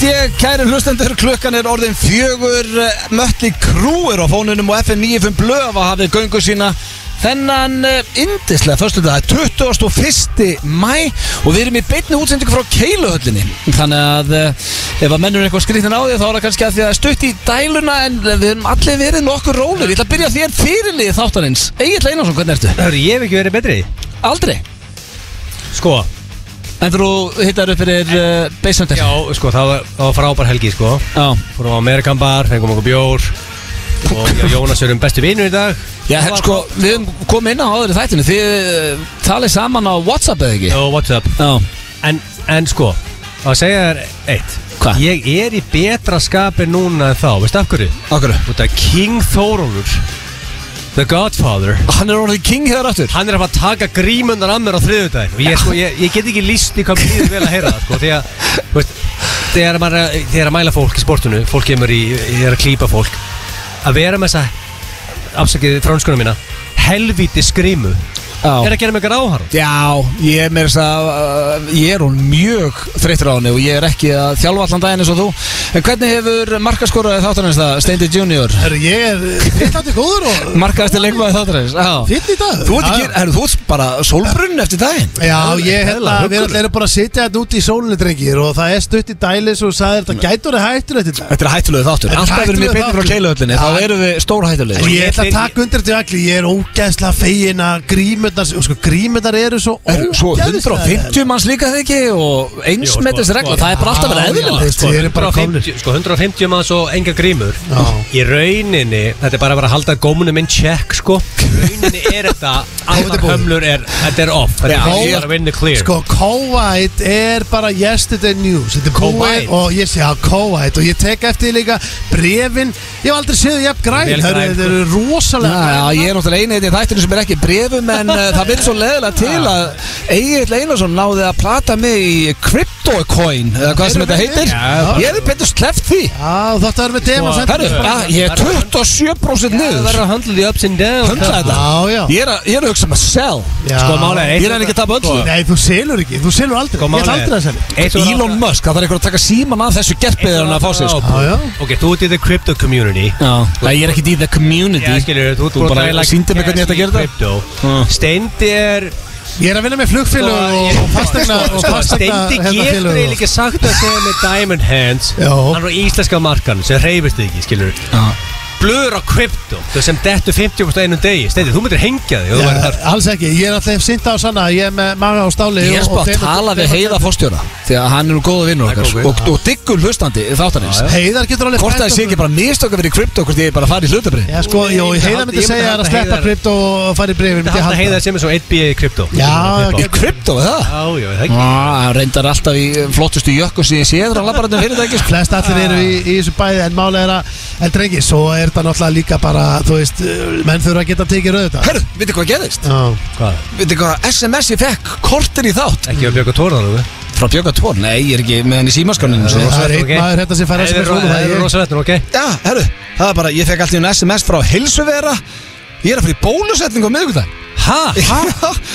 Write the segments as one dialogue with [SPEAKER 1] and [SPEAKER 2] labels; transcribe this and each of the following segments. [SPEAKER 1] ég, kæri hlustendur, klukkan er orðin fjögur eh, Mötli Krúir á fónunum og FM 95 Blöfa hafið göngu sína Þennan eh, yndislega förstu dag, 21. mæ og við erum í beinni útsendingu frá Keiluhöllinni Þannig að eh, ef að mennur eitthvað skrýttin á því þá er það kannski að því að það er stutt í dæluna en við erum allir verið nokkur rólir Ég ætla að byrja á þér fyrirlið þáttarins Egil Einarsson, hvernig ertu?
[SPEAKER 2] Hörru, ég hef ekki verið betri
[SPEAKER 1] Aldrei
[SPEAKER 2] Sko
[SPEAKER 1] En þú hittar upp fyrir uh, Beisöndir
[SPEAKER 2] Já, sko, það var, það var frábær helgi, sko
[SPEAKER 1] Já.
[SPEAKER 2] Fórum á Amerikan bar, fengum okkur bjór Og ég og Jónas erum bestu vinur í dag
[SPEAKER 1] Já, hérna sko, við höfum komið inn á áður í þættinu Þið eh, talið saman á Whatsapp eða ekki?
[SPEAKER 2] Og what's up
[SPEAKER 1] Já,
[SPEAKER 2] En, en sko, að segja þér eitt
[SPEAKER 1] Hvað?
[SPEAKER 2] Ég er í betra skapi núna en þá, veistu af hverju?
[SPEAKER 1] okkur
[SPEAKER 2] Út af King Þórólfur The Godfather
[SPEAKER 1] Hann er orðið king hér aftur
[SPEAKER 2] Hann er að fara að taka grímundar að mér á þriðudaginn Og ég, sko, ég, ég get ekki líst í hvað mér líður vel að heyra það sko, Því að, þú veist, þegar maður er að- þegar er að mæla fólk í sportinu Fólk kemur í, ég er að klípa fólk Að vera með þessa, afsakið fránskuna mína Helvíti skrímu
[SPEAKER 1] Já,
[SPEAKER 2] Er að gera mig eitthvað áhara
[SPEAKER 1] Já ég er með þess að uh, Ég er hún mjög þreyttur á henni og ég er ekki að þjálfa allan daginn eins og þú En hvernig hefur markaskoraði þáttarins það, Steindi Junior?
[SPEAKER 3] Herru, ég er fyrstandi góður og
[SPEAKER 1] Markaðasti leikmaði þáttarins, já
[SPEAKER 3] fyrst í dag
[SPEAKER 1] Þú ert
[SPEAKER 3] Já,
[SPEAKER 1] ekki, herru, þú ert bara sólbrunn eftir daginn
[SPEAKER 3] Já, ég hérna,
[SPEAKER 2] Hella,
[SPEAKER 3] við
[SPEAKER 2] huggur.
[SPEAKER 3] erum bara að sitja þetta úti í sólunni, drengir Og það er stutt í dælis og sagði þetta gætur er hættur þetta í dag
[SPEAKER 1] Þetta er hættulegu þáttur
[SPEAKER 3] Þetta er
[SPEAKER 1] Alltaf erum við
[SPEAKER 3] hættulegur
[SPEAKER 1] beinir frá
[SPEAKER 3] þáttur.
[SPEAKER 1] keiluhöllinni, þá
[SPEAKER 3] Já.
[SPEAKER 1] erum við stór
[SPEAKER 3] Og
[SPEAKER 2] ég
[SPEAKER 3] ég ætla
[SPEAKER 2] fer-
[SPEAKER 3] að taka undir þetta allir, ég er ógæðslega fegin að grímundar, og sko grímundar eru svo
[SPEAKER 1] Eru svo
[SPEAKER 3] ógeðslega-
[SPEAKER 1] 150 manns líka þegar ekki og
[SPEAKER 2] Jú, sko,
[SPEAKER 1] einsmetis regla,
[SPEAKER 2] sko,
[SPEAKER 1] það er bara alltaf verið
[SPEAKER 3] já,
[SPEAKER 1] eðlilegt sko.
[SPEAKER 3] Þið eru bara
[SPEAKER 2] 150, sko, 150 manns og enga grímur
[SPEAKER 3] Já.
[SPEAKER 2] Í rauninni, þetta er bara að vera að halda gómunum inn check sko. Í rauninni er þetta, allar hömlur er, þetta er off Þetta
[SPEAKER 1] Já,
[SPEAKER 2] er
[SPEAKER 1] ég-
[SPEAKER 2] bara að vinna clear
[SPEAKER 3] Sko, COVID er bara yesterday news Þetta er COVID
[SPEAKER 2] Covid.
[SPEAKER 3] og ég sé að COVID og ég tek eftir því líka brefin Ég hef aldrei séð þau jafn græn
[SPEAKER 2] Vel
[SPEAKER 3] Hörru,
[SPEAKER 2] græn,
[SPEAKER 3] Þetta eru
[SPEAKER 1] sko.
[SPEAKER 3] rosalega
[SPEAKER 1] Já,
[SPEAKER 3] græn.
[SPEAKER 1] já, ég er náttúrulega einið í þættinu sem er ekki í brefum en uh, það vil svo leðilega til að Egil Einarsson náði að plata mig í CryptoCoin eða hvað sem þetta heitir
[SPEAKER 3] Já.
[SPEAKER 1] Ég hefði betur sleppt því
[SPEAKER 3] Já, þetta er með tema sent
[SPEAKER 1] Sko, Herru, að- ég er 27%
[SPEAKER 2] Það
[SPEAKER 1] niður
[SPEAKER 2] verður að handla því ups and downs
[SPEAKER 1] Höndla þetta
[SPEAKER 3] Já, já.
[SPEAKER 1] Ég er að- ég er að hugsa um að sell
[SPEAKER 3] Já.
[SPEAKER 2] Sko, málið er eitt-
[SPEAKER 1] Ég er enn ekki að tapa öllu
[SPEAKER 3] Nei, þú selur ekki, þú selur aldrei
[SPEAKER 2] Sko,
[SPEAKER 3] Ég ætla
[SPEAKER 2] málið er-
[SPEAKER 3] aldrei að selja
[SPEAKER 2] Eitt og
[SPEAKER 1] Elon
[SPEAKER 2] annað-
[SPEAKER 1] Musk, það þarf einhver að taka síman af þessu gerpiðar hann að fá sér sko.
[SPEAKER 3] Já, já.
[SPEAKER 2] Ok, þú ert í the crypto community
[SPEAKER 1] Já, Nei, ég er ekki í the community
[SPEAKER 2] Já, skilur, þú
[SPEAKER 1] Þú
[SPEAKER 2] ert
[SPEAKER 1] bara
[SPEAKER 2] þægilega
[SPEAKER 1] sýndir mér hvernig
[SPEAKER 2] cash
[SPEAKER 1] þetta
[SPEAKER 2] í
[SPEAKER 1] gerir það.
[SPEAKER 2] crypto.
[SPEAKER 1] Já.
[SPEAKER 2] Steindi er
[SPEAKER 3] Ég er að vinna með
[SPEAKER 2] Sko,
[SPEAKER 3] flugfélög og
[SPEAKER 2] ég-
[SPEAKER 3] og fastegna og
[SPEAKER 2] Sko,
[SPEAKER 3] fastegna
[SPEAKER 2] Steindi
[SPEAKER 3] hérna,
[SPEAKER 2] getur
[SPEAKER 3] félög og-
[SPEAKER 2] eiginlega ekki sagt að segja með diamond hands
[SPEAKER 3] Já.
[SPEAKER 2] Hann er á íslenska markan sem reyfist ekki, skilur
[SPEAKER 1] Já.
[SPEAKER 2] Blur á crypto Þú sem dettu 50% á einum degi Steindi, þú myndir hengja þig ef þú værir
[SPEAKER 3] Já,
[SPEAKER 2] þar.
[SPEAKER 3] Alls ekki, ég er alltaf sýnt á sanna Ég er með maga á stáli
[SPEAKER 1] Ég er
[SPEAKER 3] og-
[SPEAKER 1] bara
[SPEAKER 3] og
[SPEAKER 1] að
[SPEAKER 3] þeim-
[SPEAKER 1] tala
[SPEAKER 3] þeim-
[SPEAKER 1] við heiða fórstjóra Því að hann er nú góða vinnur
[SPEAKER 2] Það er
[SPEAKER 1] okkar
[SPEAKER 2] góð
[SPEAKER 1] og, og diggul hlustandi þáttanins
[SPEAKER 3] Heiðar getur alveg
[SPEAKER 1] Hvort að það sé ekki bara mistöka verið krypto Hvort ég er bara að fara í hlutabri
[SPEAKER 3] Já, sko,
[SPEAKER 2] Nei,
[SPEAKER 3] jó,
[SPEAKER 2] ég myndi
[SPEAKER 3] heiðar
[SPEAKER 2] halda- ég
[SPEAKER 3] myndi
[SPEAKER 2] myndi
[SPEAKER 3] segja að
[SPEAKER 2] halda
[SPEAKER 3] sleppa
[SPEAKER 2] Heiðar-
[SPEAKER 3] krypt og fara í breyfin
[SPEAKER 2] Þetta halda heiða sem er svo 1B í crypto
[SPEAKER 3] Já,
[SPEAKER 1] Í krypto, er það?
[SPEAKER 2] Já, já, það ekki
[SPEAKER 1] Á, Hann reyndar alltaf í eh, flottustu jökku sem ég séð Þannig að labbarandum fyrir þetta ekki sko.
[SPEAKER 3] flest allir eru í, í þessu bæði en málega er að, en drengi, svo er þetta náttúrulega líka bara, þú veist, uh, menn þurfa að geta tekið rauð þetta
[SPEAKER 1] Herru, veitir hvað gerðist?
[SPEAKER 3] Já,
[SPEAKER 2] Hvað?
[SPEAKER 1] Veitir hvað SMS ég fekk kortir í þátt
[SPEAKER 2] Ekki að bjöka tórðan
[SPEAKER 1] Frá Björga Tón? Nei, ég er ekki með henni símaskaninu
[SPEAKER 3] það
[SPEAKER 1] Já,
[SPEAKER 3] er einn maður hérna sem fær
[SPEAKER 2] Það
[SPEAKER 3] SMS núna, það
[SPEAKER 2] er
[SPEAKER 3] er ég.
[SPEAKER 2] rosalettur, ok?
[SPEAKER 1] herru, það er bara Ég fekk alltaf einu SMS frá Hilsuvera Ég er að fara í bólusetningu á miðvikudag
[SPEAKER 2] Hæ?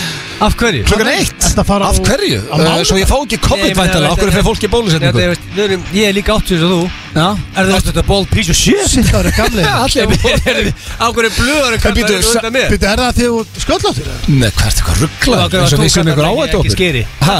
[SPEAKER 2] Af hverju?
[SPEAKER 1] Klukkan eitt
[SPEAKER 3] Ertu að fara á-
[SPEAKER 1] Af hverju?
[SPEAKER 3] á mánudag?
[SPEAKER 1] Eh, Svo ég fá ekki
[SPEAKER 2] Nei,
[SPEAKER 1] COVID
[SPEAKER 2] ég meina,
[SPEAKER 1] væntanlega Okkur
[SPEAKER 2] þetta-
[SPEAKER 1] er fyrir fólki í
[SPEAKER 2] Þetta
[SPEAKER 1] bólusetningu
[SPEAKER 2] er, veist, við erum- Ég er líka 80 og þú
[SPEAKER 1] Já,
[SPEAKER 2] Er það þetta bold piece of shit?
[SPEAKER 3] Sitt ára gamli
[SPEAKER 1] Já, allir
[SPEAKER 2] Ákveður er blöður að
[SPEAKER 1] En býtu,
[SPEAKER 2] kalla þetta
[SPEAKER 1] sa-
[SPEAKER 2] undan mér
[SPEAKER 3] Býttu, er það því þú skölláttur?
[SPEAKER 1] Nei, hvað er þetta eitthvað ruggla?
[SPEAKER 2] Akkur var
[SPEAKER 1] eins og
[SPEAKER 2] þú
[SPEAKER 1] við sem
[SPEAKER 2] kallar
[SPEAKER 1] ykkur
[SPEAKER 2] mig
[SPEAKER 1] áættu
[SPEAKER 2] ekki skeri.
[SPEAKER 1] okkur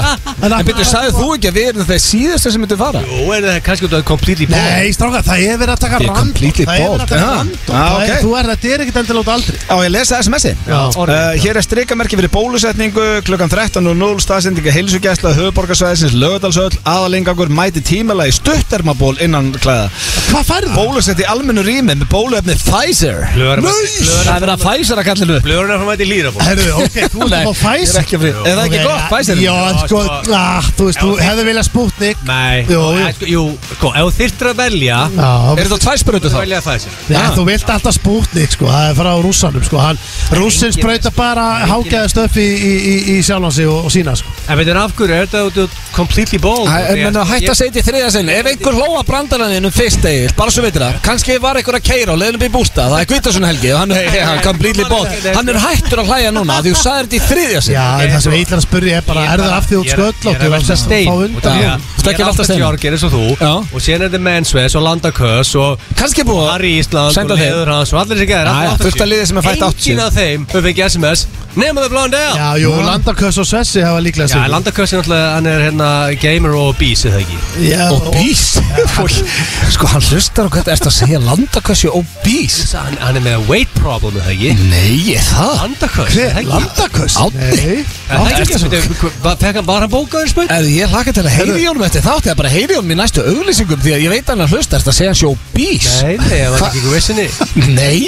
[SPEAKER 3] En
[SPEAKER 1] En byrju,
[SPEAKER 3] af-
[SPEAKER 1] sagðið þú ekki að við erum þeir síðasta sem myndum fara?
[SPEAKER 2] Jú, er það kannski út af completely bold
[SPEAKER 3] Nei, stráka, það er verið að taka
[SPEAKER 1] Ég er
[SPEAKER 3] random
[SPEAKER 1] completely
[SPEAKER 3] Það er verið að taka
[SPEAKER 1] bald.
[SPEAKER 3] random
[SPEAKER 1] Já,
[SPEAKER 3] Það
[SPEAKER 1] ok.
[SPEAKER 3] er- Þú er, þetta er ekkert endilega út aldrei
[SPEAKER 1] Á, ég lesa SMS-i
[SPEAKER 3] Já,
[SPEAKER 1] Uh, hér er strikamerki fyrir bólusetningu klukkan 13.00 staðsendinga heilsugæsla höfuborgarsvæðisins lögadalsöll aðalengangur mæti tímala í stuttermaból innan klæða
[SPEAKER 3] Hvað færðu?
[SPEAKER 1] Bóluset í almennu rými með bóluefni Pfizer
[SPEAKER 2] Blöðar- blöðar-
[SPEAKER 1] Það er verið að Pfizer að kalla hennu
[SPEAKER 2] Blöður er frá mæti líra ból
[SPEAKER 3] Herru, ok, þú ert
[SPEAKER 1] Nei,
[SPEAKER 3] að fá
[SPEAKER 1] ég
[SPEAKER 3] fæs
[SPEAKER 1] er ekki að frí- Er það ekki gott, Pfizer?
[SPEAKER 3] Já,
[SPEAKER 2] Já,
[SPEAKER 3] sko,
[SPEAKER 2] sko.
[SPEAKER 3] ah, þú veist, þú
[SPEAKER 2] Já,
[SPEAKER 3] hefði viljað spútnik
[SPEAKER 2] Nei
[SPEAKER 3] Jú, jú.
[SPEAKER 2] Æ, sko, Jú, sko, ef þú þyrtir að velja
[SPEAKER 3] Já,
[SPEAKER 1] Er þetta tvær sprötu
[SPEAKER 2] Þú
[SPEAKER 1] þá?
[SPEAKER 2] velja það sér
[SPEAKER 3] Já, þú vilt alltaf spútnik sko, það er frá rússanum sko, hann, rússin
[SPEAKER 2] engin-
[SPEAKER 3] sprauta bara hágæðast upp í, í, í, í sjálfan sig og, og sína sko.
[SPEAKER 2] En veitir af hverju, er þetta út af completely bold
[SPEAKER 1] Það er menn að hætta að segja þetta í þriðja sinn Ef einhver hlóa brandarann þínum um fyrst Egil, bara svo veitir það kannski var einhver að keira og leiðin upp í bústa það er Gvítasun helgi og hann er hey, hann completely bótt hann er hættur að hlæja núna af því þú sagði þetta í þriðja
[SPEAKER 3] Já,
[SPEAKER 1] sig
[SPEAKER 3] en það sem ég ætlar að spyrja er bara, er það af því út sköll
[SPEAKER 1] hérna,
[SPEAKER 2] Ég er alltaf stein
[SPEAKER 3] Fá
[SPEAKER 2] út af því
[SPEAKER 3] undan
[SPEAKER 2] að-
[SPEAKER 1] Þú ert ekki að
[SPEAKER 2] Ég er
[SPEAKER 1] velta
[SPEAKER 2] alltaf
[SPEAKER 1] steinum.
[SPEAKER 2] stjórgir eins og þú
[SPEAKER 1] Já.
[SPEAKER 2] Og síðan er þetta Mensves og Landakös Og
[SPEAKER 1] kannski er búið að-
[SPEAKER 2] Ari Ísland
[SPEAKER 1] Senda
[SPEAKER 2] og
[SPEAKER 1] þeim.
[SPEAKER 2] Leður Hans Og allir þessi gæðir
[SPEAKER 1] Já, já, fullt af liði sem er fætt 80.
[SPEAKER 2] Engin af þeim Við fengið SMS Nefnum við blóðan
[SPEAKER 3] Já,
[SPEAKER 2] dega
[SPEAKER 3] jú, landarköss og svessi hafa líklega
[SPEAKER 2] Já,
[SPEAKER 3] sig
[SPEAKER 2] Landakös er náttúrulega Hann er hérna gamer og obese eða ekki
[SPEAKER 3] Já,
[SPEAKER 1] og bís sko hann hlustar og hvað er þetta að segja landakassi og bís
[SPEAKER 2] Hann, hann er með weight problem eða ekki
[SPEAKER 1] nei er það
[SPEAKER 2] Landakös eða ekki
[SPEAKER 3] Landarköss?
[SPEAKER 1] Árni.
[SPEAKER 3] Nei
[SPEAKER 2] Er það ekki
[SPEAKER 1] Ertu-
[SPEAKER 2] svona? Var fekk hann- var hann bókaður spöld?
[SPEAKER 1] Erðu ég hlaka til að heyri í honum eftir þátt eða bara heyri í honum í næstu auglýsingum því að ég veit að hann að hlusta þetta að segja hann sé obís
[SPEAKER 2] Nei, nei, hann var ekki í vissinni
[SPEAKER 1] Nei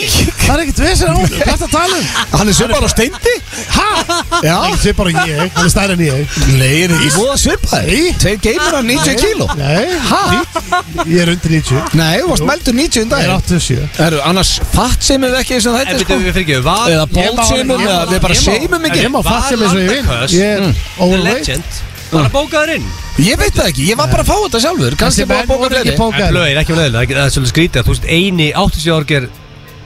[SPEAKER 3] Það er ekkert vesir á hún, hvað er það að tala um?
[SPEAKER 1] Hann er svipar á steindi Hæ? Já
[SPEAKER 3] Það er ekki bara ég, hann er stærri en ég
[SPEAKER 1] Nei, er ekki búið að svipa þér Tveir geimur á 90 kíló
[SPEAKER 3] Nei,
[SPEAKER 1] Hæ?
[SPEAKER 3] ég er undir 90
[SPEAKER 1] Nei, þú varst meldur 90 um
[SPEAKER 3] Það er
[SPEAKER 1] daginn
[SPEAKER 3] 87
[SPEAKER 1] Erðu, annars fatt sem við ekki þessum
[SPEAKER 2] En
[SPEAKER 1] þetta
[SPEAKER 2] við
[SPEAKER 1] sko
[SPEAKER 2] fyrir ekki, var
[SPEAKER 1] Eða
[SPEAKER 3] Ég má-
[SPEAKER 1] bólseimum
[SPEAKER 3] ég
[SPEAKER 1] eða
[SPEAKER 3] má-
[SPEAKER 1] við bara
[SPEAKER 2] ég má-
[SPEAKER 1] seimum
[SPEAKER 2] en
[SPEAKER 1] ekki
[SPEAKER 3] Ég má fatta mig sem ég vil
[SPEAKER 2] Landaköst?
[SPEAKER 3] Ég er
[SPEAKER 2] The
[SPEAKER 3] overweight
[SPEAKER 2] Hmm. Legend Var hann bókaður inn?
[SPEAKER 1] Ég veit það ekki, ég var bara að fá þetta sjálfur Kannski
[SPEAKER 3] Þessi
[SPEAKER 1] bara að
[SPEAKER 3] menn
[SPEAKER 1] bóka
[SPEAKER 3] voru
[SPEAKER 1] fleiri
[SPEAKER 3] ekki
[SPEAKER 2] En
[SPEAKER 3] bókaðir.
[SPEAKER 2] blöðir, ekki um leðilega, það er svolítið skrítið að þú veist eini 80 árger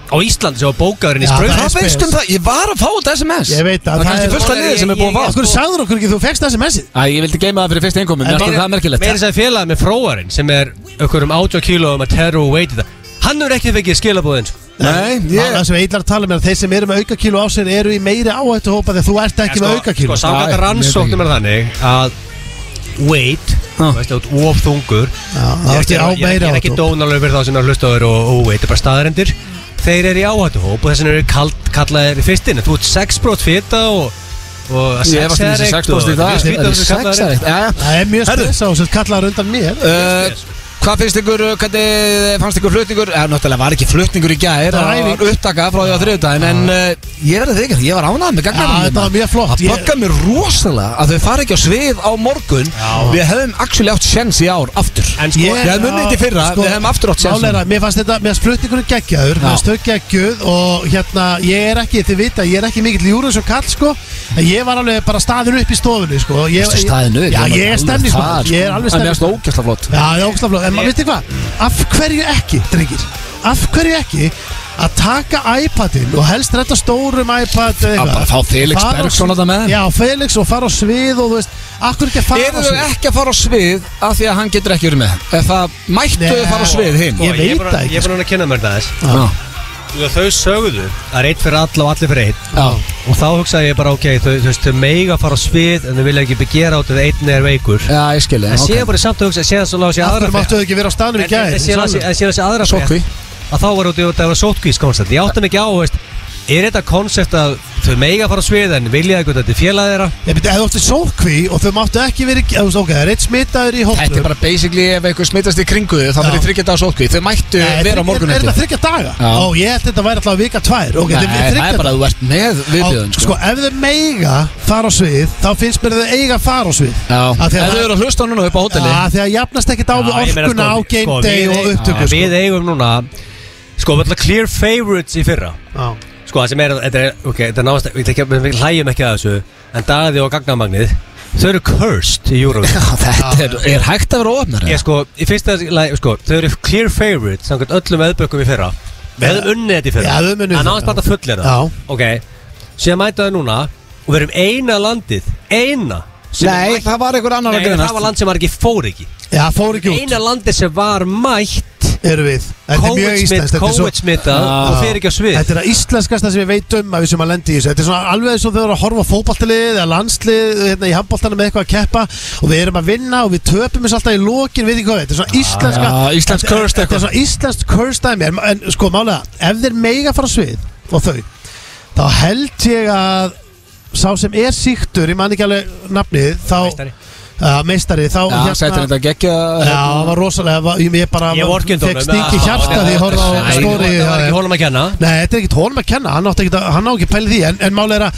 [SPEAKER 2] á Íslandi sem var bókaðurinn í
[SPEAKER 3] Já,
[SPEAKER 2] spröð
[SPEAKER 3] það
[SPEAKER 1] Hvað veistu um það? Ég var að fá þetta SMS
[SPEAKER 3] Ég veit að
[SPEAKER 1] það er kannski fullt af liðið sem er búið að fá
[SPEAKER 3] Akkur sagður okkur ekki, þú fegst þessi messið
[SPEAKER 1] Æ, ég vildi geima það fyrir fyrst einkomum, mér fannst það merkilegt
[SPEAKER 2] Meira sem félagið með fróarinn sem er okkur um 80 kílóum að terru og veitið það Hann hefur ekki fengið sko. skilabóðin
[SPEAKER 1] Nei,
[SPEAKER 3] Það það sem ég ætlar að tala um er að þeir sem eru með aukakílu á sér eru í meiri áhættu hópa þegar þú ert ekki með aukakílu
[SPEAKER 1] Nei,
[SPEAKER 2] Sko, samkvæmt
[SPEAKER 1] ég veit
[SPEAKER 2] rannsóknum er þannig að weight, þú veist, þú ert of þungur
[SPEAKER 3] Það
[SPEAKER 2] Ég er
[SPEAKER 3] ert
[SPEAKER 2] ekki- ég
[SPEAKER 3] á
[SPEAKER 2] er ekki-
[SPEAKER 3] meiri
[SPEAKER 2] Ég er ekki
[SPEAKER 3] áhættu
[SPEAKER 2] dónalög fyrir þá sem er að hlusta á þér og, og veit, það er bara staðarendir Þeir eru í áhættuhóp og þessin eru kald, kallaðir í fyrstinni Þú ert sexbrot fita og, og
[SPEAKER 1] Ég hefast um þessi 6 bóst í dag
[SPEAKER 2] Það er sexarekt
[SPEAKER 1] Jæja
[SPEAKER 3] Það er mjög
[SPEAKER 1] Herðu.
[SPEAKER 3] stress á þessu kallar undan mér
[SPEAKER 1] Uh, Hvað finnst ykkur, uh, hvernig fannst ykkur flutningur? Eh, náttúrulega var ekki flutningur í gæðir
[SPEAKER 3] Það var
[SPEAKER 1] Það var
[SPEAKER 3] æfing. Ah.
[SPEAKER 1] upptaka frá því á þriðudaginn En uh, ég verði þig, ég var ánað með
[SPEAKER 3] Já,
[SPEAKER 1] gagnarum
[SPEAKER 3] þetta var mjög flott.
[SPEAKER 1] Það
[SPEAKER 3] Ég-
[SPEAKER 1] böggar mér rosalega að þau fara ekki á svið á morgun Við hefum actually átt sjens í ár, aftur
[SPEAKER 2] En sko,
[SPEAKER 1] Ég hef munnið í fyrra,
[SPEAKER 3] Sko,
[SPEAKER 1] við hefum aftur átt sjens
[SPEAKER 3] Máleira, mér fannst þetta, mér fannst flutningunum geggjaður Mér fannst þau geggjuð og hérna Ég er ekki, þið vita, ég er ekki mikill júru sem kall sko En ég var alveg bara staðin upp í stofunni sko og ég,
[SPEAKER 1] Þetta er staðinu
[SPEAKER 3] Já, ég er stemning sko, ég er
[SPEAKER 1] En
[SPEAKER 3] alveg stemning
[SPEAKER 1] mér erst ógæsla flott
[SPEAKER 3] Já, það er ógstlega flott, en maður veitir hvað, af hverju ekki, drengir, af hverju ekki að taka iPadin og helst þetta stórum iPad
[SPEAKER 1] Að
[SPEAKER 3] eða eitthvað.
[SPEAKER 1] bara fá Felix
[SPEAKER 3] Fara á-
[SPEAKER 1] Bergsson þarna með þeim.
[SPEAKER 3] Já, Felix og fara á svið og þú veist, af hverju ekki að fara
[SPEAKER 1] Eru þau ekki að fara á svið af því að hann getur ekki verið með Ef það mættu
[SPEAKER 3] Nei.
[SPEAKER 1] þau fara á svið hinn
[SPEAKER 3] Ég veit það ekki,
[SPEAKER 2] Ég er bara að kynna mér það þess
[SPEAKER 1] Já.
[SPEAKER 2] Þau sögðu Það er eitt fyrir alla og allir fyrir eitt
[SPEAKER 1] Já.
[SPEAKER 2] Og þá hugsaði ég bara, ok, þau, þau, þau, þau meiga fara á svið En þau vilja ekki begera át ef einn er veikur
[SPEAKER 1] Já, ég skilja
[SPEAKER 2] En síðan bara samt að hugsa, síðan svo lág sér
[SPEAKER 3] Af
[SPEAKER 2] aðra
[SPEAKER 3] hverju máttu þau ekki vera á staðnum í
[SPEAKER 2] En- en- en síðan
[SPEAKER 3] gæð?
[SPEAKER 2] las ég- en síðan þessi aðra
[SPEAKER 1] Sótkví.
[SPEAKER 2] frétt, að þá var út í að það var sótkví koncept ég átti mig ekki á veist, er þetta koncept að þau mega fara á svið en vilja eitthvað þetta er félagið þeirra
[SPEAKER 3] Ég beti, ef þú áttu sókví og þau máttu ekki verið, þú veist, ok, það er eitt smitaður í hóttur.
[SPEAKER 1] Þetta er bara basically ef einhver smittast í kringu þau þá verður
[SPEAKER 3] Já.
[SPEAKER 1] þryggja dagar sótkví Þau mættu vera á morgun
[SPEAKER 3] Er þetta
[SPEAKER 1] eftir
[SPEAKER 3] þryggja daga?
[SPEAKER 1] Já.
[SPEAKER 3] Ó, ég held þetta væri alltaf vika tvær. Ok,
[SPEAKER 1] Nei,
[SPEAKER 3] þetta er
[SPEAKER 1] það
[SPEAKER 3] þriggja
[SPEAKER 1] er bara að þú ert með viðbjöðun
[SPEAKER 3] sko. sko, ef þau meiga fara á svið þá finnst mér þau eiga að fara á svið
[SPEAKER 1] Já,
[SPEAKER 3] Af
[SPEAKER 1] ef
[SPEAKER 3] því að
[SPEAKER 1] þau
[SPEAKER 3] það-
[SPEAKER 1] eru að hlusta núna upp á hóteli
[SPEAKER 3] Já, því að jafnast ekkert á við
[SPEAKER 2] Já, ég meina,
[SPEAKER 3] orkuna á
[SPEAKER 2] sko,
[SPEAKER 3] game
[SPEAKER 2] sko,
[SPEAKER 3] day
[SPEAKER 2] við
[SPEAKER 3] og
[SPEAKER 2] eig-
[SPEAKER 3] upptöku
[SPEAKER 2] já,
[SPEAKER 3] sko.
[SPEAKER 2] við eigum núna sko, við ætlum clear favorites í fyrra
[SPEAKER 3] Já.
[SPEAKER 2] sko, það sem er, þetta er, ok, þetta er náðast við, ekki- við hlæjum ekki að þessu en dagaði og gagnamagnið þau eru cursed í Eurovision
[SPEAKER 1] Þetta er, er hægt að vera óöfnar
[SPEAKER 2] ég sko, í fyrsta lagi, sko, þau eru clear favorites samkvæmt öllum veðbökkum í fyrra við hefum unnið þetta í fyrra
[SPEAKER 3] Já, við höfum unnið
[SPEAKER 2] en
[SPEAKER 3] þetta,
[SPEAKER 2] náðast bara
[SPEAKER 3] já.
[SPEAKER 2] að fullera
[SPEAKER 3] Já.
[SPEAKER 2] það. ok, síðan mæta þau núna og við erum eina landið eina sem er
[SPEAKER 1] Nei,
[SPEAKER 2] mætt-
[SPEAKER 1] það var einhver annar
[SPEAKER 2] Nei,
[SPEAKER 1] að
[SPEAKER 2] það var
[SPEAKER 1] greinast
[SPEAKER 2] land sem var ekki fór ekki
[SPEAKER 3] Já, fór ekki út,
[SPEAKER 2] eina landið sem var mætt
[SPEAKER 3] eru við Þetta er mjög íslenskt þetta er svo- Ah.
[SPEAKER 2] COVID-smitta
[SPEAKER 1] Já.
[SPEAKER 2] og fyrir ekki á svið
[SPEAKER 3] Þetta er að íslenskasta sem ég veit um að við sem að lendi í þessu Þetta er svona alveg eins og þau eru að horfa á fótboltalið eða landslið hérna, í handboltanum með eitthvað að keppa og við erum að vinna og við töpum þessu alltaf í lokin við því hvað þetta er svona íslenska
[SPEAKER 1] já, íslensk
[SPEAKER 3] Þetta-
[SPEAKER 1] cursed
[SPEAKER 3] Þetta
[SPEAKER 1] eitthvað.
[SPEAKER 3] er svona íslenskt cursed dæmi en, en sko málega, ef þeir mega fara á svið og þau þá held ég að sá sem er síktur, ég man ekki alveg nafnið þá,
[SPEAKER 2] Meistari.
[SPEAKER 3] uh, meistari þá
[SPEAKER 1] Já, sættir þetta geggja
[SPEAKER 3] Já, það var rosalega, var- ég, ég bara
[SPEAKER 2] ég vorkjönd
[SPEAKER 3] fekk stingi hjarta því ég horfði á stóri
[SPEAKER 2] það var ekki hólum að kenna
[SPEAKER 3] Nei, þetta er ekkert honum að kenna, hann átti ekki, hann á ekki pæli því En, en máli er að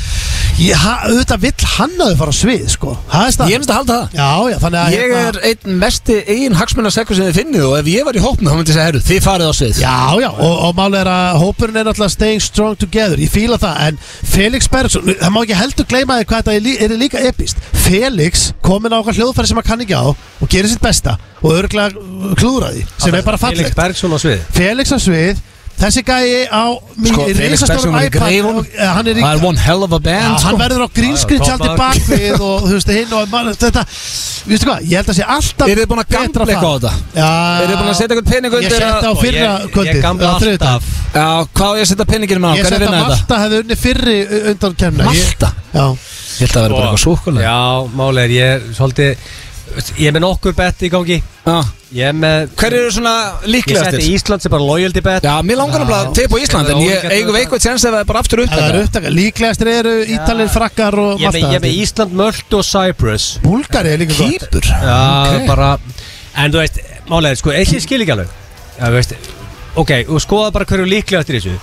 [SPEAKER 3] ég, ha- auðvitað vill hann að þau fara á svið sko. það er
[SPEAKER 1] Ég
[SPEAKER 3] stað
[SPEAKER 1] finnst að halda það
[SPEAKER 3] já, já, þannig að
[SPEAKER 1] Ég er
[SPEAKER 3] hérna-
[SPEAKER 1] einn mesti eigin hagsmunarsekkur sem þið finnið og ef ég var í hópnum þá myndi ég segja, herru, þið farið á svið
[SPEAKER 3] Já, já, og, og málið er að hópurinn er náttúrulega staying strong together, ég fíla það en Felix Bergsson, það má ekki heldur gleyma því hvað þetta er, lí, er líka epist Felix komin á okkar hljóðfæri sem hann kann ekki á og gerir sitt besta og örgulega klúðra því, sem er bara
[SPEAKER 2] Felix
[SPEAKER 3] fallegt
[SPEAKER 2] Bergson á svið
[SPEAKER 3] Felix á svið, þessi gæi á mín
[SPEAKER 1] Sko, Felix Bergsson
[SPEAKER 3] risastórum
[SPEAKER 1] er í
[SPEAKER 3] iPad
[SPEAKER 1] greifunum.
[SPEAKER 3] og, eh, hann er í
[SPEAKER 1] Það er one hell of a
[SPEAKER 3] Já,
[SPEAKER 1] band
[SPEAKER 3] hann
[SPEAKER 1] sko.
[SPEAKER 3] verður á grínskritt
[SPEAKER 2] Já, já,
[SPEAKER 3] tjaldi
[SPEAKER 2] toppmaður.
[SPEAKER 3] bakvið og þú veist, hinn og man, þetta, viðstu hvað, ég held að sé alltaf
[SPEAKER 1] Eru þið búin að
[SPEAKER 3] betra
[SPEAKER 1] gambla eitthvað á
[SPEAKER 3] far.
[SPEAKER 1] þetta?
[SPEAKER 3] Já,
[SPEAKER 1] Eru þið búin að setja eitthvað pening
[SPEAKER 3] Ég
[SPEAKER 1] undir að-
[SPEAKER 3] setja á
[SPEAKER 2] Og ég-
[SPEAKER 3] fyrra kvöldið
[SPEAKER 2] Ég gamla
[SPEAKER 3] eða þriðjudaginn.
[SPEAKER 2] alltaf
[SPEAKER 1] Já, hvað á ég að setja peninginu með á?
[SPEAKER 3] Ég
[SPEAKER 1] Hvernig
[SPEAKER 3] sett að
[SPEAKER 1] vinna þetta?
[SPEAKER 3] Malta hefði unni fyrri undan kemna
[SPEAKER 1] Malta?
[SPEAKER 3] Já,
[SPEAKER 1] Ég held að það verður bara eitthvað súkulega
[SPEAKER 2] Já, málið er, ég er svolítið Ég er með nokkur bett í gangi Ég er með
[SPEAKER 1] Hver eru svona
[SPEAKER 2] Ég seti
[SPEAKER 1] líklegastir?
[SPEAKER 2] Ísland sem bara loyalty bet
[SPEAKER 1] Já, mér langar náttúrulega til på Ísland en ég eigum eitthvað tjens ef það er bara aftur upp hérna.
[SPEAKER 3] það eru upptaka Líklegastir eru Ítalinn, frakkar og
[SPEAKER 2] Ég er með,
[SPEAKER 3] Malta
[SPEAKER 2] ég er með Ísland, Möldu og Cyprus
[SPEAKER 3] Búlgari er líka gott
[SPEAKER 1] Kýpur
[SPEAKER 2] Já,
[SPEAKER 1] Ok.
[SPEAKER 2] bara En þú veist, málið er, sko, ekki skil ekki alveg Já, þú veist Ok, og skoða bara hverju líklega eftir þessu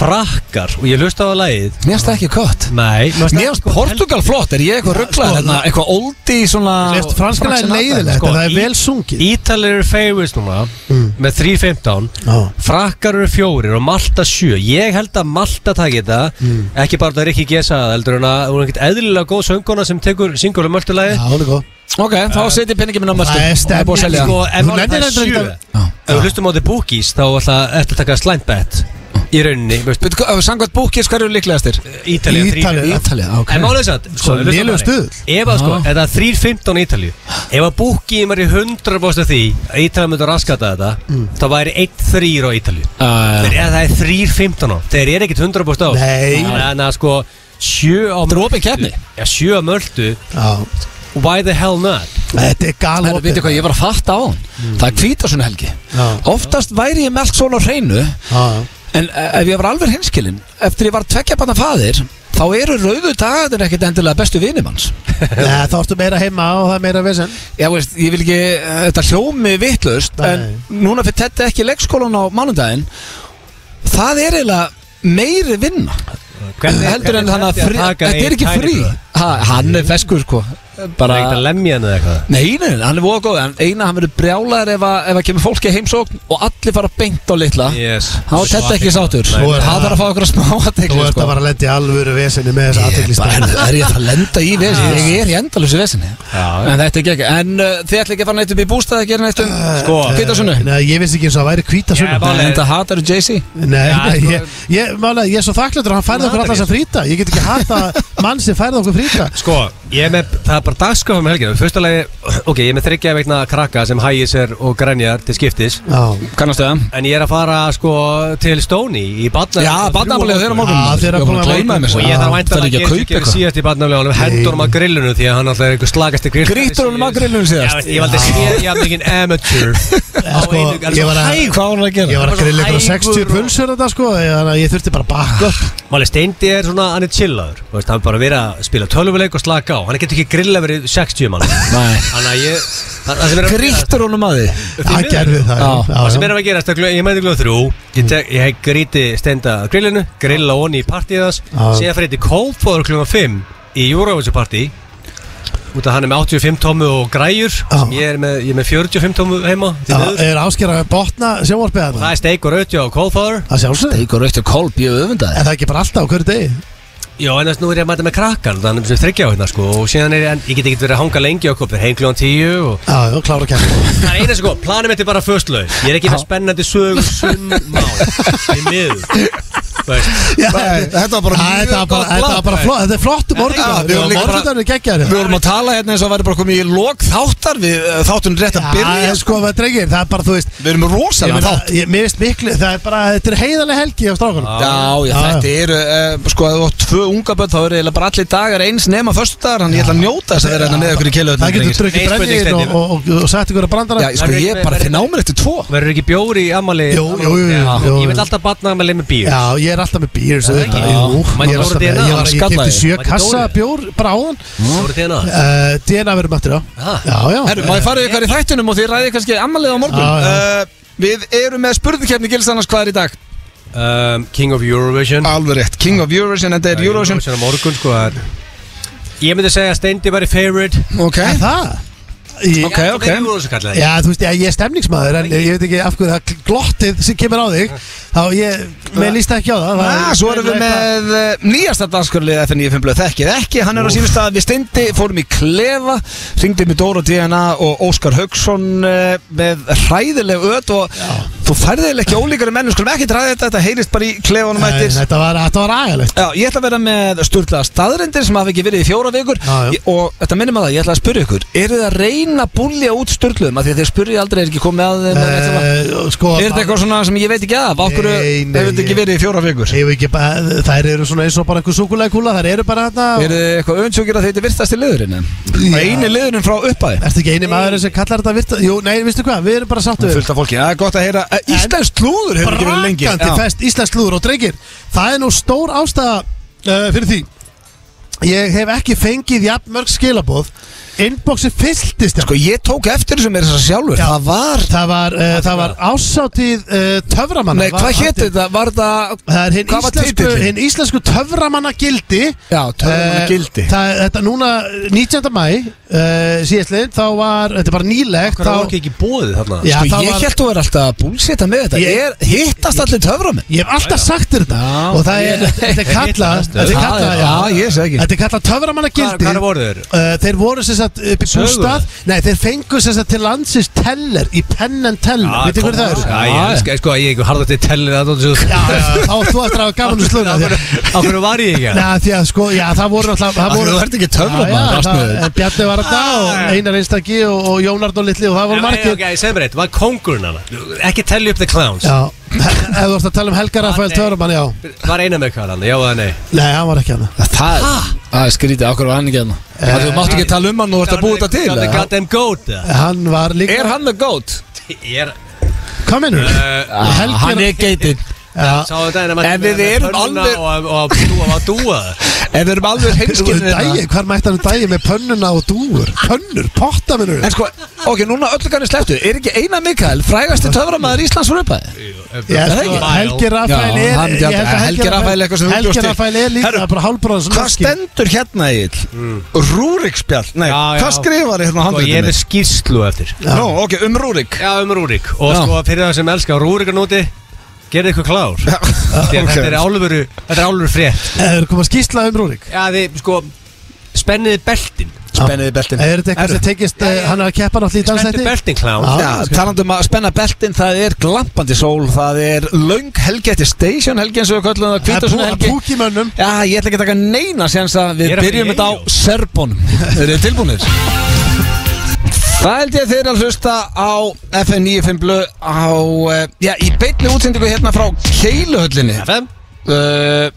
[SPEAKER 2] Frakkar, og ég hlusta á lagið
[SPEAKER 1] Mér finnst það ekki kött
[SPEAKER 2] Nei, mér
[SPEAKER 1] Mér finnst Portugal flott Er ég eitthvað rugglaður
[SPEAKER 3] sko,
[SPEAKER 1] hérna Eitthvað oldi svona
[SPEAKER 3] Leist, Franskana
[SPEAKER 1] Frank
[SPEAKER 3] er
[SPEAKER 1] Sinatra.
[SPEAKER 3] leiðilegt
[SPEAKER 2] sko,
[SPEAKER 3] en það er
[SPEAKER 2] í-
[SPEAKER 3] vel sungið
[SPEAKER 2] Ítalir eru favorites núna
[SPEAKER 3] Mm.
[SPEAKER 2] Með 3.15
[SPEAKER 3] Já.
[SPEAKER 2] Frakkar eru fjórir og Malta sjö Ég held að Malta taki þetta
[SPEAKER 3] Mm.
[SPEAKER 2] Ekki bara það er ekki gesaða heldur en að Hún er ekkert eðlilega góð sönguna sem tekur um singulum möltulagi
[SPEAKER 3] Já, hún er góð
[SPEAKER 1] Ok, þá setjum peningin minn á mörgum
[SPEAKER 3] Það er
[SPEAKER 1] Það er búið að selja
[SPEAKER 2] Sko, ef
[SPEAKER 3] Þú
[SPEAKER 2] málið
[SPEAKER 3] nennir
[SPEAKER 2] það er
[SPEAKER 3] þetta
[SPEAKER 2] sjö
[SPEAKER 3] ekki
[SPEAKER 1] Já.
[SPEAKER 2] Ef við hlustum á því bookies þá ætla eftir að taka slæmt bet Í rauninni, veist,
[SPEAKER 1] Býttu, hvað- eh, Samkvæmt búkis, hverju eru líklegastir?
[SPEAKER 2] Ítalíu
[SPEAKER 3] Ítalíu,
[SPEAKER 2] þrír-
[SPEAKER 3] já.
[SPEAKER 1] Ítalið, ok
[SPEAKER 2] En málið satt sko,
[SPEAKER 3] Svo lélegur stuðull.
[SPEAKER 2] Ef að sko,
[SPEAKER 1] Já.
[SPEAKER 2] þetta er 3.15 í Ítalíu Ef að búkið maður í 100% af því að Ítalíu myndur raskata þetta
[SPEAKER 1] Mm.
[SPEAKER 2] þá væri 1.3 á Ítalíu
[SPEAKER 1] Þetta
[SPEAKER 2] Þeir eða það er 3.15 á Þeir eru ekkit 100% á
[SPEAKER 3] Nei.
[SPEAKER 2] Þannig að sko 7 á
[SPEAKER 1] er opið keppni
[SPEAKER 2] Já, 7 á möldu
[SPEAKER 3] Já,
[SPEAKER 2] Why the hell not?
[SPEAKER 3] þetta er gal
[SPEAKER 1] Herru, veitu hvað, ég var að fatta á hann Það er hvítasun helgi
[SPEAKER 3] Já.
[SPEAKER 1] Oftast væri ég með allt svona á hreinu En eh, ef ég var alveg hinskilinn Eftir ég var tvekja banna faðir Þá eru rauðu dagarnir ekkit endilega bestu vinum hans
[SPEAKER 3] Nei, þá ertu meira heima og það er meira vesen
[SPEAKER 1] Já, veist, ég vil ekki eh, Þetta hljómi vitlaust En
[SPEAKER 3] Nei.
[SPEAKER 1] núna fyrir þetta ekki leikskólan á mánundaginn Það er eiginlega meiri vinna Heldur en þannig að frí- Þetta er ekki frí ha, Hann er feskur sko
[SPEAKER 2] Það er ekkert að
[SPEAKER 1] Bara
[SPEAKER 2] lemja hann eða eitthvað
[SPEAKER 1] Nei, nei, nei, hann er voða góð En eina, hann verður brjálæður ef að, ef að kemur fólki í heimsókn Og allir fara beint á litla
[SPEAKER 2] Yes
[SPEAKER 1] Þá er þetta ekki sátur
[SPEAKER 2] Nei,
[SPEAKER 1] Það
[SPEAKER 3] nei.
[SPEAKER 1] þarf að fá okkur að sko. smá
[SPEAKER 3] Þú
[SPEAKER 1] aðtekli
[SPEAKER 3] ert að fara að lendi alvöru veseni með þess
[SPEAKER 1] Ég
[SPEAKER 3] aðteklista
[SPEAKER 1] bara, herðu, er ég að fara að lenda í vesinni? Ég er í endalusi vesinni
[SPEAKER 2] Já.
[SPEAKER 1] En þetta er ekki ekki En uh, þið ætla ekki að fara neitt upp í bústað að gera neitt um
[SPEAKER 2] Sko,
[SPEAKER 1] Hvítasunnu
[SPEAKER 3] eh, Nei, ég vissi ekki eins og það væri
[SPEAKER 2] Já,
[SPEAKER 3] hvítasunum
[SPEAKER 2] bara-
[SPEAKER 1] En þetta hatar Jay-Z
[SPEAKER 3] Nei,
[SPEAKER 2] Já,
[SPEAKER 3] nei,
[SPEAKER 2] sko-
[SPEAKER 3] ég, ég, málega, ég er svo þakklættur að hann færði
[SPEAKER 2] Hún
[SPEAKER 3] okkur
[SPEAKER 2] hatar
[SPEAKER 3] alltaf þess að frýta Ég get ekki hata mann sem færði okkur frýta
[SPEAKER 2] Sko, ég er með, það er bara dagskafum helgina Fyrsta lagi, ok, ég er með þryggja veikna krakka sem hægir sér og grænjar til skiptis
[SPEAKER 3] Já,
[SPEAKER 1] Kannastu það?
[SPEAKER 2] En ég er að fara, sko, til Stóni í badna
[SPEAKER 1] Já, barnaafmælið þeirra morgun
[SPEAKER 3] Já, þeirra
[SPEAKER 1] Ég var búin að
[SPEAKER 3] komið á
[SPEAKER 1] gleyma
[SPEAKER 3] morgun.
[SPEAKER 1] þessu.
[SPEAKER 2] Og ég
[SPEAKER 1] Já,
[SPEAKER 2] þarf
[SPEAKER 1] þarf ekki að
[SPEAKER 2] væntanlega gera-
[SPEAKER 1] kaupa
[SPEAKER 2] gera
[SPEAKER 1] eitthvað
[SPEAKER 2] síðast í barnafljóðanum hendur honum að grillinu því að hann alltaf er einhver slagasti grill
[SPEAKER 1] Grítur honum að grillinu
[SPEAKER 2] Já,
[SPEAKER 1] síðast?
[SPEAKER 2] veist, ég valdi að sé ég að mikið amateur á
[SPEAKER 3] sko,
[SPEAKER 2] einu- en
[SPEAKER 3] ég
[SPEAKER 2] svo
[SPEAKER 3] var að-
[SPEAKER 2] hægur.
[SPEAKER 1] Hvað var hann að
[SPEAKER 3] Ég
[SPEAKER 1] gera?
[SPEAKER 3] var að grilla ykkur
[SPEAKER 2] Hægur
[SPEAKER 3] 60
[SPEAKER 2] og-
[SPEAKER 3] pulsur þetta sko Þannig að ég þurfti bara að bakka upp
[SPEAKER 2] Máli Steindi er svona, hann er chillaður Þú veist, Hann er bara verið að spila tölvuleik og slaka á Hann getur ekki grilla verið 60 mann
[SPEAKER 1] Nei.
[SPEAKER 2] Þannig að ég það- það sem er að-
[SPEAKER 1] Grítur honum að þið?
[SPEAKER 3] Það gerði það
[SPEAKER 1] Já.
[SPEAKER 3] já,
[SPEAKER 2] Það
[SPEAKER 3] já.
[SPEAKER 2] sem er að gerast, það er glöð- ég mæti glöð þrjú Ég, tek, ég gríti stenda að grillinu Grilla onni í partíð þess
[SPEAKER 3] Já.
[SPEAKER 2] Síðan fyrir til Kófóður klukkan 5 Í Eurovision partí Út að hann er með 85 tómu og græjur sem ég, er með, ég er með 45 tómu heima því
[SPEAKER 3] Já,
[SPEAKER 2] miður.
[SPEAKER 3] Er ásker að botna sjónvarpið
[SPEAKER 2] Það
[SPEAKER 3] þarna?
[SPEAKER 2] er steik og rautja á Kófóður
[SPEAKER 3] Það sjálfsög
[SPEAKER 1] Eikur raukt og kolb, ég öfunda
[SPEAKER 3] En
[SPEAKER 1] þið
[SPEAKER 3] það er ekki bara alltaf á hverju degi
[SPEAKER 2] Já, en þess nú er ég að mæta með krakkan Þannig sem þryggja á hérna sko Og síðan er ég, en ég get ekki verið að hanga lengi á kopið Heim klukkan 10 og
[SPEAKER 3] Já, já, klára að kemja
[SPEAKER 2] Það er eina sko, planum þetta er bara föstlau Ég er ekki með spennandi sögur sum mál Í miður Þú veist,
[SPEAKER 1] Þetta var
[SPEAKER 3] Þetta var bara- þetta var bara flott Þetta er flott um
[SPEAKER 1] Já,
[SPEAKER 3] morgundagur
[SPEAKER 1] við
[SPEAKER 3] Já,
[SPEAKER 1] vorum líka bara-
[SPEAKER 3] Morgundagur er geggjaður
[SPEAKER 1] Við vorum að tala hérna eins og að væri bara komið í lok þáttar Við uh, þáttum rétt að
[SPEAKER 3] Já,
[SPEAKER 1] byrja
[SPEAKER 3] en sko, það drengir, það er bara, þú veist
[SPEAKER 1] Við erum
[SPEAKER 3] Ég
[SPEAKER 1] rosalega
[SPEAKER 3] meina,
[SPEAKER 1] þátt
[SPEAKER 3] ég- mér finnst miklu, það er bara, þetta er heiðarlega helgi á strákunum
[SPEAKER 1] Já, já,
[SPEAKER 3] Já.
[SPEAKER 1] þetta eru, uh, sko, ef þú átt tvö unga börn þá eru eiginlega bara allir dagar eins nema föstudagar, þannig ég ætla að njóta þess að vera hérna með okkur í keiluðum
[SPEAKER 3] Það getur drukkið
[SPEAKER 2] Nei, spurning,
[SPEAKER 3] brennið
[SPEAKER 2] Steindi.
[SPEAKER 3] og, og, og, og sett ykkur að brandara
[SPEAKER 1] Já, ég, sko,
[SPEAKER 2] Verður-
[SPEAKER 1] ég bara
[SPEAKER 2] verður-
[SPEAKER 1] finn á mér eftir tvo
[SPEAKER 2] Verður ekki bjór í ammali?
[SPEAKER 3] Jú, jú, jú,
[SPEAKER 2] Já,
[SPEAKER 3] jú,
[SPEAKER 2] Ég
[SPEAKER 3] jú.
[SPEAKER 2] vil alltaf batna ammali með bíl
[SPEAKER 3] Já, ég er alltaf með býr
[SPEAKER 2] Já,
[SPEAKER 3] Jú, ég
[SPEAKER 2] ekki? Mætti
[SPEAKER 3] er alltaf
[SPEAKER 2] Dóri
[SPEAKER 3] með
[SPEAKER 2] DNA?
[SPEAKER 3] Ég, var, ég
[SPEAKER 1] Skallaði.
[SPEAKER 3] kipti sjö
[SPEAKER 2] Mætti
[SPEAKER 3] kassa
[SPEAKER 2] Dóri?
[SPEAKER 3] bjór bara áðan
[SPEAKER 2] Þú eru þérna
[SPEAKER 1] Eh,
[SPEAKER 3] uh, DNA verður mættir á
[SPEAKER 2] Ha?
[SPEAKER 3] Já, já
[SPEAKER 1] Herru, má ég fara ykkar í þættunum og þið ræði kannski ammalið á morgun
[SPEAKER 3] Já, já.
[SPEAKER 1] Uh, Við erum með spurningkefni gils annars hvað er í dag?
[SPEAKER 2] um, King of Eurovision
[SPEAKER 3] Ah,
[SPEAKER 1] Alveg rétt, King of Eurovision, en þetta er Eurovision
[SPEAKER 2] á morgun sko það er- Ég myndi segja að Steindi væri favorite
[SPEAKER 1] Ok
[SPEAKER 3] Er það? Í,
[SPEAKER 1] Ok.
[SPEAKER 2] okay.
[SPEAKER 3] Já, þú veist, ég, ég er stemningsmaður en ég veit ekki af hverju það glottið sem kemur á þig þá ég, mér líst ekki á það, það
[SPEAKER 1] Ah,
[SPEAKER 3] er-
[SPEAKER 1] svo erum við með eh, nýjasta danskurlið FN95 blöð þekkið ekki, hann er á sínum stað við steindi, fórum í klefa ringdum í Dóra DNA og Óskar Haugsson eh, með hræðileg öð og þú færðið eiginlega ekki ólíkari menn við skulum ekki dræða þetta, þetta heyrist bara í klefanum
[SPEAKER 3] Nei,
[SPEAKER 1] eftir
[SPEAKER 3] Þetta var, þetta var agalegt
[SPEAKER 1] Já, ég ætla að vera með sturglaða staðrendir sem hafa ekki verið í fjóra vikur
[SPEAKER 3] Já, já.
[SPEAKER 1] Ég- og þetta minnum að það, ég ætla að spyrja ykkur eru þið að reyna að búlja út sturgluðum að því að þeir spyrja aldrei er ekki komið að þeim eða neitt svona?
[SPEAKER 3] Eh, Sko
[SPEAKER 1] Er þetta eitthvað svona sem ég veit ekki af? Af hverju
[SPEAKER 3] Nei, nei,
[SPEAKER 1] hefur þetta ekki
[SPEAKER 3] ég-
[SPEAKER 1] verið í fjóra vikur?
[SPEAKER 3] Ef ekki bara, þær eru svona eins og bara einhver súkulega kúla, þær eru bara þarna
[SPEAKER 1] Er þið eitthvað önsjókir að þetta virtast í liðurinn?
[SPEAKER 3] Já.
[SPEAKER 1] Einu liðurinn frá uppæði
[SPEAKER 3] Ertu ekki eini maður sem kallar þetta virta Jú, nei, veistu hvað, við erum bara sátt við
[SPEAKER 1] Fullt af fólki, það er gott að heyra Eh, Íslensk klúður hefur ekki verið lengi
[SPEAKER 3] Brakandi
[SPEAKER 1] Já.
[SPEAKER 3] fest íslensk lúður og drengir Það er nú stór ástæða uh, fyrir því Ég hef ekki fengið jafn mörg skilaboð Inboxi fylltist
[SPEAKER 1] Sko ég tók eftir þessu mér þess að sjálfur
[SPEAKER 3] Já.
[SPEAKER 1] Það var,
[SPEAKER 3] Það var, uh, það var ásátíð uh, töframanna
[SPEAKER 1] nei hvað hétt þetta? Var það
[SPEAKER 3] Það er hinn
[SPEAKER 1] Hvað var
[SPEAKER 3] íslensku,
[SPEAKER 1] titillinn?
[SPEAKER 3] hin íslensku töframanna gildi
[SPEAKER 1] Já, töframanna um gildi.
[SPEAKER 3] Eh, það, Þetta núna eh, 19. mæ uh, síðastliðin þá var, þetta er bara nýlegt
[SPEAKER 2] Hvað er
[SPEAKER 3] þá,
[SPEAKER 2] ekki bóðið þarna?
[SPEAKER 3] Já,
[SPEAKER 1] Sko
[SPEAKER 3] það
[SPEAKER 1] ég
[SPEAKER 3] var-
[SPEAKER 1] hélt þú er alltaf búlsita með þetta
[SPEAKER 3] Ég-
[SPEAKER 1] Er hittast allir töframenn?
[SPEAKER 3] Ég hef alltaf sagt þér þetta
[SPEAKER 1] Já.
[SPEAKER 3] og það er, þetta er kallað
[SPEAKER 2] Ég-
[SPEAKER 3] þetta er kallað,
[SPEAKER 1] Já, já, Ah, ég segi ekki
[SPEAKER 3] Þetta er kallað töframanna
[SPEAKER 2] Hvað
[SPEAKER 3] gildi
[SPEAKER 2] hvað voru þeir?
[SPEAKER 3] Uh, þeir voru sem sagt upp í
[SPEAKER 2] Sögur.
[SPEAKER 3] bústað Nei, þeir fengu sem sagt til landsins teller Í penn en teller,
[SPEAKER 1] Ah,
[SPEAKER 3] veit þið hverju það eru?
[SPEAKER 2] Já, Ah, ég elska, sko, ég ekki harða til tellið að það
[SPEAKER 3] Já, já, þá ert þú eftir að hafa gaman um sluna því,
[SPEAKER 2] Á hverju var ég ekki?
[SPEAKER 3] Nei, því að sko, já, það voru alltaf Það
[SPEAKER 1] Af því
[SPEAKER 3] voru
[SPEAKER 1] þú ert ekki töframaður,
[SPEAKER 3] Já, já,
[SPEAKER 1] allt
[SPEAKER 3] það-
[SPEAKER 1] með.
[SPEAKER 3] en Bjarni var að dag og Einar Einstaki og, og Jónard og Littli og það voru margir
[SPEAKER 2] Ok, ég segir mér eitt, var kongurinn hana? Ekki tellið upp the clowns
[SPEAKER 3] Já, ef þú ert að tala um
[SPEAKER 1] Ah,
[SPEAKER 3] Helga Rafael
[SPEAKER 2] nei.
[SPEAKER 3] Törumann, já
[SPEAKER 2] Var eina með hvað hann, já eða nei
[SPEAKER 3] Nei, hann var ekki hana
[SPEAKER 1] Það það er skrítið, okkur var hann ekki hérna Það þú
[SPEAKER 3] Eh,
[SPEAKER 1] mátt ekki tala um hann og þú ert að búa þetta til
[SPEAKER 2] Got the
[SPEAKER 1] eða?
[SPEAKER 2] goddamn goat eða?
[SPEAKER 3] Hann var líka
[SPEAKER 1] Er hann með gót? Ah,
[SPEAKER 2] Ég er
[SPEAKER 3] Hvað minnur?
[SPEAKER 2] uh,
[SPEAKER 3] Helgi-
[SPEAKER 1] Hann er geitinn
[SPEAKER 3] Já,
[SPEAKER 2] Sá þetta eina
[SPEAKER 1] En við erum alveg-
[SPEAKER 2] Og og að dúa, að dúa
[SPEAKER 1] En við erum alveg hérna.
[SPEAKER 3] Skinnir
[SPEAKER 1] heimskilnir
[SPEAKER 3] dægi, Sko, hvar mætti hann um dægi með pönnuna og dúur? Pönnur, potta minnur
[SPEAKER 1] En sko, ok, núna öllu kannir slepptu Er ekki eina Mikael frægasti töframæður Íslands fyrir uppæði?
[SPEAKER 3] Já,
[SPEAKER 1] það er
[SPEAKER 3] sko,
[SPEAKER 1] ekki.
[SPEAKER 3] Helgi Rafael
[SPEAKER 1] Já,
[SPEAKER 3] er
[SPEAKER 1] hann-
[SPEAKER 3] ég held að
[SPEAKER 1] Helgi Rafael er eitthvað sem þú bjóst
[SPEAKER 3] Helgi
[SPEAKER 1] til.
[SPEAKER 3] Rafael er líka
[SPEAKER 1] Herru,
[SPEAKER 3] bara hálfbróðan sem
[SPEAKER 1] Hvað
[SPEAKER 3] Lerki.
[SPEAKER 1] stendur hérna í ill? Rúrikspjall? Nei,
[SPEAKER 2] Já, já.
[SPEAKER 1] hvað skrifar hérna á
[SPEAKER 2] Og Sko, ég er
[SPEAKER 1] handlutinu?
[SPEAKER 2] með skýrslu eftir
[SPEAKER 1] Nú, ok, um Rúrik
[SPEAKER 2] Já, um Rúrik Og
[SPEAKER 1] Já.
[SPEAKER 2] sko, fyrir það sem elskar Rúrik að núti Gerðu ykkur klár
[SPEAKER 1] Já,
[SPEAKER 2] Því að
[SPEAKER 1] ok.
[SPEAKER 2] Þetta er álveru Þetta er álveru frétt
[SPEAKER 3] Eh, Það er komað skýrsla um Rúrik
[SPEAKER 2] Já, þið, sko Spenniði beltin
[SPEAKER 1] Spenniði beltin
[SPEAKER 3] Eh, Er þetta eitthvað sem tekist,
[SPEAKER 2] Já, já.
[SPEAKER 3] eh, hann er að keppa náttúrulega í
[SPEAKER 2] Spenniði
[SPEAKER 3] dansætti?
[SPEAKER 2] beltin klán
[SPEAKER 3] Já.
[SPEAKER 1] Já, talandum að spenna beltin, það er glampandi sól, það er löng helgi, þetta er station helgi eins og við köllum það,
[SPEAKER 3] Það er
[SPEAKER 1] hvítasun
[SPEAKER 3] pú-
[SPEAKER 1] helgi.
[SPEAKER 3] púkimönnum
[SPEAKER 1] Já, ég ætla ekki að taka neina séns að við
[SPEAKER 2] Ég er að fara
[SPEAKER 1] byrjum
[SPEAKER 2] í
[SPEAKER 1] þetta á
[SPEAKER 2] Eyjó.
[SPEAKER 1] Serbónum. Eru þið tilbúinir? Það held ég að þeir eru að hlusta á FM 95 blöð á, eh, já, í beinni útsendingu hérna frá Keiluhöllinni.
[SPEAKER 2] FM
[SPEAKER 1] Uh,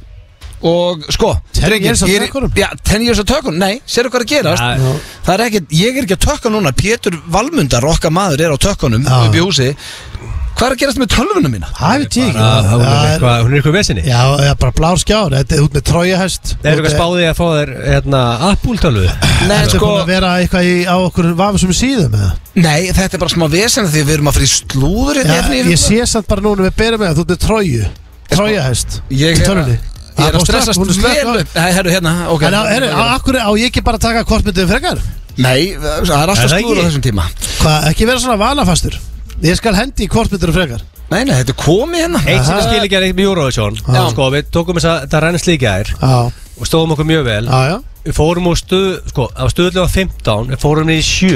[SPEAKER 1] og sko,
[SPEAKER 3] 10 years of
[SPEAKER 1] ég er-
[SPEAKER 3] tökunum?
[SPEAKER 1] Já, 10 years of tökunum, nei, sér hvað er að gerast?
[SPEAKER 2] Já.
[SPEAKER 1] Það er ekki, ég er ekki að tökka núna Pétur Valmundar, okkar maður, er á tökkunum
[SPEAKER 3] Já.
[SPEAKER 1] upp í húsi Hvað er að gerast með tölvuna mína?
[SPEAKER 3] Það veit
[SPEAKER 2] Já,
[SPEAKER 3] ég ekki
[SPEAKER 2] Hún
[SPEAKER 3] Það
[SPEAKER 2] er
[SPEAKER 3] er-
[SPEAKER 2] eitthvað Hún er eitthvað vesinni
[SPEAKER 3] Já, það er bara blár skjár, þetta er út með trójahest
[SPEAKER 2] Það eru eitthvað spáðið að fá þér hérna, Apple-tölvu
[SPEAKER 1] Nei,
[SPEAKER 3] Þetta er
[SPEAKER 1] sko,
[SPEAKER 3] búin að vera eitthvað í, á okkur vafisum síðum eða?
[SPEAKER 1] nei, þetta er bara smá vesen því við erum að fyrir slúður
[SPEAKER 3] Já,
[SPEAKER 1] hérna efni
[SPEAKER 3] Ég sé samt bara núna við byrjum með það, þú ert með tróju Trójahest
[SPEAKER 1] Sko, Ég
[SPEAKER 3] í
[SPEAKER 1] er að,
[SPEAKER 3] tölvunni.
[SPEAKER 1] ég er
[SPEAKER 3] Það
[SPEAKER 1] að
[SPEAKER 3] fór strax,
[SPEAKER 1] stressast
[SPEAKER 3] hún er slökk á.
[SPEAKER 1] vel upp Nei, herru, hérna, ok
[SPEAKER 3] En á, er, á, akkur, á ég ekki bara að taka kortmyndum frekar?
[SPEAKER 1] Nei, það er
[SPEAKER 2] Er
[SPEAKER 1] alltaf
[SPEAKER 2] það
[SPEAKER 1] slúður á
[SPEAKER 2] ekki?
[SPEAKER 1] þessum tíma
[SPEAKER 3] Hvað, ekki vera svona vanafastur? Ég skal hendi í kortmyndum frekar
[SPEAKER 1] Nei, nei, þetta er komið hérna
[SPEAKER 2] Eitt sem ég skil ekki er eitt með Eurovision
[SPEAKER 1] Já.
[SPEAKER 2] Sko, við tókum þess að það rennist líka þær
[SPEAKER 3] Já,
[SPEAKER 2] Og stóðum okkur mjög vel
[SPEAKER 3] já, já
[SPEAKER 2] Við fórum úr stuð, sko, það var stuðlega 15 Við fórum niður í 7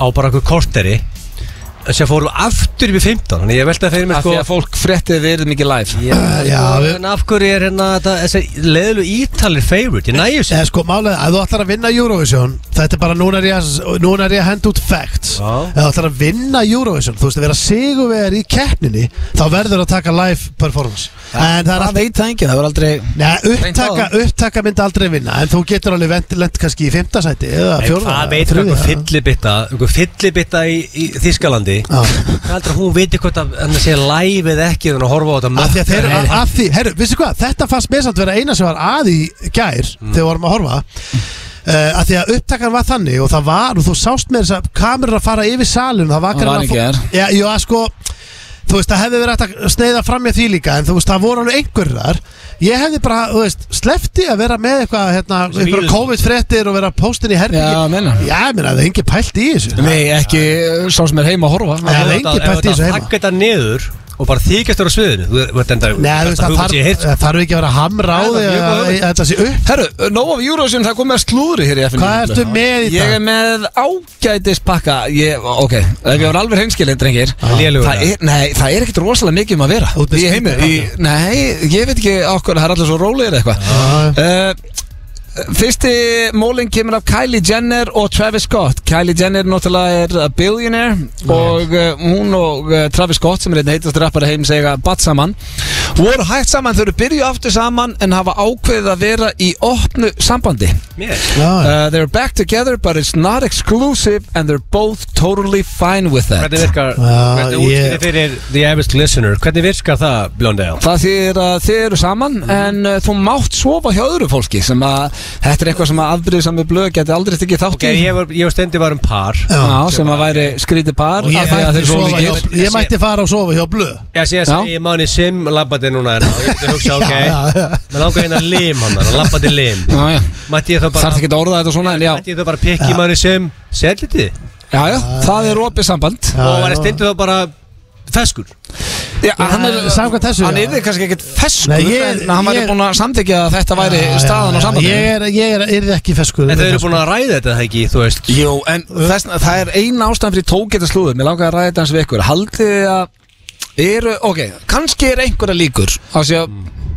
[SPEAKER 2] Á bara okkur korteri En sem fórum aftur upp í 15 Þannig ég velti að fyrir mér,
[SPEAKER 1] Af
[SPEAKER 2] sko
[SPEAKER 1] því að fólk fréttið við erum ekki live
[SPEAKER 2] Já,
[SPEAKER 3] Já, við-
[SPEAKER 2] en af hverju er hérna þetta- Þessi leðlu ítalir favorite Ég nægjur sér
[SPEAKER 3] Eða sko, málega, ef þú ætlar að vinna Eurovision Þetta er bara, núna er ég að, núna er ég að henda út facts
[SPEAKER 2] Já.
[SPEAKER 3] Ef þú ætlar að vinna Eurovision Þú veist að vera sigurvegar í keppninni Þá verður að taka live performance En það er
[SPEAKER 1] Það
[SPEAKER 3] alltaf
[SPEAKER 1] veit það enginn, það var aldrei
[SPEAKER 3] Nei, upptaka,
[SPEAKER 1] Reynt á það.
[SPEAKER 3] upptaka myndi aldrei vinna En þú getur alveg vent, lent kannski í fimmtasæti Eða fjórða
[SPEAKER 2] Það veit
[SPEAKER 3] þriðja.
[SPEAKER 2] einhver fyllibitta Einhver fyllibitta í, í Þískalandi
[SPEAKER 3] Já.
[SPEAKER 2] Það heldur að hún viti hvort að hann sé live eða ekki þannig að horfa á þetta
[SPEAKER 3] Af því að þeir,
[SPEAKER 2] Nei,
[SPEAKER 3] að, að því, herru, vissu hvað, þetta fannst mér samt vera eina sem var að í gær
[SPEAKER 2] Mm.
[SPEAKER 3] þegar við vorum að horfa uh, að því að upptakan var þannig og það var og þú sást mér þess að kamerur að fara yfir salin það var
[SPEAKER 1] Það var í
[SPEAKER 3] að
[SPEAKER 1] gær.
[SPEAKER 3] já, já, sko þú veist, það hefði verið hægt að sneiða fram með því líka en þú veist, það voru alveg einhverjar þar ég hefði bara, þú veist, slefti að vera með eitthvað, hérna, einhverja
[SPEAKER 2] vírus.
[SPEAKER 3] COVID-fréttir og vera postin í herbyggi
[SPEAKER 1] Já, meina.
[SPEAKER 3] Já, ég meina, það er engin pælt í þessu
[SPEAKER 1] Nei, ekki uh, sá sem er heima að horfa
[SPEAKER 3] Já. Það er engin pælt í þessu heima.
[SPEAKER 2] Hakka þetta niður og bara þykjast þér á sviðinu Þú þú ert enda
[SPEAKER 3] Nei, þú veist, það
[SPEAKER 2] hugmynd sem ég heyrt,
[SPEAKER 3] þarf,
[SPEAKER 2] sko.
[SPEAKER 3] það þarf ekki að vera að hamra á
[SPEAKER 2] Nei, það er
[SPEAKER 3] því
[SPEAKER 2] mjög
[SPEAKER 3] að
[SPEAKER 2] góð
[SPEAKER 3] að þetta sé upp
[SPEAKER 1] Herru, nóg af Eurovision, það kom með slúðri hér í FN
[SPEAKER 3] Hvað ertu með í dag?
[SPEAKER 1] Ég er með ágætis pakka ég, Ok, ef ég var alveg hreinskilinn, drengir
[SPEAKER 2] Lélegur,
[SPEAKER 1] það
[SPEAKER 2] ja.
[SPEAKER 1] er, Nei, það er ekkit rosalega mikið um að vera
[SPEAKER 3] Út með
[SPEAKER 1] Í heimi
[SPEAKER 3] skipið,
[SPEAKER 1] í, Nei, ég veit ekki okkur, það er allir svo rólegir
[SPEAKER 3] Ah.
[SPEAKER 1] eitthvað uh, Fyrsti mólinn kemur af Kylie Jenner og Travis Scott Kylie Jenner náttúrulega er a billionaire og uh, hún og uh, Travis Scott sem er einn heitast rappara heim segja bat saman voru hægt saman, þau eru byrju aftur saman en hafa ákveðið að vera í opnu sambandi
[SPEAKER 2] Mér.
[SPEAKER 3] Já,
[SPEAKER 1] Uh, they're back together but it's not exclusive and they're both totally fine with that
[SPEAKER 2] Hvernig virkar
[SPEAKER 3] Já,
[SPEAKER 2] Hvernig
[SPEAKER 3] ég-
[SPEAKER 2] útskýrið fyrir The Average Listener Hvernig virkar það, Blondale?
[SPEAKER 1] Það þýðir að þið eru saman
[SPEAKER 2] Mm.
[SPEAKER 1] en uh, þú mátt sofa hjá öðru fólki sem að þetta er eitthvað sem að afbrýðið saman blöð geti aldrei stekið þátt
[SPEAKER 2] Ok, ég var, ég var stendi var um par
[SPEAKER 3] já.
[SPEAKER 1] Já, sem að væri skrítið par
[SPEAKER 3] Og
[SPEAKER 1] af
[SPEAKER 3] ég
[SPEAKER 1] því að
[SPEAKER 3] mætti
[SPEAKER 1] þeir svo
[SPEAKER 3] sofa
[SPEAKER 1] mikið
[SPEAKER 3] hjá- Ég mætti fara og sofa hjá blöð
[SPEAKER 2] Ég sé að
[SPEAKER 1] Já.
[SPEAKER 2] ég manni sim labbati núna hérna og Ég myndi hugsa, ok
[SPEAKER 3] Já, já.
[SPEAKER 2] Mér langar hérna lim hann hann, labbati lim
[SPEAKER 1] Já, já,
[SPEAKER 2] Mætti ég þá bara
[SPEAKER 1] þarf ekki að orða þetta svona en já,
[SPEAKER 2] Mætti ég þá bara pikki manni sim Setliti
[SPEAKER 1] já, já, það er opið samband
[SPEAKER 3] Já,
[SPEAKER 2] Og var
[SPEAKER 3] já.
[SPEAKER 2] ég stendi þá bara Feskur
[SPEAKER 1] Já, hann er,
[SPEAKER 3] samkvæmt þessu,
[SPEAKER 1] Hann
[SPEAKER 3] já.
[SPEAKER 1] yrði kannski ekkert feskur
[SPEAKER 3] Nei, ég-
[SPEAKER 1] en hann væri
[SPEAKER 3] ég-
[SPEAKER 1] búin að samþykja að þetta væri staðan á sambandinu
[SPEAKER 3] Ég er, ég er, er ekki feskur
[SPEAKER 2] En þau eru búin að ræða þetta, það ekki, þú veist
[SPEAKER 1] Jú, en þess, það er eina ástæðan fyrir tóketa slúður Mér langar að ræða þetta hans við ykkur Haldið þið að eru, ok, kannski er einhverja líkur Á því að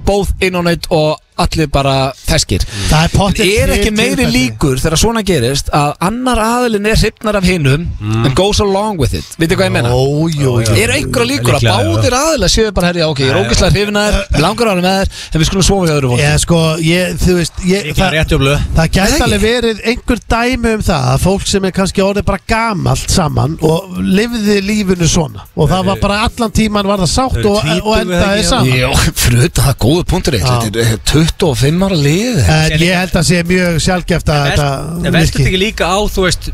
[SPEAKER 1] bóð innónætt og allir bara feskir
[SPEAKER 3] Það er
[SPEAKER 1] En
[SPEAKER 3] pottið
[SPEAKER 1] er ekki meiri líkur þegar svona gerist Að annar aðilin er hrypnar af hinum
[SPEAKER 2] Mm.
[SPEAKER 1] And goes along with it Vitið hvað ég menna?
[SPEAKER 3] Ójú,
[SPEAKER 1] Er einhverja líkur að
[SPEAKER 2] Líklega, já.
[SPEAKER 1] báðir aðilar séu bara herja Ok, ég er ógislega hrifinar, langar ára með þær En við skulum sofa hjá öðru fólki
[SPEAKER 3] Ég sko, ég, þú veist ég,
[SPEAKER 2] Ekki
[SPEAKER 3] það,
[SPEAKER 2] rétt og blöð
[SPEAKER 3] það
[SPEAKER 1] Nei.
[SPEAKER 3] gæti alveg verið einhver dæmi um það að fólk sem er kannski orðið bara gamalt saman og lifði lífinu svona og það var bara allan tíman var
[SPEAKER 2] Þau
[SPEAKER 3] það sátt
[SPEAKER 2] eru
[SPEAKER 3] og,
[SPEAKER 2] tvítug
[SPEAKER 3] og
[SPEAKER 2] eða
[SPEAKER 3] endaði
[SPEAKER 2] ekki,
[SPEAKER 3] saman
[SPEAKER 1] Jó, fyrir þetta það er góðu punktur eitt
[SPEAKER 3] Já.
[SPEAKER 1] Þetta er eh, 25 ára lið
[SPEAKER 3] En ég held að sé mjög sjálfgeft að
[SPEAKER 2] En
[SPEAKER 3] þetta
[SPEAKER 2] verður þetta ekki líka á, þú veist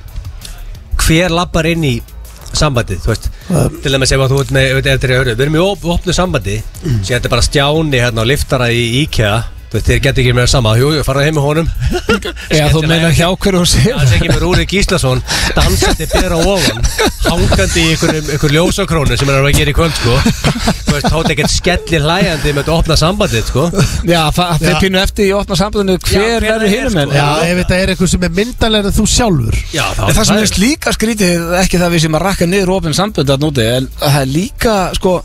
[SPEAKER 2] Hver labbar inn í sambandið, þú veist Til að maður segja að þú ert með, veit, eftir að höru Við erum í op- opnu sambandi mm. Sér þetta er bara stjáni hérna og liftara í IKEA Þú veist, þeir getur ekki meira sama Jú, jú, farað heim með honum
[SPEAKER 1] Já, þú meina hjá hverju hún séu
[SPEAKER 2] Það sé ekki með Rúri Gíslason Dansandi bera ofan Hangandi í einhverjum einhver ljósakrónu sem er að gera í kvöld, sko Þú veist, þá er ekkert skellir hlæjandi með þetta opna sambandið, sko
[SPEAKER 1] Já, það
[SPEAKER 3] Já.
[SPEAKER 1] þeir pínu eftir í opna sambandinu
[SPEAKER 2] Já,
[SPEAKER 1] hver
[SPEAKER 2] hvenær
[SPEAKER 1] verður
[SPEAKER 2] er,
[SPEAKER 1] hinum en
[SPEAKER 2] sko.
[SPEAKER 3] Já, ef þetta er eitthvað sem er myndalega en þú sjálfur
[SPEAKER 2] Já,
[SPEAKER 1] En það sem er líka skrítið, ekki það við sem að rakka niður ofin sambönd að núti, en það er líka, sko,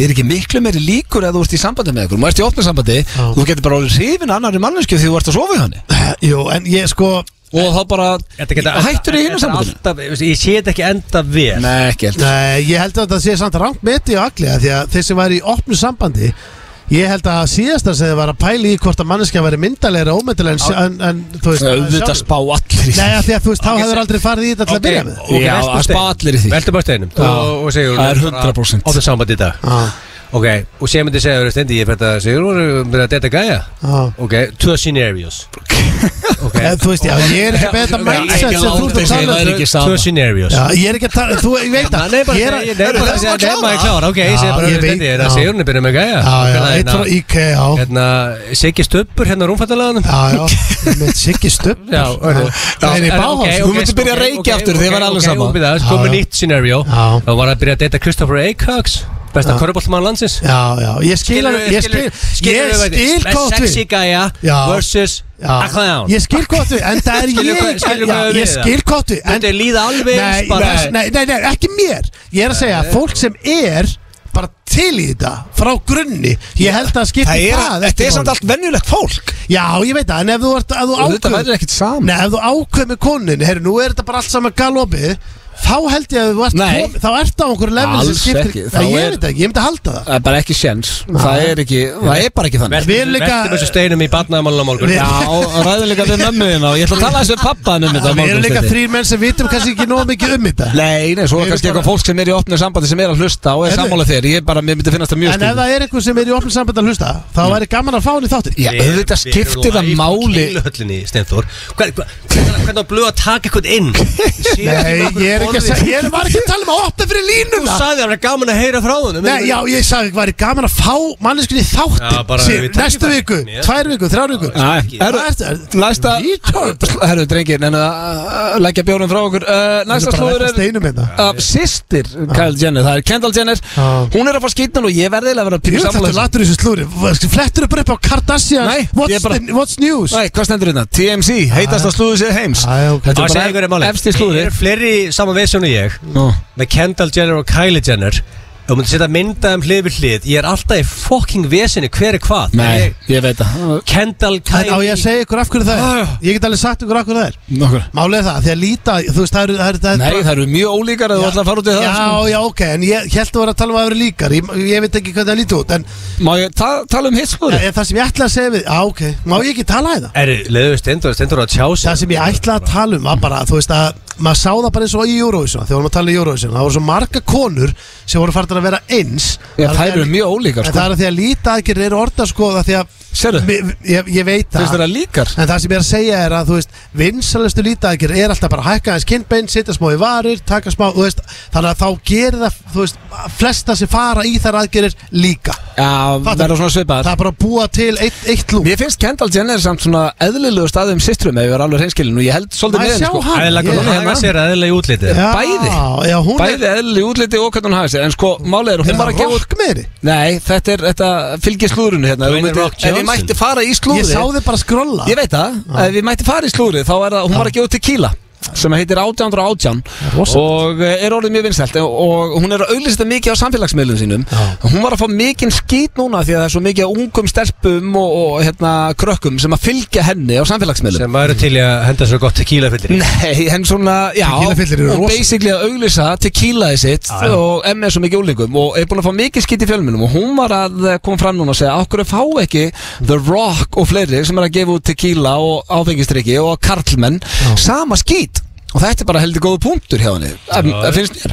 [SPEAKER 1] er ekki miklu meiri líkur að þú ert í sambandi með ykkur, maður ert í opna sambandi
[SPEAKER 3] Já.
[SPEAKER 1] þú getur bara orðið hrifin annari mannesku því þú ert að sofa í hann
[SPEAKER 3] Jú, en ég sko
[SPEAKER 1] og þá bara
[SPEAKER 2] Þetta geta-
[SPEAKER 1] hættur í hinum
[SPEAKER 2] þetta er
[SPEAKER 1] sambandinu
[SPEAKER 2] alltaf- ég veist, Ég sé þetta ekki enda vel
[SPEAKER 1] Nei, ekki heldur
[SPEAKER 3] Nei, ég held að það sé samt rangt meti og aglega því að þeir sem væri í opnu sambandi ég held að síðasta sem þið var að pæli í hvort að manneskja væri myndalegra og ómyndalega en, en, en þú veist
[SPEAKER 1] Auðvitað
[SPEAKER 3] sjálfur.
[SPEAKER 1] spá allir í
[SPEAKER 3] Nei, að því að þú veist, þá
[SPEAKER 2] Ok,
[SPEAKER 3] hefur
[SPEAKER 2] sem-
[SPEAKER 3] aldrei farið í þetta til að byrja með
[SPEAKER 1] Já, að spá allir í því.
[SPEAKER 2] Veltum bara steinum
[SPEAKER 1] Já.
[SPEAKER 2] og, og segjum
[SPEAKER 1] Það er 100%.
[SPEAKER 2] Á það samband í dag
[SPEAKER 3] Já,
[SPEAKER 2] Ok, og segjum myndi segja Þú stendi, ég fætt að segjum Þú erum að detta gæja
[SPEAKER 3] já
[SPEAKER 2] Ok, two scenarios Ok
[SPEAKER 3] En Þú veist, já, ég er ekki með þetta
[SPEAKER 2] Já,
[SPEAKER 3] mindset
[SPEAKER 1] ekki
[SPEAKER 3] sem þú ert
[SPEAKER 1] láta
[SPEAKER 3] að
[SPEAKER 1] sig,
[SPEAKER 3] tala
[SPEAKER 1] það er
[SPEAKER 3] um
[SPEAKER 1] ekki
[SPEAKER 2] Two
[SPEAKER 1] sama
[SPEAKER 2] scenarios
[SPEAKER 3] Já, ég er ekki að tala, þú, ég veit
[SPEAKER 2] Nei,
[SPEAKER 3] að
[SPEAKER 2] nei, bara
[SPEAKER 3] ég er að-
[SPEAKER 2] segja Nei,
[SPEAKER 3] Heyrðu,
[SPEAKER 2] bara
[SPEAKER 3] það
[SPEAKER 2] segja
[SPEAKER 3] var
[SPEAKER 2] Nei,
[SPEAKER 3] klára.
[SPEAKER 2] maður er klár Ok, ég
[SPEAKER 3] Já,
[SPEAKER 2] segja bara hérna, Þú
[SPEAKER 3] ég veit,
[SPEAKER 2] stendi, það
[SPEAKER 3] já.
[SPEAKER 2] segjum Þú byrjum með gæja
[SPEAKER 3] Já, já,
[SPEAKER 2] Hérna,
[SPEAKER 3] eitt frá IKEA
[SPEAKER 2] Hérna, Siggi Stubbur Hérna rúmfattalaganum
[SPEAKER 3] Já, já, með Siggi Stubb
[SPEAKER 2] Já, hörðu
[SPEAKER 3] Það er í
[SPEAKER 2] En,
[SPEAKER 3] báhás
[SPEAKER 2] ok,
[SPEAKER 1] Þú
[SPEAKER 2] ok,
[SPEAKER 1] myndir
[SPEAKER 2] sko,
[SPEAKER 1] byrja að
[SPEAKER 2] ok,
[SPEAKER 1] reykja
[SPEAKER 2] ok,
[SPEAKER 1] aftur, þið
[SPEAKER 2] ok,
[SPEAKER 1] væri alveg
[SPEAKER 2] ok,
[SPEAKER 1] sama.
[SPEAKER 2] ok, Það er
[SPEAKER 3] Já,
[SPEAKER 2] komið
[SPEAKER 3] já.
[SPEAKER 2] nýtt scenario
[SPEAKER 3] Já.
[SPEAKER 2] Það var að byrja að data Christopher Acox Besta körubóltmann landsins
[SPEAKER 3] Já, já, ég skil,
[SPEAKER 2] Skilur,
[SPEAKER 3] alveg- ég skil, ég skil hvað þú
[SPEAKER 2] Sexy gæja
[SPEAKER 3] Já.
[SPEAKER 2] versus a clown
[SPEAKER 3] Ég skil kottu, en það er
[SPEAKER 2] Skilur
[SPEAKER 3] ég
[SPEAKER 2] hvað- skilur
[SPEAKER 3] já,
[SPEAKER 2] hvað við
[SPEAKER 3] Ég
[SPEAKER 2] það?
[SPEAKER 3] skil kottu en,
[SPEAKER 2] Þetta er líða alveg
[SPEAKER 3] nei,
[SPEAKER 2] eins bara
[SPEAKER 3] nei, nei, nei, nei, ekki mér Ég er að segja, fólk sem er bara til í þetta, frá grunni Ég held að skipta
[SPEAKER 1] Það er,
[SPEAKER 3] það
[SPEAKER 1] þetta
[SPEAKER 3] ekki
[SPEAKER 1] er samt
[SPEAKER 3] máli.
[SPEAKER 1] allt venjulegt fólk
[SPEAKER 3] Já, ég veit það, en ef þú, ert, ef þú
[SPEAKER 1] Þetta
[SPEAKER 3] ákveð
[SPEAKER 1] verður ekkert saman
[SPEAKER 3] Nei, ef þú ákveð með konin, heyrðu, nú er þetta bara allt saman galopið Þá held ég að þú ert
[SPEAKER 1] Nei.
[SPEAKER 3] kom, Þá ert á einhverju level sem
[SPEAKER 1] Alls
[SPEAKER 3] skiptir
[SPEAKER 1] ekki, þá
[SPEAKER 3] Nei, Ég
[SPEAKER 1] er-
[SPEAKER 3] veit það ekki, ég myndi að halda það
[SPEAKER 1] Það er bara ekki séns Það er ekki, það er bara ekki þannig
[SPEAKER 3] Við erum líka-
[SPEAKER 2] Vertum þessu steinum í barnaðamálunum morgun
[SPEAKER 3] Við-
[SPEAKER 1] Já, ræður líka við mömmu þín og ég ætla að tala þessu við pappaðin um þetta á
[SPEAKER 3] Við erum líka
[SPEAKER 1] morgunstundinni.
[SPEAKER 3] þrýr menn sem vitum kannski ekki nóg mikið um þetta
[SPEAKER 1] Nei, nei, svo
[SPEAKER 3] Við
[SPEAKER 1] er
[SPEAKER 3] erum
[SPEAKER 1] kannski
[SPEAKER 3] bara-
[SPEAKER 1] eitthvað fólk sem er í opnu sambandi sem er að hlusta og er
[SPEAKER 3] Heyrðu.
[SPEAKER 1] sammála þér Ég bara, mér myndi finnast það mjög
[SPEAKER 3] En ef
[SPEAKER 1] skil
[SPEAKER 3] það er einhver sem er í opnum samband að hlusta Þá væri gaman að fá hann í þáttir
[SPEAKER 1] Já, auðvitað skiptir það máli
[SPEAKER 2] Kíluhöllinni, Steinþór Hvern- hvern- Hvernig á blöð að taka eitthvað inn?
[SPEAKER 3] Nei, ég er ekki ekki að segja, ég var ekki að tala um að opna fyrir
[SPEAKER 2] Þú
[SPEAKER 3] línuna
[SPEAKER 2] sagði að það er gaman að heyra frá honum
[SPEAKER 3] Nei, já, ég sagði, væri gaman að fá manneskunni
[SPEAKER 2] Já, bara við
[SPEAKER 3] þáttin
[SPEAKER 2] tækifæri.
[SPEAKER 3] Næstu viku,
[SPEAKER 2] Já.
[SPEAKER 3] tvær viku, þrjár viku
[SPEAKER 1] Nei,
[SPEAKER 3] Hvað
[SPEAKER 1] herru,
[SPEAKER 3] ertu- ertu-
[SPEAKER 1] Næsta
[SPEAKER 3] Retard.
[SPEAKER 1] Herru, drengir, en að leggja bjórnum frá okkur Eh, Næsta
[SPEAKER 3] Þetta er bara
[SPEAKER 1] slúður
[SPEAKER 3] að Ah.
[SPEAKER 1] er
[SPEAKER 3] steinum hérna
[SPEAKER 1] af sýstir Kyle Jenner, það er Kendall Jenner
[SPEAKER 3] Já.
[SPEAKER 1] Hún er að fá skýtnan og ég verði eiginlega að vera
[SPEAKER 3] Ég
[SPEAKER 1] pínu
[SPEAKER 3] veit Ah. þetta
[SPEAKER 1] sammála
[SPEAKER 3] latur í þessu slúri Flettur upp upp á Kardashian
[SPEAKER 1] Nei, ég
[SPEAKER 3] What's,
[SPEAKER 1] bara-
[SPEAKER 3] the, what's news?
[SPEAKER 1] Nei, hvað stendur hérna? TMZ, heitast
[SPEAKER 3] Ah.
[SPEAKER 1] að slúðu sér heims
[SPEAKER 3] Æ, ok.
[SPEAKER 1] Þetta
[SPEAKER 2] Það segir
[SPEAKER 1] er
[SPEAKER 2] hverju
[SPEAKER 1] bara
[SPEAKER 2] máli
[SPEAKER 1] efst í
[SPEAKER 2] Það
[SPEAKER 1] slúðri
[SPEAKER 2] eru fleiri saman vesjónu ég
[SPEAKER 1] Nú.
[SPEAKER 2] Með Kendall Jenner og Kylie Jenner Þú myndir setja myndaðum hlið við hlið Ég er alltaf í fucking vesinu hver er hvað
[SPEAKER 1] Nei,
[SPEAKER 2] Ég-
[SPEAKER 1] ég veit það Ah,
[SPEAKER 2] Kendall,
[SPEAKER 3] En á ég
[SPEAKER 2] Kylie
[SPEAKER 3] að segja ykkur af hverju það
[SPEAKER 1] Já,
[SPEAKER 3] er
[SPEAKER 1] já.
[SPEAKER 3] Ég get alveg sagt ykkur af hverju það er
[SPEAKER 1] Nokkur
[SPEAKER 3] Málið er það, því að líta Þú veist, það eru- það eru það er
[SPEAKER 1] Nei, það eru mjög ólíkar að þú ætla að fara út í það
[SPEAKER 3] Já,
[SPEAKER 1] sko.
[SPEAKER 3] já, ok, en ég held að vera að tala um að það eru líkar ég, ég veit ekki hvernig það lítur út En
[SPEAKER 1] Má ég ta- tala um hitt slúður?
[SPEAKER 3] en það sem ég ætla að segja við Já, ok, má ég ekki tala í það?
[SPEAKER 2] Er, leiðu stendur, stendur að tjá sig
[SPEAKER 3] Það sem ég ætla að tala um var bara, þú veist að maður sá það bara eins og í Eurovision þegar við vorum að tala í Eurovision, það voru svo marga konur sem voru farnar að vera eins
[SPEAKER 1] Já,
[SPEAKER 3] Það er
[SPEAKER 1] þær eru
[SPEAKER 3] þegar-
[SPEAKER 1] mjög ólíkar
[SPEAKER 3] En
[SPEAKER 1] sko.
[SPEAKER 3] það er að því að líta aðgerðir eru orða sko það því að
[SPEAKER 1] Sérðu?
[SPEAKER 3] Mi- ég, ég veit
[SPEAKER 1] Finnst
[SPEAKER 3] það
[SPEAKER 1] þér það líkar?
[SPEAKER 3] En það sem ég er að segja er að, þú veist, vinsalustu lítagir er alltaf bara að hækka hans kynbein, sitja smá í varir, taka smá, þú veist, þannig að þá gerir það, þú veist, flesta sem fara í þær aðgerir líka.
[SPEAKER 1] Já, verður svona svipaðar
[SPEAKER 3] Það er bara að búa til eitt, eitt lúm.
[SPEAKER 1] Mér finnst Kendall Jenner samt svona eðlilegu staðum systrum ef ég var alveg hreinskilin og ég held svolítið
[SPEAKER 3] Má
[SPEAKER 1] með
[SPEAKER 3] ég
[SPEAKER 1] henni
[SPEAKER 3] sjá
[SPEAKER 1] sko.
[SPEAKER 3] hann?
[SPEAKER 2] Æðilega góð
[SPEAKER 3] Ég-
[SPEAKER 2] að haga sér aðeins í útlitið
[SPEAKER 3] Já,
[SPEAKER 1] bæði.
[SPEAKER 3] Já, hún
[SPEAKER 1] Bæði eðlilegu útliti og hvernig hún hafði sér en sko málið er
[SPEAKER 3] er,
[SPEAKER 1] hún
[SPEAKER 3] er
[SPEAKER 1] var að
[SPEAKER 3] það
[SPEAKER 1] gefa út
[SPEAKER 3] rock meiri.
[SPEAKER 1] Nei, þetta er þetta fylgir slúðrunu hérna Ef þú
[SPEAKER 2] Dwayne
[SPEAKER 1] myndir-
[SPEAKER 2] Rock
[SPEAKER 1] Ef ég
[SPEAKER 2] Johnson.
[SPEAKER 1] mætti fara í
[SPEAKER 3] Ég
[SPEAKER 1] slúðri
[SPEAKER 3] sá þið bara skrolla.
[SPEAKER 1] Ég veit það, ef ég mætti fara í slúðri þá er það, hún var að gefa út tequila sem heitir 1818
[SPEAKER 3] rosalegt.
[SPEAKER 1] og eh, er orðið mjög vinsælt og- og hún er að auðlista mikið á samfélagsmiðlum sínum
[SPEAKER 3] Já.
[SPEAKER 1] hún var að fá mikinn skít núna því að það er svo mikið af ungum stelpum og, og hérna, krökkum sem að fylgja henni á samfélagsmiðlum
[SPEAKER 2] Sem væru til í að henda svo gott tequila fyllir
[SPEAKER 1] Nei, en svona, já
[SPEAKER 3] Tequila-fyllir eru
[SPEAKER 1] Og
[SPEAKER 3] rosa.
[SPEAKER 1] basically að auglýsa tequilaði sitt Og emnið svo mikið úlingum Og er búin að fá mikið skitt í fjölmunum Og hún var að eh, koma fram núna og segja Akkur fá ekki The Rock og fleiri Sem er að gefa út tequila og áfengistrykki Og karlmenn Sama skít Og þetta er bara heldur góðu punktur hjá henni Em,
[SPEAKER 2] Já.
[SPEAKER 1] Það finnst mér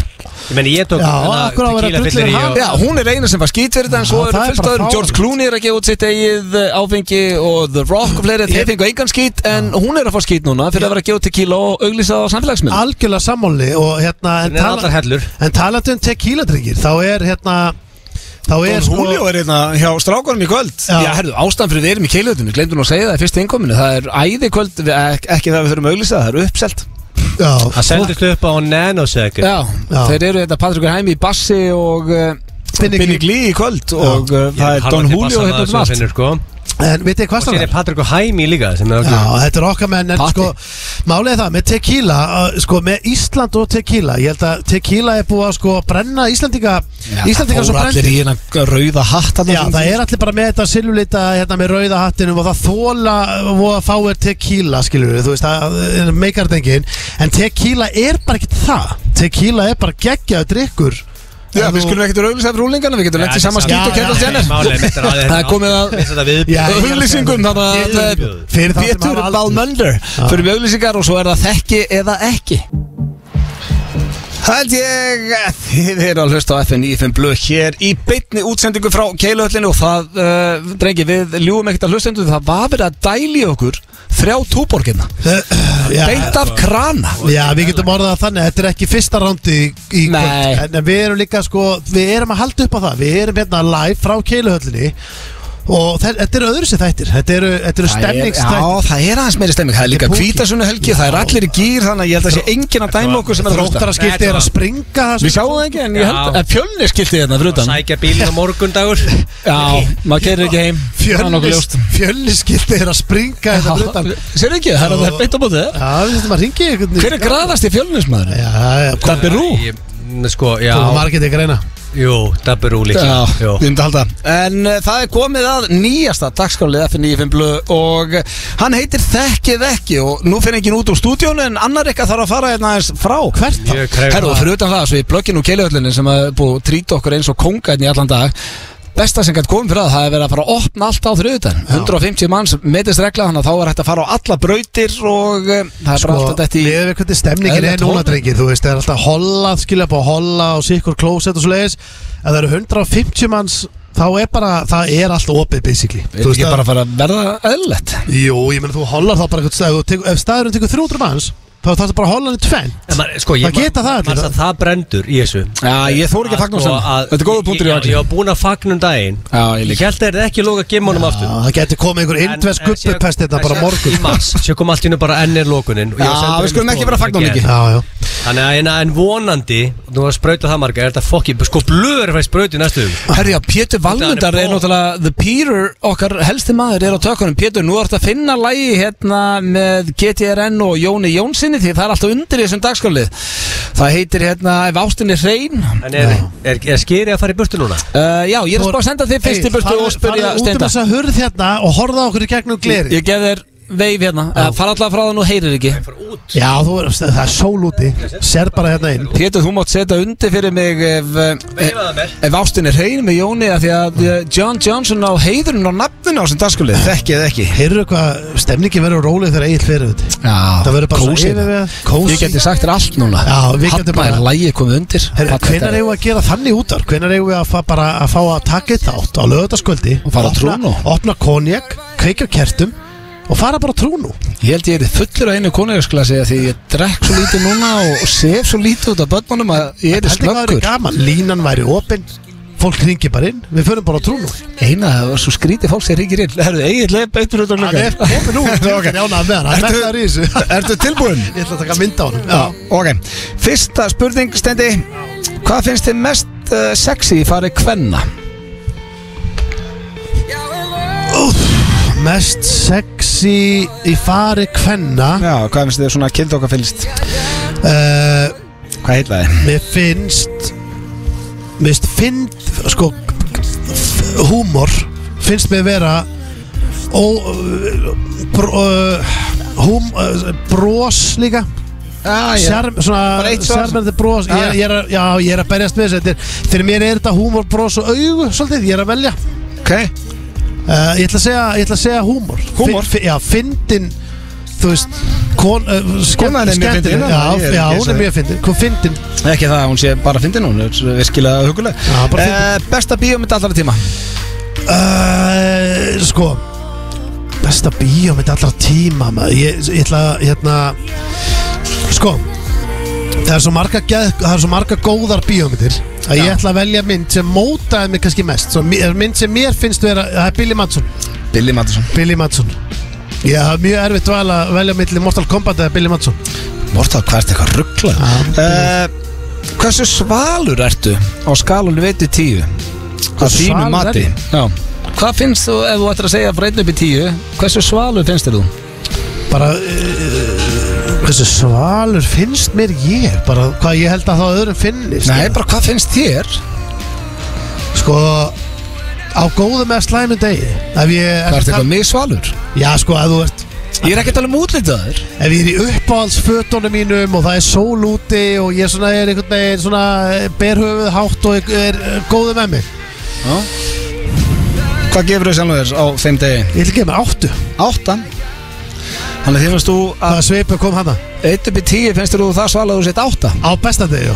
[SPEAKER 2] Ég meni ég tók
[SPEAKER 3] Já, akkur á að
[SPEAKER 2] tequila
[SPEAKER 3] vera drullur
[SPEAKER 2] fyllir í
[SPEAKER 3] hann.
[SPEAKER 2] og-
[SPEAKER 1] Já, hún er eina sem var skít fyrir þetta En svo
[SPEAKER 3] Já,
[SPEAKER 1] eru
[SPEAKER 3] það er
[SPEAKER 1] fullt
[SPEAKER 3] bara
[SPEAKER 1] öðrum George
[SPEAKER 3] fáránlegt.
[SPEAKER 1] Cllooney er að gefa út sitt eigið eh, áfengi Og The Rock og fleiri Þeir fengu engan skít En hún er að fá skít núna Fyrir að vera að gefa út tequila og auglýsa á samfélagsmynd
[SPEAKER 3] Algjörlega sammáli og hérna, en,
[SPEAKER 2] En allar
[SPEAKER 3] tala,
[SPEAKER 2] hellur
[SPEAKER 3] en talandi um tequila-drengir, þá er hérna, þá er sko-
[SPEAKER 1] Don Julio er hérna hjá strákarum í kvöld Já,
[SPEAKER 3] Já.
[SPEAKER 1] herðu, ástæðan fyrir við erum í keilutunni Glemdu nú að segja það í fyrsta innkominu Það er æði kvöld, við- ek- ekki það við þurfum að auglýsa Það er uppselt
[SPEAKER 3] Já,
[SPEAKER 2] Það seldist upp á nanosecond
[SPEAKER 1] Já,
[SPEAKER 3] Já.
[SPEAKER 1] þeir eru þetta Patrikur Hæmi í bassi og uh,
[SPEAKER 3] Binni Glee.
[SPEAKER 1] Binni Glí í kvöld Og uh,
[SPEAKER 2] Ég
[SPEAKER 1] það er
[SPEAKER 2] harla
[SPEAKER 1] Don
[SPEAKER 2] til
[SPEAKER 1] Julio
[SPEAKER 2] bassan
[SPEAKER 1] hérna um
[SPEAKER 2] að þessu
[SPEAKER 1] allt
[SPEAKER 2] sinnur, sko.
[SPEAKER 3] En veit þið
[SPEAKER 2] Og
[SPEAKER 3] hvað
[SPEAKER 2] sér
[SPEAKER 3] það
[SPEAKER 2] er
[SPEAKER 3] er?
[SPEAKER 2] Patrik og Hæmi líka sem er
[SPEAKER 3] Já,
[SPEAKER 2] okkur
[SPEAKER 3] þetta er okkar menn en
[SPEAKER 1] Patti.
[SPEAKER 3] sko, málið er það, með tequila uh, sko, með Ísland og tequila ég held að tequila er búið að sko brenna Íslandinga, Íslandinga er svo brendi
[SPEAKER 1] í hérna rauða hatt
[SPEAKER 3] Já, það er allir bara með þetta silulita hérna með rauða hattinum og það þóla og að fáir tequila, skilur við þú veist, það meikar þetta engin en tequila er bara ekkert það tequila er bara geggjaðu drikkur
[SPEAKER 1] Já,
[SPEAKER 3] En
[SPEAKER 1] við
[SPEAKER 3] þú-
[SPEAKER 1] skulum ekkert auglýsa fyrir úlingarna Við getum lett í sama skít og
[SPEAKER 3] Já,
[SPEAKER 1] Kendall Jenner Það er komið að-
[SPEAKER 3] Já,
[SPEAKER 2] að
[SPEAKER 3] ég-
[SPEAKER 1] auglýsingum þannig að
[SPEAKER 2] Yfirbuðu.
[SPEAKER 3] Fyrir þá sem
[SPEAKER 1] Pétur
[SPEAKER 3] hafa aldrei-
[SPEAKER 1] Balmönder fyrir við auglýsingar og svo er það þekki eða ekki Hald ég að þið eru að hlusta á FN 95 Blöð hér í beinni útsendingu frá Keiluhöllinu og það, uh, drengi, við ljúum ekkert að hlustendu það var verið að dæli okkur þrjá túborginna,
[SPEAKER 3] Já,
[SPEAKER 1] beint af krana
[SPEAKER 3] Já, við getum orðað það þannig, þetta er ekki fyrsta rándi í, í
[SPEAKER 1] Nei.
[SPEAKER 3] kvöld en, en við erum líka, sko, við erum að halda upp á það Við erum hérna live frá keiluhöllinni Og þe- þetta eru öðru sér þættir Þetta eru, þetta eru
[SPEAKER 1] Það er-
[SPEAKER 3] stemningsþættir
[SPEAKER 1] Já, það er aðeins meiri stemming, það er líka
[SPEAKER 3] Þetta er púki.
[SPEAKER 1] hvítasunni helgi, það er allir í gýr þannig að ég held að sé enginn að dæma okkur sem er að hlusta
[SPEAKER 3] Þróttaraskipti er að springa sko. það
[SPEAKER 1] Við sjáum það ekki en ég held
[SPEAKER 2] Já.
[SPEAKER 1] að fjölnir skilti hérna fyrir utan
[SPEAKER 2] Sækja bílinn á morgundagur
[SPEAKER 1] Já, maður keirir ekki heim Það er nokkuð ljóst.
[SPEAKER 3] Fjölniskipti er að springa þetta fyrir utan.
[SPEAKER 1] Sér ekki, það er að það er beint á bótið
[SPEAKER 3] Já, við þurfum að ringi einhvern
[SPEAKER 1] Hver er graðast í fjölnismæður?
[SPEAKER 3] Já, já, kom,
[SPEAKER 1] Dabbi Rú
[SPEAKER 2] Ég- Sko, já
[SPEAKER 3] kom margir ekki að reyna
[SPEAKER 2] Jú, Dabbi Rú líka
[SPEAKER 1] Já,
[SPEAKER 2] Jú.
[SPEAKER 1] ég myndi halda En uh, það er komið að nýjasta dagskálið F95 Blu og uh, hann heitir Þekkið ekki og nú finn ekki út úr stúdíónu en annar eitthvað þarf að fara hérna aðeins frá
[SPEAKER 3] Hvert þá?
[SPEAKER 2] Ég krefði
[SPEAKER 1] Herru, og fyrir utan það, svo í blögginu og keiluhöllinni sem að búið að trýta okkur eins og konga hérna í allan dag Besta sem gætt komið fyrir það, það er verið að fara að opna allt á þriðutan 150 manns metist regla, þannig að þá er hægt að fara á alla brautir og um, það er bara
[SPEAKER 3] Sko,
[SPEAKER 1] allt þetta í
[SPEAKER 3] við hefum hvernig stemningin
[SPEAKER 1] Eðlilegt
[SPEAKER 3] er núna
[SPEAKER 1] horf.
[SPEAKER 3] drengir, þú veist, það er alltaf holla skilja upp á holla og sikkur klósett og svo leiðis ef það eru 150 manns þá er bara, það er allt opið basically,
[SPEAKER 1] Er þetta ekki bara að fara að verða eðlert?
[SPEAKER 3] jú, ég menn þú hollar þá bara eitthvað stæð, ef staðurinn tekur 300 manns þá þarf það bara að hola hann í tvenn
[SPEAKER 2] En maður- sko, ég-
[SPEAKER 3] Það geta það allir.
[SPEAKER 2] maður- maður- Það brendur í þessu
[SPEAKER 1] Já, ég þór ekki að fagna
[SPEAKER 2] sko,
[SPEAKER 1] saman Þetta er góða punktur í
[SPEAKER 2] ég-
[SPEAKER 1] allir
[SPEAKER 2] Ég var búinn að fagna um daginn
[SPEAKER 1] Já, ég
[SPEAKER 2] Ég
[SPEAKER 1] líka
[SPEAKER 2] held að þetta ekki loka gimmunum aftur
[SPEAKER 3] Það getur komið einhver
[SPEAKER 2] En-
[SPEAKER 3] indvers
[SPEAKER 2] en síðan-
[SPEAKER 3] gubbupest hérna
[SPEAKER 2] en
[SPEAKER 3] bara á
[SPEAKER 2] síðan
[SPEAKER 3] morgun
[SPEAKER 2] Í mars, sér kom allt í hennu bara ennir lokunin og ég var
[SPEAKER 1] Já,
[SPEAKER 2] sendur
[SPEAKER 1] við
[SPEAKER 2] inn í
[SPEAKER 1] skelum ekki
[SPEAKER 2] stofu.
[SPEAKER 1] vera að fagna honum
[SPEAKER 2] Ekki.
[SPEAKER 1] mikið.
[SPEAKER 3] Já, já
[SPEAKER 2] Þannig að hérna, en, en vonandi, þú var að sprauta það marga, er þetta fokki, sko blöður fæði sprauti næstu hug
[SPEAKER 1] Herri, já, Pétur Valmundar
[SPEAKER 2] Þetta er
[SPEAKER 1] er náttúrulega The Peter, okkar helsti maður er á tökunum Pétur, nú ertu að finna lægi hérna með GTRN og Jóni Jónsinni því það er alltaf undir í þessum dagskalið Það heitir hérna Ef ástinni hrein uh,
[SPEAKER 2] En er, er, er skeri að fara í burtu núna?
[SPEAKER 1] Já, ég er að spá að senda þig fyrst í burtu og spyrja
[SPEAKER 3] út um
[SPEAKER 1] Steinda
[SPEAKER 3] þessa hurð hérna og horfa á okkur í gegnum gleri
[SPEAKER 1] Ég gef þér veif hérna, Eh, fara alltaf frá það nú heyrir ekki
[SPEAKER 2] Fara út
[SPEAKER 3] Já, þú er, það er sól úti Sér bara hérna inn
[SPEAKER 1] Pétur, þú mátt setja undir fyrir mig ef, eh,
[SPEAKER 2] Veifa það mér.
[SPEAKER 1] ef ástinni hrein með Jóni af því að eh, John Johnson á heiðurinn og nafninu á þessum dagskalið Þekkið þið ekki
[SPEAKER 3] Heyrðu hvað, stemningi verður róleg þegar eigin fyrir þetta
[SPEAKER 1] Já,
[SPEAKER 3] Það verður bara svo
[SPEAKER 1] kósí það.
[SPEAKER 3] yfirvegað, kósí.
[SPEAKER 1] Ég geti sagt þér allt núna
[SPEAKER 3] Já, við getum
[SPEAKER 1] Hafna er
[SPEAKER 3] bara-
[SPEAKER 1] lægi komið undir
[SPEAKER 3] Herru,
[SPEAKER 1] Fallegt
[SPEAKER 3] hvenær
[SPEAKER 1] er-
[SPEAKER 3] eigum við að gera þannig útar? Hvenær eigum við að fá, bara, að fá að taka eitt átt á lögutaskvöldi
[SPEAKER 1] Og fara á Trúnó.
[SPEAKER 3] Opna konjak, kveikja á kertum og fara bara á trúnu
[SPEAKER 1] Ég held ég er fullur á einu konungarsklasi Því ég drekk svo lítið núna og sef svo lítið út af börnunum að ég er
[SPEAKER 3] Heldur hvað það er
[SPEAKER 1] snöggur
[SPEAKER 3] gaman, línan væri opinn Fólk ringi bara inn, við förum bara á trúnu
[SPEAKER 1] Eina, það var svo skrítið fólk sem ringir inn Herðu, eigin leið beittur út á
[SPEAKER 3] Hann er
[SPEAKER 1] lukkan
[SPEAKER 3] komin út,
[SPEAKER 1] Ok.
[SPEAKER 3] hann er ánað með hann, hann
[SPEAKER 1] Ertu-
[SPEAKER 3] metnaður í þessu
[SPEAKER 1] Ertu tilbúin?
[SPEAKER 3] Ég ætla að taka mynda á hann Já,
[SPEAKER 1] Ok, fyrsta spurning stendi Hvað finnst þið mest uh, sexy í farið kvenna?
[SPEAKER 3] mest sexy í fari kvenna
[SPEAKER 1] Já, hvað finnst þið svona kildokka fylgst? Eh,
[SPEAKER 3] uh,
[SPEAKER 1] Hvað heitlaði?
[SPEAKER 3] Mér finnst Mér finnst finn Sko Húmor Finnst mér vera Ó br, uh, húm, uh, Brós líka
[SPEAKER 1] Ah,
[SPEAKER 3] Sjarm,
[SPEAKER 1] Bara
[SPEAKER 3] svona
[SPEAKER 1] eitt svar.
[SPEAKER 3] Sjarmandi brós
[SPEAKER 1] Já,
[SPEAKER 3] ég, ég er, að- Já, ég er að berjast með þessu Þetta er- Fyrir mér er þetta húmor, brós og augu Svolítið, ég er að velja
[SPEAKER 1] Ok,
[SPEAKER 3] uh, Ég ætla að segja, ég ætla að segja húmor
[SPEAKER 1] Húmor?
[SPEAKER 3] Fin- fi- Já, fyndin Þú veist Kon, uh,
[SPEAKER 1] Konan er mjög fyndin,
[SPEAKER 3] skemmtileg.
[SPEAKER 1] já, ég
[SPEAKER 3] Já,
[SPEAKER 1] er
[SPEAKER 3] já,
[SPEAKER 1] ekki að
[SPEAKER 3] hún er
[SPEAKER 1] segja.
[SPEAKER 3] mjög fyndin Hvað fyndin
[SPEAKER 1] Ekki það að hún sé bara fyndin hún er virkilega huguleg Eh,
[SPEAKER 3] Já, bara fyndin.
[SPEAKER 1] Besta bíómynd allra tíma
[SPEAKER 3] Uh, sko Besta bíómynd allra tíma maður. ég, ég ætla að hérna, Sko Það er svo marga, geð, það er svo marga góðar bíómyndir að ég ætla að velja mynd sem mótaði mig kannski mest svo, mi- er mynd sem mér finnst vera það er Billy Madson
[SPEAKER 1] Billy Madison
[SPEAKER 3] Billy Madson Ég hafði mjög erfitt val að velja milli Mortal Kombat eða Billy Madson
[SPEAKER 1] Mortal Kombat eitthvað ruggla uh, Hversu svalur ertu á skalunni veitu tíu? Hvað
[SPEAKER 3] Hversu
[SPEAKER 1] þínu
[SPEAKER 3] svalur
[SPEAKER 1] mati?
[SPEAKER 3] er
[SPEAKER 1] Já Hvað finnst þú ef þú ættir að segja frá einn upp í tíu Hversu svalur finnst þér þú?
[SPEAKER 3] Bara uh, Hversu svalur finnst mér ég Bara hvað ég held að þá öðrum finnist
[SPEAKER 1] Nei, bara hvað finnst þér?
[SPEAKER 3] Sko á góðum eða slæmum um degi ef ég
[SPEAKER 1] Það ert eitthvað mjög svalur
[SPEAKER 3] já sko að þú ert
[SPEAKER 1] Ég er ekki að tala um útlitaður
[SPEAKER 3] ef ég er í uppáhaldsfötunum mínum og það er sól úti og ég svona er einhvern veginn svona eh, ber höfuð hátt og er eh, góður með mig
[SPEAKER 1] Hvað gefur þau sjálfur þér á þeim degi?
[SPEAKER 3] ég ætla að gefa mér áttu
[SPEAKER 1] Áttan Þannig að þér finnst þú að
[SPEAKER 3] það sveipu kom hana
[SPEAKER 1] einn upp í tíu finnst þér þú það svalur þú sett átta
[SPEAKER 3] á besta degi já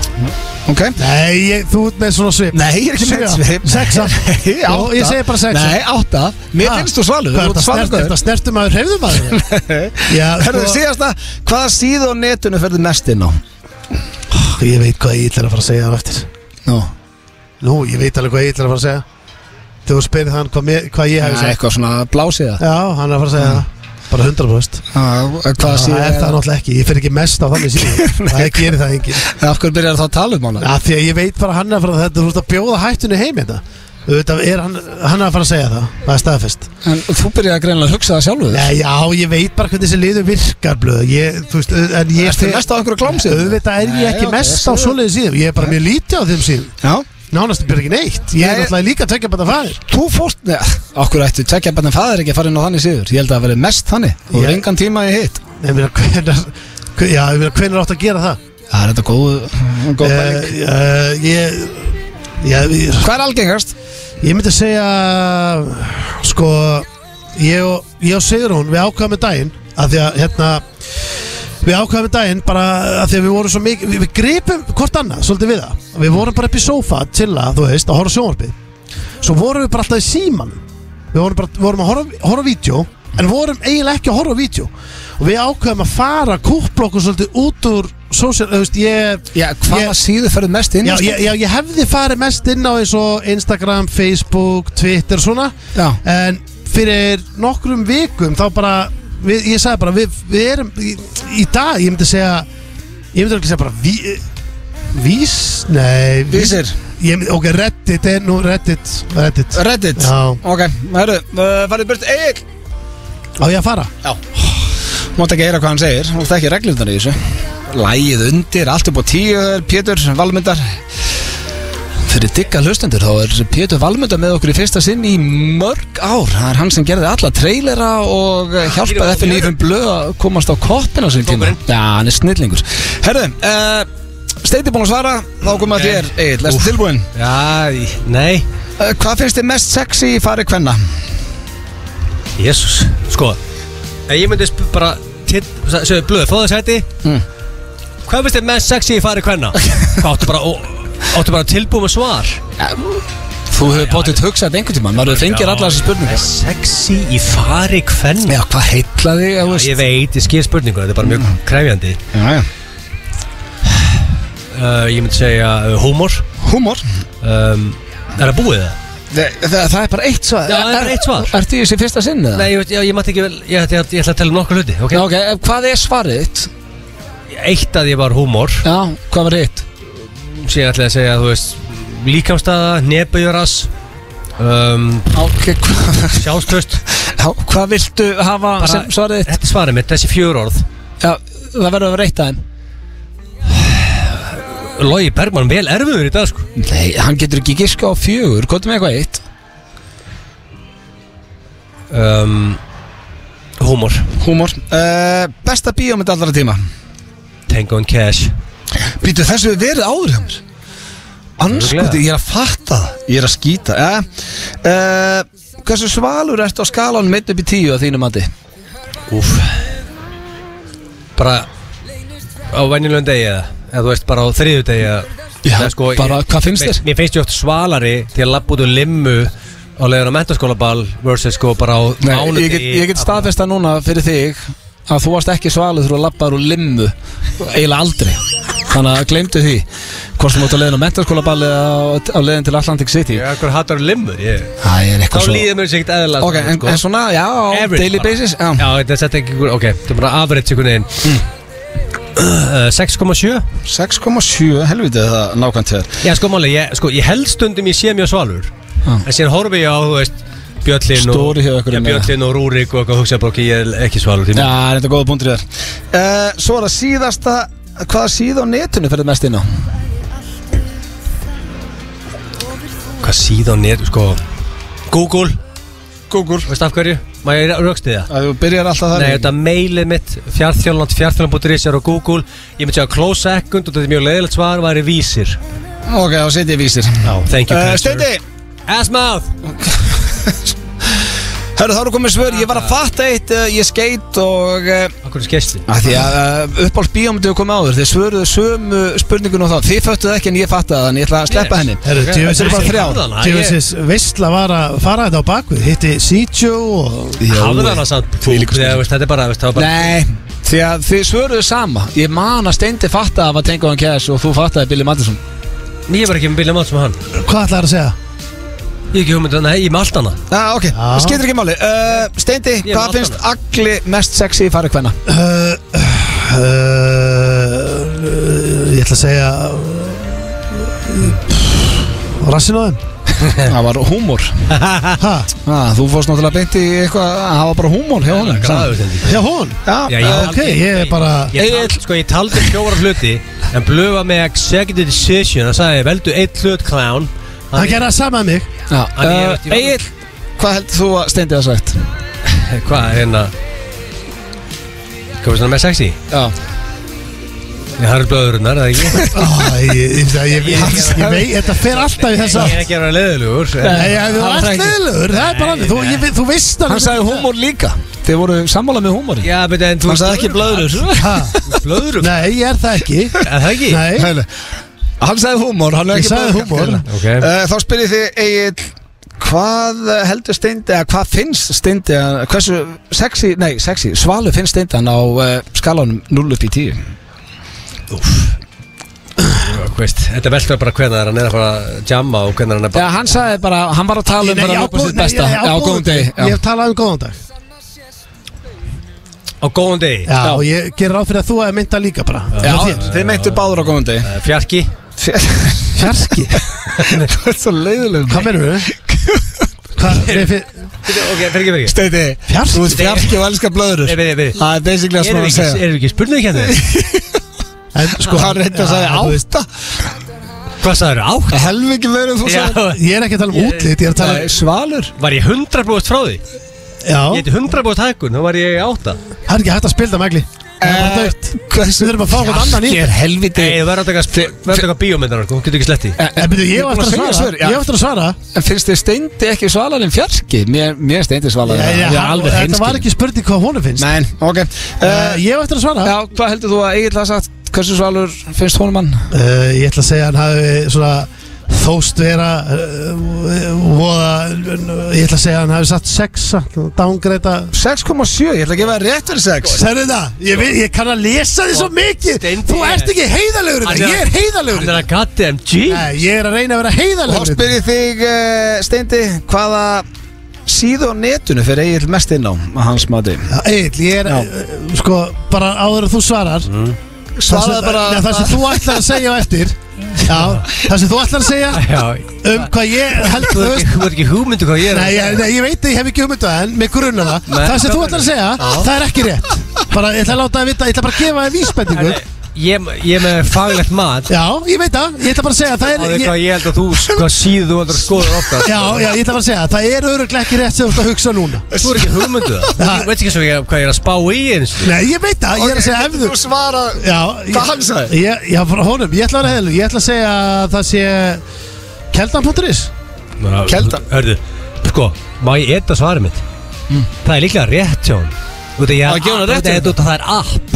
[SPEAKER 1] Ok
[SPEAKER 3] nei ég, þú ert með svona svip
[SPEAKER 1] Nei, ég er ekki
[SPEAKER 3] Sjö.
[SPEAKER 1] með svip
[SPEAKER 3] Sexa.
[SPEAKER 1] Nei,
[SPEAKER 3] Jó,
[SPEAKER 1] átta.
[SPEAKER 3] ég segi bara sexa.
[SPEAKER 1] Nei, átta Mér finnst þú svalur
[SPEAKER 3] hvað er þetta snert, er þetta snertum maður hreyfðum maður já
[SPEAKER 1] Herðu,
[SPEAKER 3] sko
[SPEAKER 1] síðasta Hvaða síðu á netinu ferði mest inn á?
[SPEAKER 3] ég veit hvað ég ætla að fara að segja á eftir
[SPEAKER 1] Nú
[SPEAKER 3] nú ég veit alveg hvað ég ætla að fara að segja þegar þú spyrir hann hvað, mér, hvað ég
[SPEAKER 1] Það
[SPEAKER 3] hef
[SPEAKER 1] er
[SPEAKER 3] sagt
[SPEAKER 1] eitthvað svona blásiða
[SPEAKER 3] já hann er að fara að segja það bara 100%
[SPEAKER 1] Hvaða
[SPEAKER 3] Það
[SPEAKER 1] síðu
[SPEAKER 3] er það náttúrulega ekki, ég fer ekki mest á þannig síðan Það gerir það enginn
[SPEAKER 1] Af hverju byrjar það að tala um hana?
[SPEAKER 3] ja, Því að ég veit bara hann er að fara að þetta Þú veist að bjóða hættunni heim þetta Þú veit að er hann, hann er að fara að segja það Það er staðfest
[SPEAKER 1] En þú byrjar að greinlega að hugsa það sjálfu
[SPEAKER 3] Nei, Já, ég veit bara hvernig þessi liður virkar blöð ég, Þú veist, au- en ég
[SPEAKER 1] Ertu mest á einhverju glámsíðu?
[SPEAKER 3] Auðvitað er ég
[SPEAKER 1] Nei,
[SPEAKER 3] ekki
[SPEAKER 1] ok,
[SPEAKER 3] mest á
[SPEAKER 1] svo-
[SPEAKER 3] svoleiði síðan Ég er bara mjög lítið á þeim síðan
[SPEAKER 1] Já
[SPEAKER 3] Nánast byrja ekki neitt Ég er
[SPEAKER 1] Nei.
[SPEAKER 3] náttúrulega líka tökja bara farir
[SPEAKER 1] Þú fórst Nei, okkur ættu Tvekja bennin fæðir ekki að fara inn á þannig síður Ég held að það verið mest þannig Þú er
[SPEAKER 3] Ég-
[SPEAKER 1] engan tíma í hitt
[SPEAKER 3] Nei, mér hvernig Já, hvernig átt að gera það
[SPEAKER 1] Það er þetta góð Góð
[SPEAKER 3] Eh,
[SPEAKER 1] bæling
[SPEAKER 3] eh, Ég Ég, ég,
[SPEAKER 1] Hvað er algengast?
[SPEAKER 3] Ég myndi segja sko ég og, ég og Sigrún við ákvaðum með daginn að því að hérna við ákvaðum með daginn bara að því að við vorum svo mikið við, við gripum hvort annað svolítið við það við vorum bara upp í sófa til að þú veist að horfa á sjónvarpið svo vorum við bara alltaf í síman við vorum, bara, vorum að horfa, horfa á vídeo en vorum eiginlega ekki að horfa á vídeo og við ákveðum að fara kúplokkur svolítið út úr social, þú veist, ég
[SPEAKER 1] Já, hvaða
[SPEAKER 3] Ég-
[SPEAKER 1] síðu ferðu mest inn
[SPEAKER 3] Já,
[SPEAKER 1] á, sko?
[SPEAKER 3] já, já, ég hefði farið mest inn á eins og Instagram, Facebook, Twitter svona
[SPEAKER 1] Já.
[SPEAKER 3] En fyrir nokkrum vikum þá bara við, Ég sagði bara, við, við erum í, í dag, ég myndi segja Ég myndi ekki segja bara ví, Vís, nei vís-
[SPEAKER 1] Vísir.
[SPEAKER 3] ég, myndi- Ok, Reddit, er nú Reddit Reddit
[SPEAKER 1] Reddit
[SPEAKER 3] Já.
[SPEAKER 1] Ok, herru, uh, farið burt Egil
[SPEAKER 3] Á ég að fara?
[SPEAKER 1] Já Mátt ekki heyra hvað hann segir Mátt ekki reglundar í þessu Lægið undir, allt upp á tíu er Pétur Valmundar Fyrir digga hlustendur þá er Pétur Valmundar með okkur í fyrsta sinn í mörg ár Það er hann sem gerði alla trailera og eh, hjálpaði FN Lífum Blöð að komast á koppina sem tíma
[SPEAKER 2] Kópurinn.
[SPEAKER 1] Já, hann er snillingur Herðu, uh, Steiti búin að svara Þá komum að
[SPEAKER 2] Ok.
[SPEAKER 1] þér, Egil, lestu tilbúin
[SPEAKER 2] Já, í- nei
[SPEAKER 1] uh, Hvað finnst þið mest sexy í fari kvenna?
[SPEAKER 2] Jésús Sko ef Ég myndi sp- bara titt- sa- Segðu blöð, fóðu sæti
[SPEAKER 1] Mm.
[SPEAKER 2] Hvað finnst þið mest sexy í fari hvenna? Áttu bara, ó- áttu bara tilbúið með svar
[SPEAKER 1] Þú hefur bótið hugsað einhvern tíma, maður fengir allar þessi spurningar
[SPEAKER 2] Mest Sexy í fari hvenna
[SPEAKER 1] Já, hvað heitla þig, þú veist
[SPEAKER 2] Ég veit, ég skil spurningu Þetta er bara mjög krefjandi
[SPEAKER 1] Já, já
[SPEAKER 2] uh, Ég myndi segja uh, húmor
[SPEAKER 1] Húmor
[SPEAKER 2] um, Er það búið það?
[SPEAKER 1] það, það, það er bara eitt svar
[SPEAKER 2] Já, það er bara eitt svar.
[SPEAKER 1] Ertu í þessi fyrsta sinn eða?
[SPEAKER 2] Nei, ég, veit- já, ég mætti ekki vel Ég, ég, ég, ég ætla að tella um nokkur hluti
[SPEAKER 1] Já,
[SPEAKER 2] okay?
[SPEAKER 1] ok, ef- hvað er svarið þitt?
[SPEAKER 2] Eitt að ég var húmor
[SPEAKER 1] Já, hvað var hitt?
[SPEAKER 2] Sér ætla ég að segja, þú veist Líkamstaða, nebujöras um,
[SPEAKER 1] Ok, hva,
[SPEAKER 2] Sjálfstöst
[SPEAKER 1] já, hvað viltu hafa
[SPEAKER 2] Bara-
[SPEAKER 1] sem svarið þitt?
[SPEAKER 2] Þetta er svarið mitt, þessi fjör orð
[SPEAKER 1] Já, það verður að vera eitt aðeim
[SPEAKER 2] Logi Bergman vel erfiður í dag sko
[SPEAKER 1] Nei, hann getur ekki giska á fjögur, hvað er með eitthvað eitt?
[SPEAKER 2] um, Húmor
[SPEAKER 1] Húmor uh, Besta bíómynd allra tíma
[SPEAKER 2] Tango and Cash
[SPEAKER 1] Býtu, þessu hefur verið áður hjá mér Anskoti, ég er að fatta það Ég er að skýta ja. uh, Hversu svalur ertu á skalanum 1 upp í 10 að þínu mati?
[SPEAKER 2] Úf Bara á venjulegum degi eða eða þú veist bara á þriðu degi eða
[SPEAKER 1] Já,
[SPEAKER 2] Nei,
[SPEAKER 1] bara,
[SPEAKER 2] ég-
[SPEAKER 1] hvað finnst þér?
[SPEAKER 2] Mér, mér finnst ég oft svalari til að labba út úr limmu á leiðin á mentaskólaball versus sko bara á
[SPEAKER 1] Nei,
[SPEAKER 2] mánudegi
[SPEAKER 1] ég get, ég get staðfesta núna fyrir þig að þú varst ekki svalur þegar þú lappar úr limmu eiginlega aldrei þannig að glemdu því hvort þú mátt að leiðin á mentarskólaballi á, á leiðin til Atlantic City
[SPEAKER 2] Ég akkur hattar limmu ég.
[SPEAKER 1] Það er
[SPEAKER 2] Þá
[SPEAKER 1] eitthvað svo
[SPEAKER 2] líður mér sér ekkert eðla
[SPEAKER 1] Ok, en, en svona, já, á
[SPEAKER 2] Average
[SPEAKER 1] daily
[SPEAKER 2] sko. bara.
[SPEAKER 1] basis já. Mm.
[SPEAKER 2] Já, þetta er sett ekki einhver, ok, þetta er bara average einhvern veginn uh, 6,7
[SPEAKER 1] 6,7, helviti það nákvæmt til
[SPEAKER 2] Já, sko máli, ég, sko, ég held stundum ég sé mjög svalur
[SPEAKER 1] Já.
[SPEAKER 2] En síðan horfi ég á, þú veist, Bjöllin og
[SPEAKER 1] Stóri hjá ykkur
[SPEAKER 2] Já,
[SPEAKER 1] um það.
[SPEAKER 2] Bjöllin og Rúrik og eitthvað og hugsa bara, ok, ég er ekki svalur
[SPEAKER 1] Já,
[SPEAKER 2] tíma
[SPEAKER 1] það er þetta góða punktur þér uh, Svo er það síðasta Hvaða síða á netinu fyrir mest inn á?
[SPEAKER 2] Hvað síðan er, sko Google,
[SPEAKER 1] Google
[SPEAKER 2] veist af hverju? Má ég rögsti það?
[SPEAKER 1] Þú byrjar alltaf það
[SPEAKER 2] Nei, þetta mailið mitt, fjartþjóland, fjartþjóland.is er á Google Ég myndi að close second og þetta er mjög leiðilegt svar, væri vísir
[SPEAKER 1] Ok, þá setjum ég vísir
[SPEAKER 2] Já, thank you,
[SPEAKER 1] uh,
[SPEAKER 2] cancer.
[SPEAKER 1] Steindi,
[SPEAKER 2] Assmouth
[SPEAKER 1] hörru þá eru komið svör Ég var að fatta eitt, uh, ég skeit og uh,
[SPEAKER 2] Akkur er skesti
[SPEAKER 1] að Því að uh, uppáls bíómyndu komið áður Þið svöruðu sömu spurningun og það Þið föttuð ekki en ég fattaði þannig ég ætla að sleppa henni
[SPEAKER 3] Herru,
[SPEAKER 2] Ok,
[SPEAKER 3] djöfisins-
[SPEAKER 2] þetta er bara
[SPEAKER 1] þrjár.
[SPEAKER 2] hafðana, ég-
[SPEAKER 3] Tjóðsins veistla var að fara þetta á bakvið Hitti Sitjo og
[SPEAKER 2] Hafðu hana samt
[SPEAKER 1] Því líka
[SPEAKER 2] Þegar, veist, Þetta er bara, veist, það var bara
[SPEAKER 1] Nei, því að þið svöruðu sama Ég man að Steindi fattaði að var tenguðan kæs og þú fattaði Billy Madison
[SPEAKER 2] Ég var ekki með Billy Mátt sem hann
[SPEAKER 3] hvað ætlar að segja?
[SPEAKER 2] Ég hef ekki hugmynd, um nei, ég er með allt annað
[SPEAKER 1] ah, ok,
[SPEAKER 3] Já.
[SPEAKER 1] skiptir ekki máli uh, Steindi,
[SPEAKER 2] Ég er
[SPEAKER 1] hvað
[SPEAKER 2] með
[SPEAKER 1] finnst agli mest sexy í fari hvenna?
[SPEAKER 3] Uh, uh, uh, ég ætla að segja Rassin á þeim
[SPEAKER 1] Það var húmor
[SPEAKER 3] ha,
[SPEAKER 1] ah, Þú fórst náttúrulega beint í eitthvað Það Eh, var bara húmor hjá honum samt.
[SPEAKER 3] Já hún
[SPEAKER 1] Já,
[SPEAKER 2] Já,
[SPEAKER 1] já,
[SPEAKER 2] ég-
[SPEAKER 3] Ok, ég er bara
[SPEAKER 2] Ég tal, sko, ég taldi fjóra hluti En blöfa með executive decision Það sagði, veldu eitt hlut clown
[SPEAKER 3] Hann gerði það sama með mig
[SPEAKER 1] já.
[SPEAKER 2] Hann er-
[SPEAKER 1] Uh, Egil, hvað heldur þú að Steindi hafa sagt?
[SPEAKER 2] gerði Hvað, hérna Hvað er svona með sexy?
[SPEAKER 1] Já,
[SPEAKER 2] Ég har blöðurinnar, eða ekki?
[SPEAKER 3] Ó, ég, ég, ég, ég, ég, ég veit, þetta fer alltaf í þessa
[SPEAKER 2] Ég er ekki að vera leiðilugur
[SPEAKER 3] Nei,
[SPEAKER 2] en-
[SPEAKER 3] ég, þú
[SPEAKER 1] Hann
[SPEAKER 3] er
[SPEAKER 1] sagði-
[SPEAKER 3] alltaf leðilegur Það er bara alveg, þú, ég, þú veist
[SPEAKER 1] hann sagði húmor líka Þið voru sammála með húmori
[SPEAKER 2] Já, beti, en þú
[SPEAKER 1] Hann sagði ekki blöðrur
[SPEAKER 3] Ha,
[SPEAKER 2] Blöðurum?
[SPEAKER 3] Nei, ég er það ekki
[SPEAKER 2] Er það ekki?
[SPEAKER 3] Nei,
[SPEAKER 1] Hann sagði húmor, hann er
[SPEAKER 3] Ég
[SPEAKER 1] ekki
[SPEAKER 3] sagði
[SPEAKER 1] blöðrur.
[SPEAKER 3] húmor.
[SPEAKER 2] Ok.
[SPEAKER 1] Eh, Þá spyrir þið Egil Hvað eh, heldur Steindi, eða hvað finnst Steindi, að- hversu sexy, nei sexy, svalu finnst Steindi hann á uh, skalanum 0 upp í 10?
[SPEAKER 2] Veist, þetta veldur bara hvernig hann er að fara að jamma og hvernig hann er
[SPEAKER 1] Já,
[SPEAKER 2] bara
[SPEAKER 1] hann sagði bara, hann var að tala um
[SPEAKER 3] Nei,
[SPEAKER 1] bara
[SPEAKER 3] á
[SPEAKER 1] að lúpa
[SPEAKER 3] góð-
[SPEAKER 1] sitt
[SPEAKER 3] nei,
[SPEAKER 1] besta.
[SPEAKER 3] nei, á
[SPEAKER 1] Já,
[SPEAKER 3] góðum
[SPEAKER 1] góðum
[SPEAKER 3] degi.
[SPEAKER 1] deg.
[SPEAKER 3] Ég
[SPEAKER 1] Já.
[SPEAKER 3] hef talað um góðan dag
[SPEAKER 2] á góðan degi
[SPEAKER 3] Já, og ég gerir ráð fyrir að þú hefði mynda líka bara
[SPEAKER 1] Já,
[SPEAKER 3] Hjá þér.
[SPEAKER 1] þeir meintu báður á góðum deg.
[SPEAKER 2] Eh, Fjarki
[SPEAKER 3] Fjarki,
[SPEAKER 1] Þú ert svo leiðilegum.
[SPEAKER 3] hvað mennum við? Hvað, nei, fyr-
[SPEAKER 2] Ok, fyrir ekki, fyrir ekki
[SPEAKER 1] Steindi,
[SPEAKER 3] Fjarki?
[SPEAKER 1] þú ert fjarki og elskar blöður.
[SPEAKER 2] Nei,
[SPEAKER 1] Það
[SPEAKER 2] byrja, byrja
[SPEAKER 1] er basically að smá
[SPEAKER 2] Erum
[SPEAKER 1] að
[SPEAKER 2] við ekki,
[SPEAKER 1] segja.
[SPEAKER 2] erum við ekki spurning hérna?
[SPEAKER 3] en, sko,
[SPEAKER 1] Hann reyndi að
[SPEAKER 3] já,
[SPEAKER 1] segja
[SPEAKER 3] þú veist,
[SPEAKER 1] átta.
[SPEAKER 2] Hvað sagður, átt?
[SPEAKER 1] Helviki meður en þú sagði.
[SPEAKER 2] Já,
[SPEAKER 3] Ég er ekki að tala um útlit, ég er að tala
[SPEAKER 1] Nei, Svalur.
[SPEAKER 2] var ég hundra brúið frá því?
[SPEAKER 3] um
[SPEAKER 2] Ég
[SPEAKER 3] Já,
[SPEAKER 2] heiti hundra brúið hækkun, þá var ég átta
[SPEAKER 3] það er ekki hægt að spila það megli Það er bara
[SPEAKER 1] Eh,
[SPEAKER 3] dögt
[SPEAKER 1] Hversu?
[SPEAKER 3] Við þurfum að fá okkur annan í
[SPEAKER 1] Fjarki er helviti. Eh,
[SPEAKER 2] Nei, þú verður að taka sp- verður að taka bíómyndar, þú getur ekki slett í
[SPEAKER 3] En Eh, byrju, ég hef eftir að svara Ég hef eftir að svara
[SPEAKER 1] En finnst þið steindi ekki svalar en fjarki? Mér, mér steindi svalar
[SPEAKER 3] Ég- ég- Eh, hann- Þetta var ekki spurning hvað honum finnst
[SPEAKER 1] Nei, ok
[SPEAKER 3] Eh,
[SPEAKER 1] uh,
[SPEAKER 3] Ég hef eftir að svara
[SPEAKER 1] Já, hvað heldur þú að Egil hafa sagt? Hversu svalur finnst honum hann?
[SPEAKER 3] Eh, Ég ætla að segja að hann hafi svona þóst vera eh, voða Ég ætla að segja að hann hafi satt sexa Dángreita
[SPEAKER 1] 6,7, ég ætla að gefa þér rétt fyrir 6
[SPEAKER 3] Serðu það? Ég, veit, ég kann að lesa því svo mikið
[SPEAKER 2] Steindi
[SPEAKER 3] Þú
[SPEAKER 2] er-
[SPEAKER 3] ert ekki heiðalegur í
[SPEAKER 2] Hann
[SPEAKER 3] þetta
[SPEAKER 2] er-
[SPEAKER 3] Ég er heiðalegur í
[SPEAKER 2] Hann er
[SPEAKER 3] þetta
[SPEAKER 2] að goddamn G
[SPEAKER 3] Nei, Ég er að reyna að
[SPEAKER 1] Og
[SPEAKER 3] vera
[SPEAKER 1] þá
[SPEAKER 3] heiðalegur í þetta
[SPEAKER 1] spyr ég þig, uh, Steindi Hvaða síðu á netinu fyrir Egil mest inn á að hans mati?
[SPEAKER 3] Egil, ég er,
[SPEAKER 1] Já.
[SPEAKER 3] eh, sko, bara áður en þú svarar
[SPEAKER 2] Mm.
[SPEAKER 1] Svaraði bara
[SPEAKER 3] Nei, Það sem þú ætlar að segja á eftir Já, það sem þú ætlar að segja
[SPEAKER 2] Já,
[SPEAKER 3] um hvað ég held
[SPEAKER 2] þú
[SPEAKER 3] þú
[SPEAKER 2] er
[SPEAKER 3] veist
[SPEAKER 2] ekki, þú ert ekki hugmyndu hvað ég er
[SPEAKER 3] Nei, ég, nei, ég veit að ég hef ekki hugmyndu en mig grunna það
[SPEAKER 2] Nei.
[SPEAKER 3] Það sem þú ætlar að segja, það er ekki rétt Bara, ég ætla að láta það vita, ég ætla bara að gefa það
[SPEAKER 2] En,
[SPEAKER 3] vísbendingu
[SPEAKER 2] eh, Ég, ég er með faglegt mat
[SPEAKER 3] Já, ég veit það, ég ætla bara að segja að
[SPEAKER 2] Það
[SPEAKER 3] það er
[SPEAKER 2] er
[SPEAKER 3] ég,
[SPEAKER 2] hvað ég held að þú, hvað síðu þú heldur að skoða ofta
[SPEAKER 3] Já, já, ég ætla bara að segja að það er öruglega ekki rétt sem þú ert að hugsa núna
[SPEAKER 2] Þú er ekki hugmyndu það Þú
[SPEAKER 3] Nei.
[SPEAKER 2] veit ekki sem ég, hvað ég er að spá í eins
[SPEAKER 3] Nei, ég veit það, ég er að segja ef þú
[SPEAKER 1] svara
[SPEAKER 3] Já, ég,
[SPEAKER 1] Hvað hann sagði?
[SPEAKER 3] Ég, já, frá honum, ég ætla að vera heilu Ég ætla að segja að það sé Keldan.is
[SPEAKER 1] Keldan.
[SPEAKER 2] Hörðu, Hérna, sko, má ég edda svarið mitt
[SPEAKER 1] Mm.
[SPEAKER 2] Það er líklega rétt hjá hann Þú veit
[SPEAKER 1] Það er
[SPEAKER 2] að ég
[SPEAKER 1] ekki honum rétt hjá
[SPEAKER 2] að
[SPEAKER 1] honum.
[SPEAKER 2] Það er app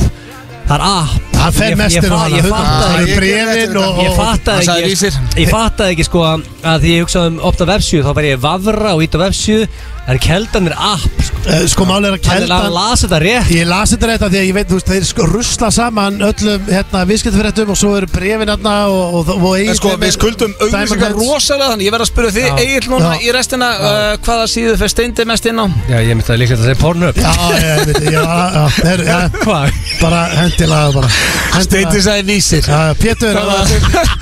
[SPEAKER 2] Það er app
[SPEAKER 3] Það fer
[SPEAKER 2] Ég-
[SPEAKER 3] mest
[SPEAKER 2] ég
[SPEAKER 3] inn á
[SPEAKER 2] fa-
[SPEAKER 3] hana,
[SPEAKER 2] Ég fattaði
[SPEAKER 3] 100%. Það
[SPEAKER 2] ekki
[SPEAKER 3] eru bréfin og-
[SPEAKER 2] Ég
[SPEAKER 1] Hann
[SPEAKER 2] fattaði
[SPEAKER 1] sagði
[SPEAKER 2] ekki
[SPEAKER 1] Vísir.
[SPEAKER 2] Ég fattaði ekki sko að því ég hugsaði um opta vefsíðu þá var ég vafra og ít á vefsíðu en keldan er app sko.
[SPEAKER 3] Eh, Sko, máli er að
[SPEAKER 2] Hann er
[SPEAKER 3] keldan
[SPEAKER 2] að lasa þetta rétt
[SPEAKER 3] Ég las þetta rétt af því að ég veit, þú veist, þeir sko rusla saman öllum hérna viðskiptafréttum og svo eru brefin hérna og, og, og eigin
[SPEAKER 1] En sko, við skuldum auðvitað rosalega þannig Ég verð að spyrja því,
[SPEAKER 2] Já.
[SPEAKER 1] Egil núna
[SPEAKER 3] Já.
[SPEAKER 1] í restina uh, Hvaða síðu fyrir Steindi mest inn á?
[SPEAKER 2] Já, ég myndi að líka þetta að segja Pornhub
[SPEAKER 3] Já, já, ég veit, já, já, þeir, já,
[SPEAKER 2] Hvað?
[SPEAKER 3] bara hendi laga bara Hendi
[SPEAKER 1] Steindi
[SPEAKER 3] laga.
[SPEAKER 1] sagði vísir
[SPEAKER 3] Já, Pétur,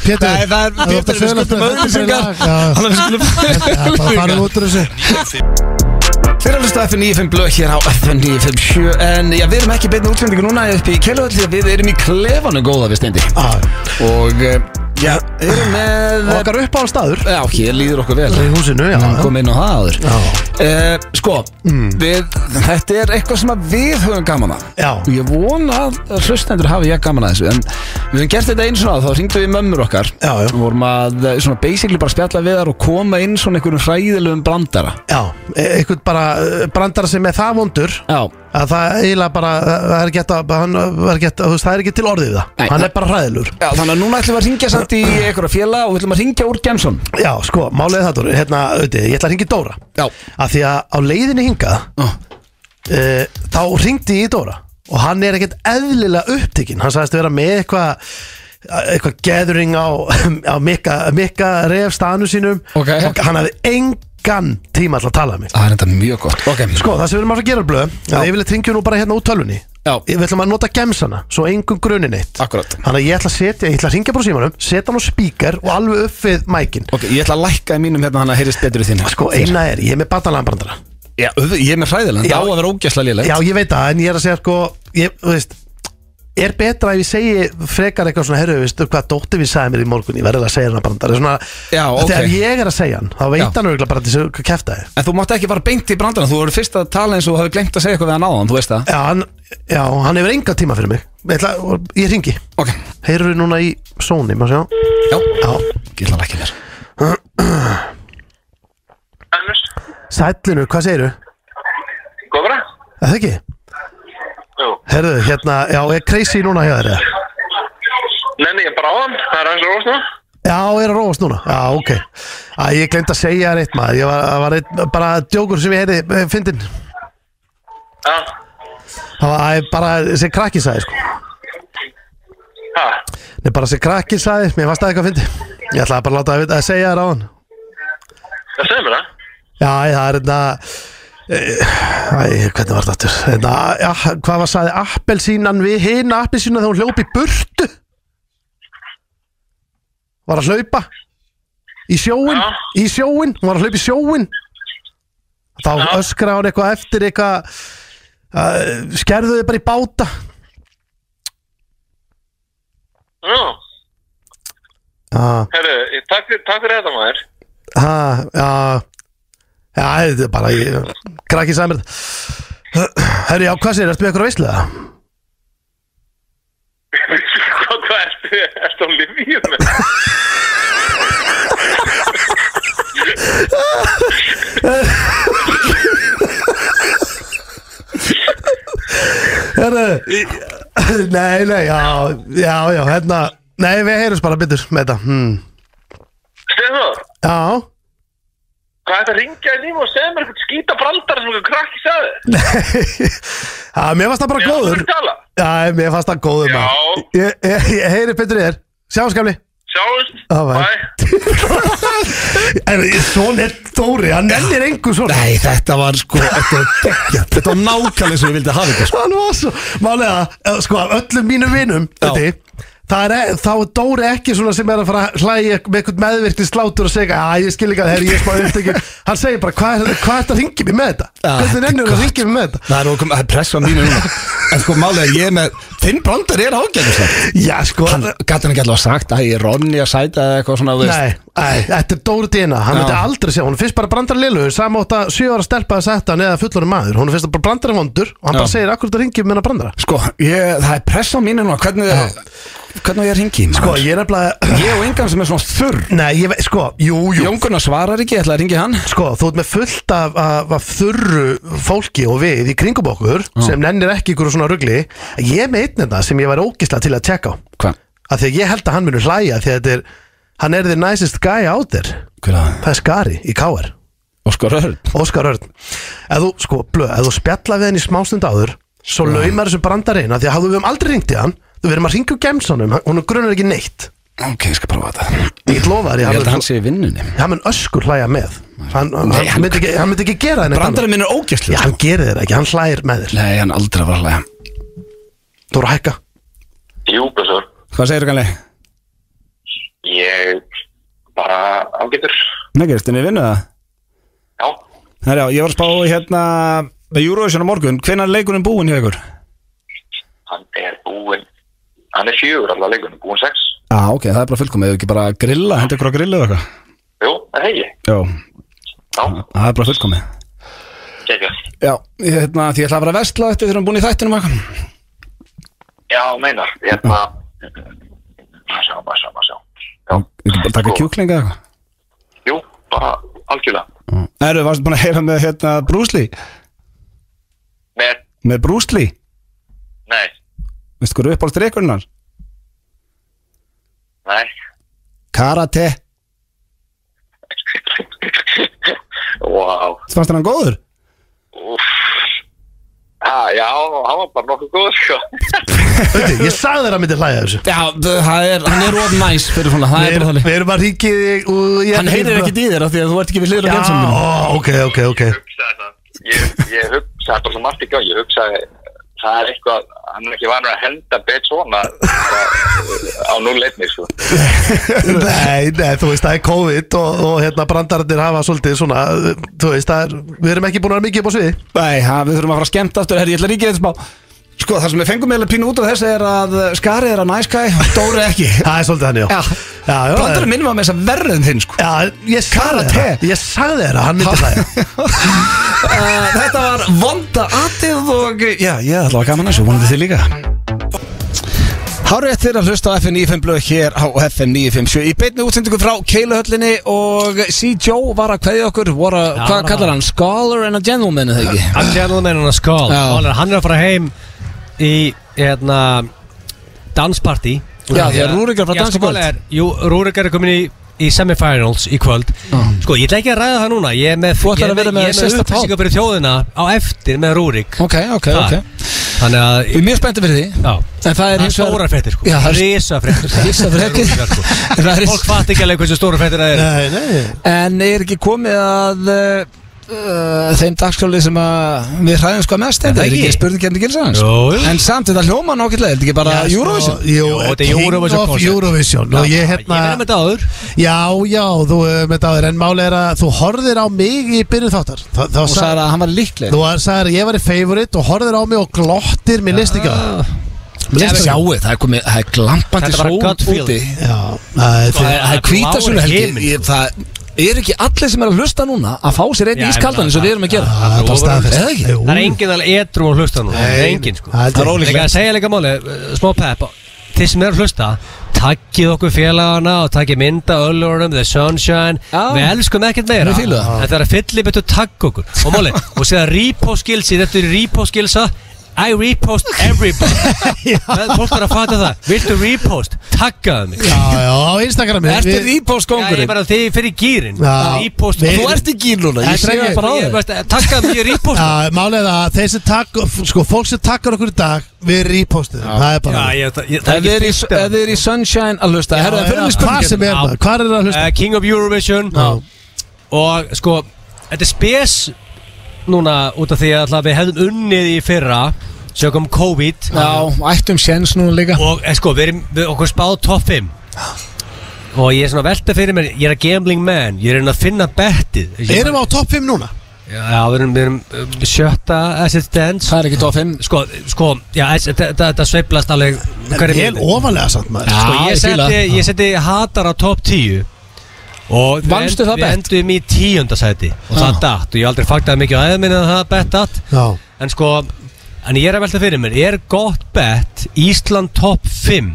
[SPEAKER 3] Pétur
[SPEAKER 1] Nei, það er Pétur, við skuldum auðlýsingar
[SPEAKER 3] Já,
[SPEAKER 1] Þannig að við
[SPEAKER 3] já,
[SPEAKER 1] skuldum
[SPEAKER 3] bara farum út úr þessu
[SPEAKER 1] Þeir að hlusta á FN95 blöð hér á FN957 En já, við erum ekki beinni útsendingu núna upp í Keiluhöll Því að við erum í klefanu góða við steindi
[SPEAKER 3] Já,
[SPEAKER 1] Og eh, já, erum með
[SPEAKER 3] Okkar upp á staður
[SPEAKER 1] Já, hér líður okkur vel
[SPEAKER 3] Í húsinu, já
[SPEAKER 1] Kom inn á það áður
[SPEAKER 3] Já. Mm.
[SPEAKER 1] Eh, Sko, við, þetta er eitthvað sem að við höfum gaman að
[SPEAKER 3] Já.
[SPEAKER 1] Og ég vona að hlustendur hafi ég gaman að þessu En við höfum gert þetta einu svona áður, Þá hringdu við mömmur okkar
[SPEAKER 3] Já, já.
[SPEAKER 1] Við vorum að eh, svona basically bara spjalla við þar Og koma inn svona einhverjum hræðilegum brandara
[SPEAKER 3] Já, e- einhvern bara eh, brandara sem er það vondur
[SPEAKER 1] Já,
[SPEAKER 3] að það eiginlega bara, eh, það er ekki hægt að- hann er ekki hægt að- þú veist, það er ekki til orðið við
[SPEAKER 1] Nei.
[SPEAKER 3] það Hann er bara hræðilur
[SPEAKER 1] Já, þannig að núna ætlum við að ringja samt í einhverja félag og við ætlum að ringja úr Gemson
[SPEAKER 3] Já, sko, málið er það, Dóri, hérna, auðvitað, ég ætla að ringi Dóra
[SPEAKER 1] Já.
[SPEAKER 3] Af því að á leiðinni hingað
[SPEAKER 1] oh.
[SPEAKER 3] uh, Þá ringdi ég í Dóra Og hann er ekkert eðlilega upptekinn Hann sagðist vera með eitthvað eh, eitthvað gathering á, á Mikka, Mikka Ref staðnum sínum
[SPEAKER 1] Ok.
[SPEAKER 3] og hann hafði engan tíma til að tala um mig
[SPEAKER 1] Það er enda mjög gott Ok,
[SPEAKER 3] Sko, það sem við erum að fara að gera blöð að ég vil tringja nú bara hérna út tölvunni
[SPEAKER 1] Já.
[SPEAKER 3] Við ætlum að nota gemsana, svo engum grunin eitt
[SPEAKER 1] akkurat
[SPEAKER 3] Þannig að ég ætla að setja, ég ætla að ringja bara úr símanum Setja hann á spíkar og alveg upp við mækin
[SPEAKER 1] Ok, ég ætla að lækka í mínum hérna hann að heyrist betur í þínu
[SPEAKER 3] Sko, eina er, ég er með batalagbrandara
[SPEAKER 1] Já, auðvitað, ég er með hræðilega,
[SPEAKER 3] Já.
[SPEAKER 1] það á að vera ógæsla lélega
[SPEAKER 3] Já, ég veit það, en ég er að segja sko ég, þú veist, Er betra ef ég segi frekar eitthvað svona Herru, veistu hvað dóttir við sagði mér í morgun Ég verður að segja hana brandara svona,
[SPEAKER 1] Já,
[SPEAKER 3] af því
[SPEAKER 1] ok.
[SPEAKER 3] Ef ég er að segja hann, þá veit
[SPEAKER 1] Já.
[SPEAKER 3] hann örgulega bara til þessu kæfta þið
[SPEAKER 1] En þú mátt ekki fara beint í brandana, þú voru fyrst að tala eins og hafi glemt að segja eitthvað við hann áðan, þú veist það
[SPEAKER 3] Já, hann, já, hann hefur enga tíma fyrir mig Ég, ætla, og ég ringi
[SPEAKER 1] Ok,
[SPEAKER 3] Heyrur við núna í Sony, má sjá
[SPEAKER 1] já,
[SPEAKER 3] Já,
[SPEAKER 1] ég ætla að lækka mér
[SPEAKER 4] Hannes,
[SPEAKER 3] sællinu, hvað segirðu?
[SPEAKER 4] góð bara?
[SPEAKER 3] Er það ekki?
[SPEAKER 4] Jú.
[SPEAKER 3] Herðu, hérna, já, er crazy núna hjá þér eða?
[SPEAKER 4] Nei, nei, ég er bara á hann, það er hans og rósna.
[SPEAKER 3] Já, er að róast núna Já, ok Æ, ég glemt að segja þér eitt maður Ég var, það var eitt, bara djókur sem ég heyrði eh, Fyndin
[SPEAKER 4] Já,
[SPEAKER 3] Það var æ, bara sem krakkin sagði sko
[SPEAKER 4] ha,
[SPEAKER 3] Nei, bara sem krakkin sagði Mér fannst það eitthvað fyndi Ég ætlaði bara að láta að, að segja þér á hann
[SPEAKER 4] það segir mér það
[SPEAKER 3] Já, æ, það er einna Æ, hvernig var þetta aftur? Einna, já, hvað var sagði appelsínan við hinn appelsínan þegar hún hljóp í burtu Var að hlaupa Í sjóin
[SPEAKER 4] Já.
[SPEAKER 3] Í sjóin, hún var að hlaupa í sjóin Þá
[SPEAKER 4] Já.
[SPEAKER 3] öskra hún eitthvað eftir eitthvað uh, Skerðu þið bara í báta
[SPEAKER 4] Nú,
[SPEAKER 3] Já
[SPEAKER 4] herru, ég- takk, fyrir- takk fyrir þetta maður
[SPEAKER 3] Ha, já Já, þetta er bara ég, Krakki sæmur Herri, já, hvað sér, ertu með eitthvað veistlega?
[SPEAKER 4] Hvað, hvað ertu, ertu á livjum með?
[SPEAKER 3] Herri, nei, nei, já Já, já, hérna Nei, við heyrjumst bara byttur með þetta hmm.
[SPEAKER 4] Stefán,
[SPEAKER 3] Já,
[SPEAKER 4] hvað er þetta að ringja í nýma og segja mér eitthvað skýta brandar sem eitthvað krakki sagði?
[SPEAKER 3] já, mér fannst það bara
[SPEAKER 4] Ég
[SPEAKER 3] góður
[SPEAKER 4] ætla að tala.
[SPEAKER 3] Já, mér fannst það góður
[SPEAKER 4] Já.
[SPEAKER 3] maður. Ég, ég, ég heyri byttur í þér Sjáumskamli
[SPEAKER 4] Sjáumst,
[SPEAKER 3] Já, bæ.
[SPEAKER 4] bæ
[SPEAKER 3] En svona er Dóri, hann ennir engu svona
[SPEAKER 1] Nei, þetta var sko, þetta var geggjað Þetta var nákvæmlega sem ég vildi hafa þetta sko.
[SPEAKER 3] hann var svo málega, eh, sko af öllum mínum vinum
[SPEAKER 1] Já.
[SPEAKER 3] veitir, það er, e- þá er Dóri ekki svona sem er að fara að hlæja með einhvern meðvirkni slátur og segja að ég skil ekki að herri ég er smá upptökin hann segir bara hvað er, hvað er þetta að ringi mér með þetta
[SPEAKER 1] Já,
[SPEAKER 3] hvernig ennur það
[SPEAKER 1] gott.
[SPEAKER 3] að ringi mér með þetta
[SPEAKER 1] Það er okkur, það er pressa á mínu núna En sko, málega ég er með, þinn brandar er ágæðislega
[SPEAKER 3] já sko
[SPEAKER 1] Hann, gæti hann ekki allavega sagt, æ, Ronny að sæta eða eitthvað svona, þú veist
[SPEAKER 3] Nei, nei, þetta er Dóri Dina, hann
[SPEAKER 1] Já.
[SPEAKER 3] myndi aldrei sjá hún finnst bara brandar lilu, samátt að 7 ára stelpa að setja hann eða fullorinn maður, hún finnst bara brandar vondur og hann
[SPEAKER 1] Já.
[SPEAKER 3] bara segir akkur þetta ringi mér að brandara
[SPEAKER 1] Sko, ég, það er pressa á mínu núna, hvernig, hvernig á ég að ringi
[SPEAKER 3] sko ég er nefnilega,
[SPEAKER 1] Ég og engan sem er svona þurr
[SPEAKER 3] nei ég veit, sko, jú, jú
[SPEAKER 1] Jón Gunnar svarar ekki, ég ætla að ringi hann
[SPEAKER 3] Sko, þú ert með fullt af, af, af þurru fólki og við í kringum okkur sem nennir ekki ykkur svona rugli Ég er með einn þetta sem ég væri ógislega til að tjekka á
[SPEAKER 1] Hvað?
[SPEAKER 3] af því að ég held að hann munur hlæja því að þetta er, hann er the nicest guy out there
[SPEAKER 1] Hver að það?
[SPEAKER 3] Það er Skari í KR,
[SPEAKER 1] Óskar Örn
[SPEAKER 3] Óskar Örn Ef þú, sko, blöð, ef þú spjalla við hann í smástund áður svo laumar þessu brandar inn af því að hafðu við höfum aldrei ringt í hann þú verðum að ringa úr gemsanum, hún grunar ekki neitt
[SPEAKER 1] Ok, ég skal prófa þetta
[SPEAKER 3] Ég get lofa þér,
[SPEAKER 1] Ég
[SPEAKER 3] hann
[SPEAKER 1] held að
[SPEAKER 3] mun-
[SPEAKER 1] hann sé í vinnunni
[SPEAKER 3] sko. hann mun öskur hlæja með Hann, hann,
[SPEAKER 1] Nei, hann-
[SPEAKER 3] myndi, ekki, hann myndi ekki gera það neitt annað.
[SPEAKER 1] Brandarinn minn er sko.
[SPEAKER 3] Já,
[SPEAKER 1] ógæstlega
[SPEAKER 3] hann gerir þér ekki, hann hlægir með þér
[SPEAKER 1] Nei, hann aldrei var að hlæja
[SPEAKER 3] Þú voru að hækka
[SPEAKER 4] Jú, Bessar,
[SPEAKER 1] Hvað segir þú kannlega?
[SPEAKER 4] ég bara ágætur
[SPEAKER 1] Nei, Kristin, ég vinnu það
[SPEAKER 4] Já,
[SPEAKER 1] Herjá, ég var að spá hérna með Eurovision á morgun, hvenær er leikurinn búinn hjá ykkur?
[SPEAKER 4] hann er búinn Hann er fjögur allavega leikunum, búinn sex
[SPEAKER 1] Já, ah, ok, það er bara fullkomið, ef ekki bara að grilla, henda ykkur að grilla eða eitthvað
[SPEAKER 4] Jú, það hegi
[SPEAKER 1] Já,
[SPEAKER 4] Já,
[SPEAKER 1] það er bara fullkomið
[SPEAKER 4] gegja
[SPEAKER 1] Já, ég, hérna, því ég ætla að vera að vesla þetta þegar hann búin í þættinum eitthvað
[SPEAKER 4] Já, meinar, hérna Maður sjá, maður sjá, maður sjá
[SPEAKER 1] Já, ekki bara taka
[SPEAKER 4] Sko.
[SPEAKER 1] kjúklinga eða eitthvað
[SPEAKER 4] Jú, bara algjörlega
[SPEAKER 1] Erðu, varstu búin að heyra með hérna Brúsli?
[SPEAKER 4] Nei,
[SPEAKER 1] Með Brúsli?
[SPEAKER 4] nei,
[SPEAKER 1] Veistu hvað er uppáld reikurnar?
[SPEAKER 4] nei
[SPEAKER 1] Karate
[SPEAKER 4] Vá
[SPEAKER 1] Þú fannst hann góður?
[SPEAKER 4] Úff Ha, já, hann var bara nokkuð góð, sko
[SPEAKER 3] Ötti, Ég sagði þér að myndi hlæja þessu
[SPEAKER 1] Já, það er, hann er of næs fyrir svona, það
[SPEAKER 3] Við erum- við erum bara ríkið og ég hérna-
[SPEAKER 1] Hann heyrir ekkert í þér af því að þú ert ekki við hliður á
[SPEAKER 3] Já,
[SPEAKER 1] gemsamlunum
[SPEAKER 3] ó, ok, ok, ok
[SPEAKER 4] hugsaði það ég, ég hugsaði bara svo margt ekki á ég hugsaði það er eitthvað hann er ekki vanur að henda bet svona bara, eh, á núleitni sko.
[SPEAKER 3] Nei, nei, þú veist, það er COVID og, og hérna brandararnir hafa svolítið svona uh, Þú veist, það er, við erum ekki búin að vera mikið upp á sviði
[SPEAKER 1] Nei, ha, við þurfum að fara að skemmta aftur Herri, ég ætla að ríkja þetta smá Sko, það sem við fengum meðlega pínu út af þessu er að uh, Skari er að næskæ, Dóri ekki
[SPEAKER 3] Það er svolítið hann, já já, já
[SPEAKER 1] Brandarinn minn var með þess að verra en þinn, sko
[SPEAKER 3] Já, ég sagði
[SPEAKER 1] Karate.
[SPEAKER 3] þér að- Ég sagði þér að hann myndi hlæja
[SPEAKER 1] uh, Þetta var vonda atið og eh, Já, ég ætla að gaman þessu, vonandi þið líka Hárið eftir að hlusta á FM 95 blöð hér á FM 957 Í beinni útsendingu frá Keiluhöllinni og C. Joe var að kveðja okkur var að,
[SPEAKER 2] Já,
[SPEAKER 1] Hvað
[SPEAKER 2] hann var-
[SPEAKER 1] kallar hann? Scholar and a gentleman, eða ekki?
[SPEAKER 2] Hann tjáðum með hennar skál
[SPEAKER 1] Já.
[SPEAKER 2] Hann er að fara heim í hérna, dansparti
[SPEAKER 5] Já, því að Rúrik er frá
[SPEAKER 2] Já,
[SPEAKER 5] dansi
[SPEAKER 2] sko, málið
[SPEAKER 5] kvöld
[SPEAKER 2] er, Jú, Rúrik er komin í, í semifinals í kvöld Sko, ég ætla ekki að ræða það núna Ég er með,
[SPEAKER 5] Þú ætlar
[SPEAKER 2] ég er
[SPEAKER 5] að vera með
[SPEAKER 2] ég er með
[SPEAKER 5] sérstakt
[SPEAKER 2] upplýsingar fyrir þjóðina á eftir með Rúrik
[SPEAKER 5] Ok, ok,
[SPEAKER 2] Það.
[SPEAKER 5] ok
[SPEAKER 2] Þannig að
[SPEAKER 5] Við erum mjög spenntið fyrir því
[SPEAKER 2] Já,
[SPEAKER 5] En það er
[SPEAKER 2] það er
[SPEAKER 5] hins vegar
[SPEAKER 2] stóra fréttir sko
[SPEAKER 5] Já, það er-
[SPEAKER 2] Rísa fréttir
[SPEAKER 5] Rísa fréttir. En það er-
[SPEAKER 2] Fólk fatt ekki alveg hversu stóra fréttir það er
[SPEAKER 3] Nei, nei
[SPEAKER 5] En er ekki komið að uh, uh, þeim dagskjóli sem að við hræðum sko mest
[SPEAKER 2] Er
[SPEAKER 5] þetta
[SPEAKER 2] það
[SPEAKER 5] er ekki
[SPEAKER 2] ekki?
[SPEAKER 5] spurning kemni gilsans
[SPEAKER 2] Jú, jú.
[SPEAKER 5] en samt þetta hljóma nákvæmlega er þetta ekki bara
[SPEAKER 3] Já, sko,
[SPEAKER 5] Eurovision
[SPEAKER 3] Jú,
[SPEAKER 2] Jú, þetta er
[SPEAKER 3] King
[SPEAKER 2] Eurovision
[SPEAKER 3] of
[SPEAKER 2] concept.
[SPEAKER 3] Eurovision Og ég
[SPEAKER 2] Ég verði
[SPEAKER 3] hérna
[SPEAKER 2] með þetta áður
[SPEAKER 3] Já, já, þú hefur með það En máli er að þú horfðir á mig í byrjun þáttar Þa, Það
[SPEAKER 5] og
[SPEAKER 3] var
[SPEAKER 5] sagði að hann var líkleg
[SPEAKER 3] Þú var- sagðir að ég var í favorite og horfðir á mig og glottir, mér leist ekki á það
[SPEAKER 5] Lest sjáu, það er komið, það sko. er glampandi
[SPEAKER 2] Þetta var
[SPEAKER 5] sól
[SPEAKER 2] gut feeling.
[SPEAKER 5] úti
[SPEAKER 3] Já, það er
[SPEAKER 5] Það
[SPEAKER 3] fyrir
[SPEAKER 5] er- það er hvítasölu
[SPEAKER 2] Blár
[SPEAKER 5] helgi
[SPEAKER 2] himinn.
[SPEAKER 5] Ég- Það er ekki allir sem er að hlusta núna að fá sér einn
[SPEAKER 2] Já, ég
[SPEAKER 5] ískaldan
[SPEAKER 2] meina,
[SPEAKER 5] eins og við erum að gera
[SPEAKER 3] Það er bara staðfest
[SPEAKER 5] Eða ekki?
[SPEAKER 3] Jú.
[SPEAKER 2] Það er enginn alveg edru að hlusta nú Það er enginn sko
[SPEAKER 3] Það
[SPEAKER 5] Það er
[SPEAKER 3] er
[SPEAKER 5] ólíklegt.
[SPEAKER 2] Ég að segja líka máli, eh, smá pepp Þið sem eru að hlusta Takkið okkur félagana og takkið mynda Öllurum, The Sunshine
[SPEAKER 5] Já.
[SPEAKER 2] Við elskum ekkert meira
[SPEAKER 5] Við fílum það.
[SPEAKER 2] Þetta er að fyllir betur takk okkur Og máli, og séða reposkilsi Þetta er reposkilsa I repost everybody Það- Fólk er að fatta það Viltu repost? Takkaðu mig
[SPEAKER 3] Já, já, á Instagrami Við-
[SPEAKER 5] Ertu
[SPEAKER 2] Já, ég
[SPEAKER 5] rýpóskongurinn?
[SPEAKER 2] bara þið fyrir gýrin
[SPEAKER 3] Já.
[SPEAKER 2] Repost
[SPEAKER 3] Við-
[SPEAKER 5] Þú ert í gíl núna, ég
[SPEAKER 3] Þetta er
[SPEAKER 5] sé það
[SPEAKER 3] ekki-
[SPEAKER 5] bara á þér
[SPEAKER 2] Takkaðu mig, ég repost
[SPEAKER 3] Já, málið er það að þeir sem takk Sko, fólk sem takkar okkur í dag Við repostið þeim. Það er bara
[SPEAKER 2] Já, ég- það- ég- það
[SPEAKER 5] Ef þið
[SPEAKER 2] er
[SPEAKER 5] er
[SPEAKER 2] ekki
[SPEAKER 5] í-
[SPEAKER 2] fyrsta
[SPEAKER 5] ef þið er í Sunshine að hlusta Herra,
[SPEAKER 3] Já,
[SPEAKER 5] fyrir
[SPEAKER 3] já,
[SPEAKER 5] mig
[SPEAKER 3] Hvað sem
[SPEAKER 5] spurningin
[SPEAKER 3] er
[SPEAKER 2] Já.
[SPEAKER 3] maður, hvað er það að hlusta?
[SPEAKER 2] uh, King of Eurovision
[SPEAKER 3] Já.
[SPEAKER 2] og sko þetta er spes núna út af því að alltaf við hefðum unnið í fyrra sögum COVID
[SPEAKER 5] Já, ættum séns núna líka
[SPEAKER 2] og eh, sko við erum við okkur spáð top 5 og ég er svona að velta fyrir mér ég er að gambling man ég er að reyna að finna bettið Ég-
[SPEAKER 3] Erum við á topp 5 núna?
[SPEAKER 2] já við erum, við erum um, sjötta asset dance
[SPEAKER 5] Það er ekki top 5
[SPEAKER 2] sko sko já þessi- þetta þetta- þetta sveiflast alveg hverri
[SPEAKER 3] Vel
[SPEAKER 2] mínútu.
[SPEAKER 3] ofalega samt maður
[SPEAKER 2] Sko,
[SPEAKER 5] Já,
[SPEAKER 2] ég,
[SPEAKER 5] ég fíla
[SPEAKER 2] seti,
[SPEAKER 5] það.
[SPEAKER 2] ég seti hatar á top 10 Og við
[SPEAKER 5] Vannstu
[SPEAKER 2] end-
[SPEAKER 5] það
[SPEAKER 2] Við
[SPEAKER 5] bett?
[SPEAKER 2] endum í tíundasæti Og
[SPEAKER 5] Já.
[SPEAKER 2] það datt Og ég aldrei faktaði mikið á aðeiminn að það bett datt
[SPEAKER 3] Já
[SPEAKER 2] En sko En ég er að velta fyrir mér Er gott bett Ísland top 5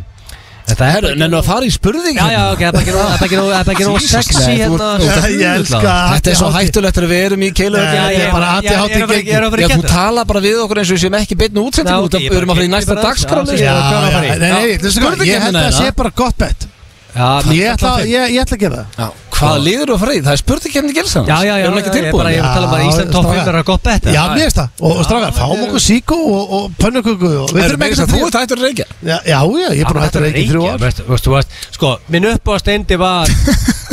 [SPEAKER 2] En það
[SPEAKER 5] Herru, nennu að fara í spurning
[SPEAKER 2] Já, já, ok, það er bara ekki nóg- það er bara ekki nóg- það er bara ekki nóg
[SPEAKER 5] Jesus,
[SPEAKER 2] sexy
[SPEAKER 5] nei, þú
[SPEAKER 2] hérna
[SPEAKER 5] ert-
[SPEAKER 2] svona
[SPEAKER 3] Ég elska
[SPEAKER 2] hundla.
[SPEAKER 5] Þetta er svo hættulegt að við erum í keilu
[SPEAKER 3] Nei,
[SPEAKER 2] Já,
[SPEAKER 3] þetta
[SPEAKER 2] ég
[SPEAKER 3] er bara
[SPEAKER 2] ég- ég- ég er
[SPEAKER 3] ADHD
[SPEAKER 2] að fara- Ég er að fara
[SPEAKER 5] Já,
[SPEAKER 2] að
[SPEAKER 5] þú
[SPEAKER 2] geta
[SPEAKER 5] tala bara við okkur eins og við séum ekki beinni
[SPEAKER 2] Ná,
[SPEAKER 5] útsendingu
[SPEAKER 2] ok,
[SPEAKER 5] út af-
[SPEAKER 2] ég
[SPEAKER 5] Við erum að fara í
[SPEAKER 2] bara-
[SPEAKER 5] næsta
[SPEAKER 2] ég bara-
[SPEAKER 5] dagskrá
[SPEAKER 2] Já,
[SPEAKER 3] Já,
[SPEAKER 2] ég er að
[SPEAKER 3] já,
[SPEAKER 2] fara í-
[SPEAKER 3] nei, nei,
[SPEAKER 2] Já.
[SPEAKER 3] veistu hvað,
[SPEAKER 5] Spurningin
[SPEAKER 3] ég held
[SPEAKER 5] er
[SPEAKER 3] að
[SPEAKER 5] það.
[SPEAKER 3] sé bara gott bett
[SPEAKER 2] Já,
[SPEAKER 3] Ég ætla
[SPEAKER 2] top fimm.
[SPEAKER 3] ég- ég ætla að gera það
[SPEAKER 5] Hvað liður þú að fara í? Það er spurningkefni gilsans
[SPEAKER 2] Já, já, já,
[SPEAKER 5] Er hún ekki
[SPEAKER 2] já, ég bara-
[SPEAKER 5] tilbúin?
[SPEAKER 2] ég- var að tala um að
[SPEAKER 3] Já,
[SPEAKER 2] Ísland topp
[SPEAKER 3] strákar.
[SPEAKER 2] fimm er að gott bett, eða?
[SPEAKER 3] Já, mér finnst það Og- Og strákar, fáum okkur síkó og og pönnuköku og- Við
[SPEAKER 5] Herru,
[SPEAKER 3] þurfum
[SPEAKER 5] meira
[SPEAKER 3] ekki að
[SPEAKER 5] þess að Þú
[SPEAKER 3] þrjú
[SPEAKER 5] ert hættur að reykja
[SPEAKER 3] Já, já, já, ég er búin að hætta að reykja í þrjú ár
[SPEAKER 2] veist, veist, þú veist, Sko, minn uppáðast endi var
[SPEAKER 3] já.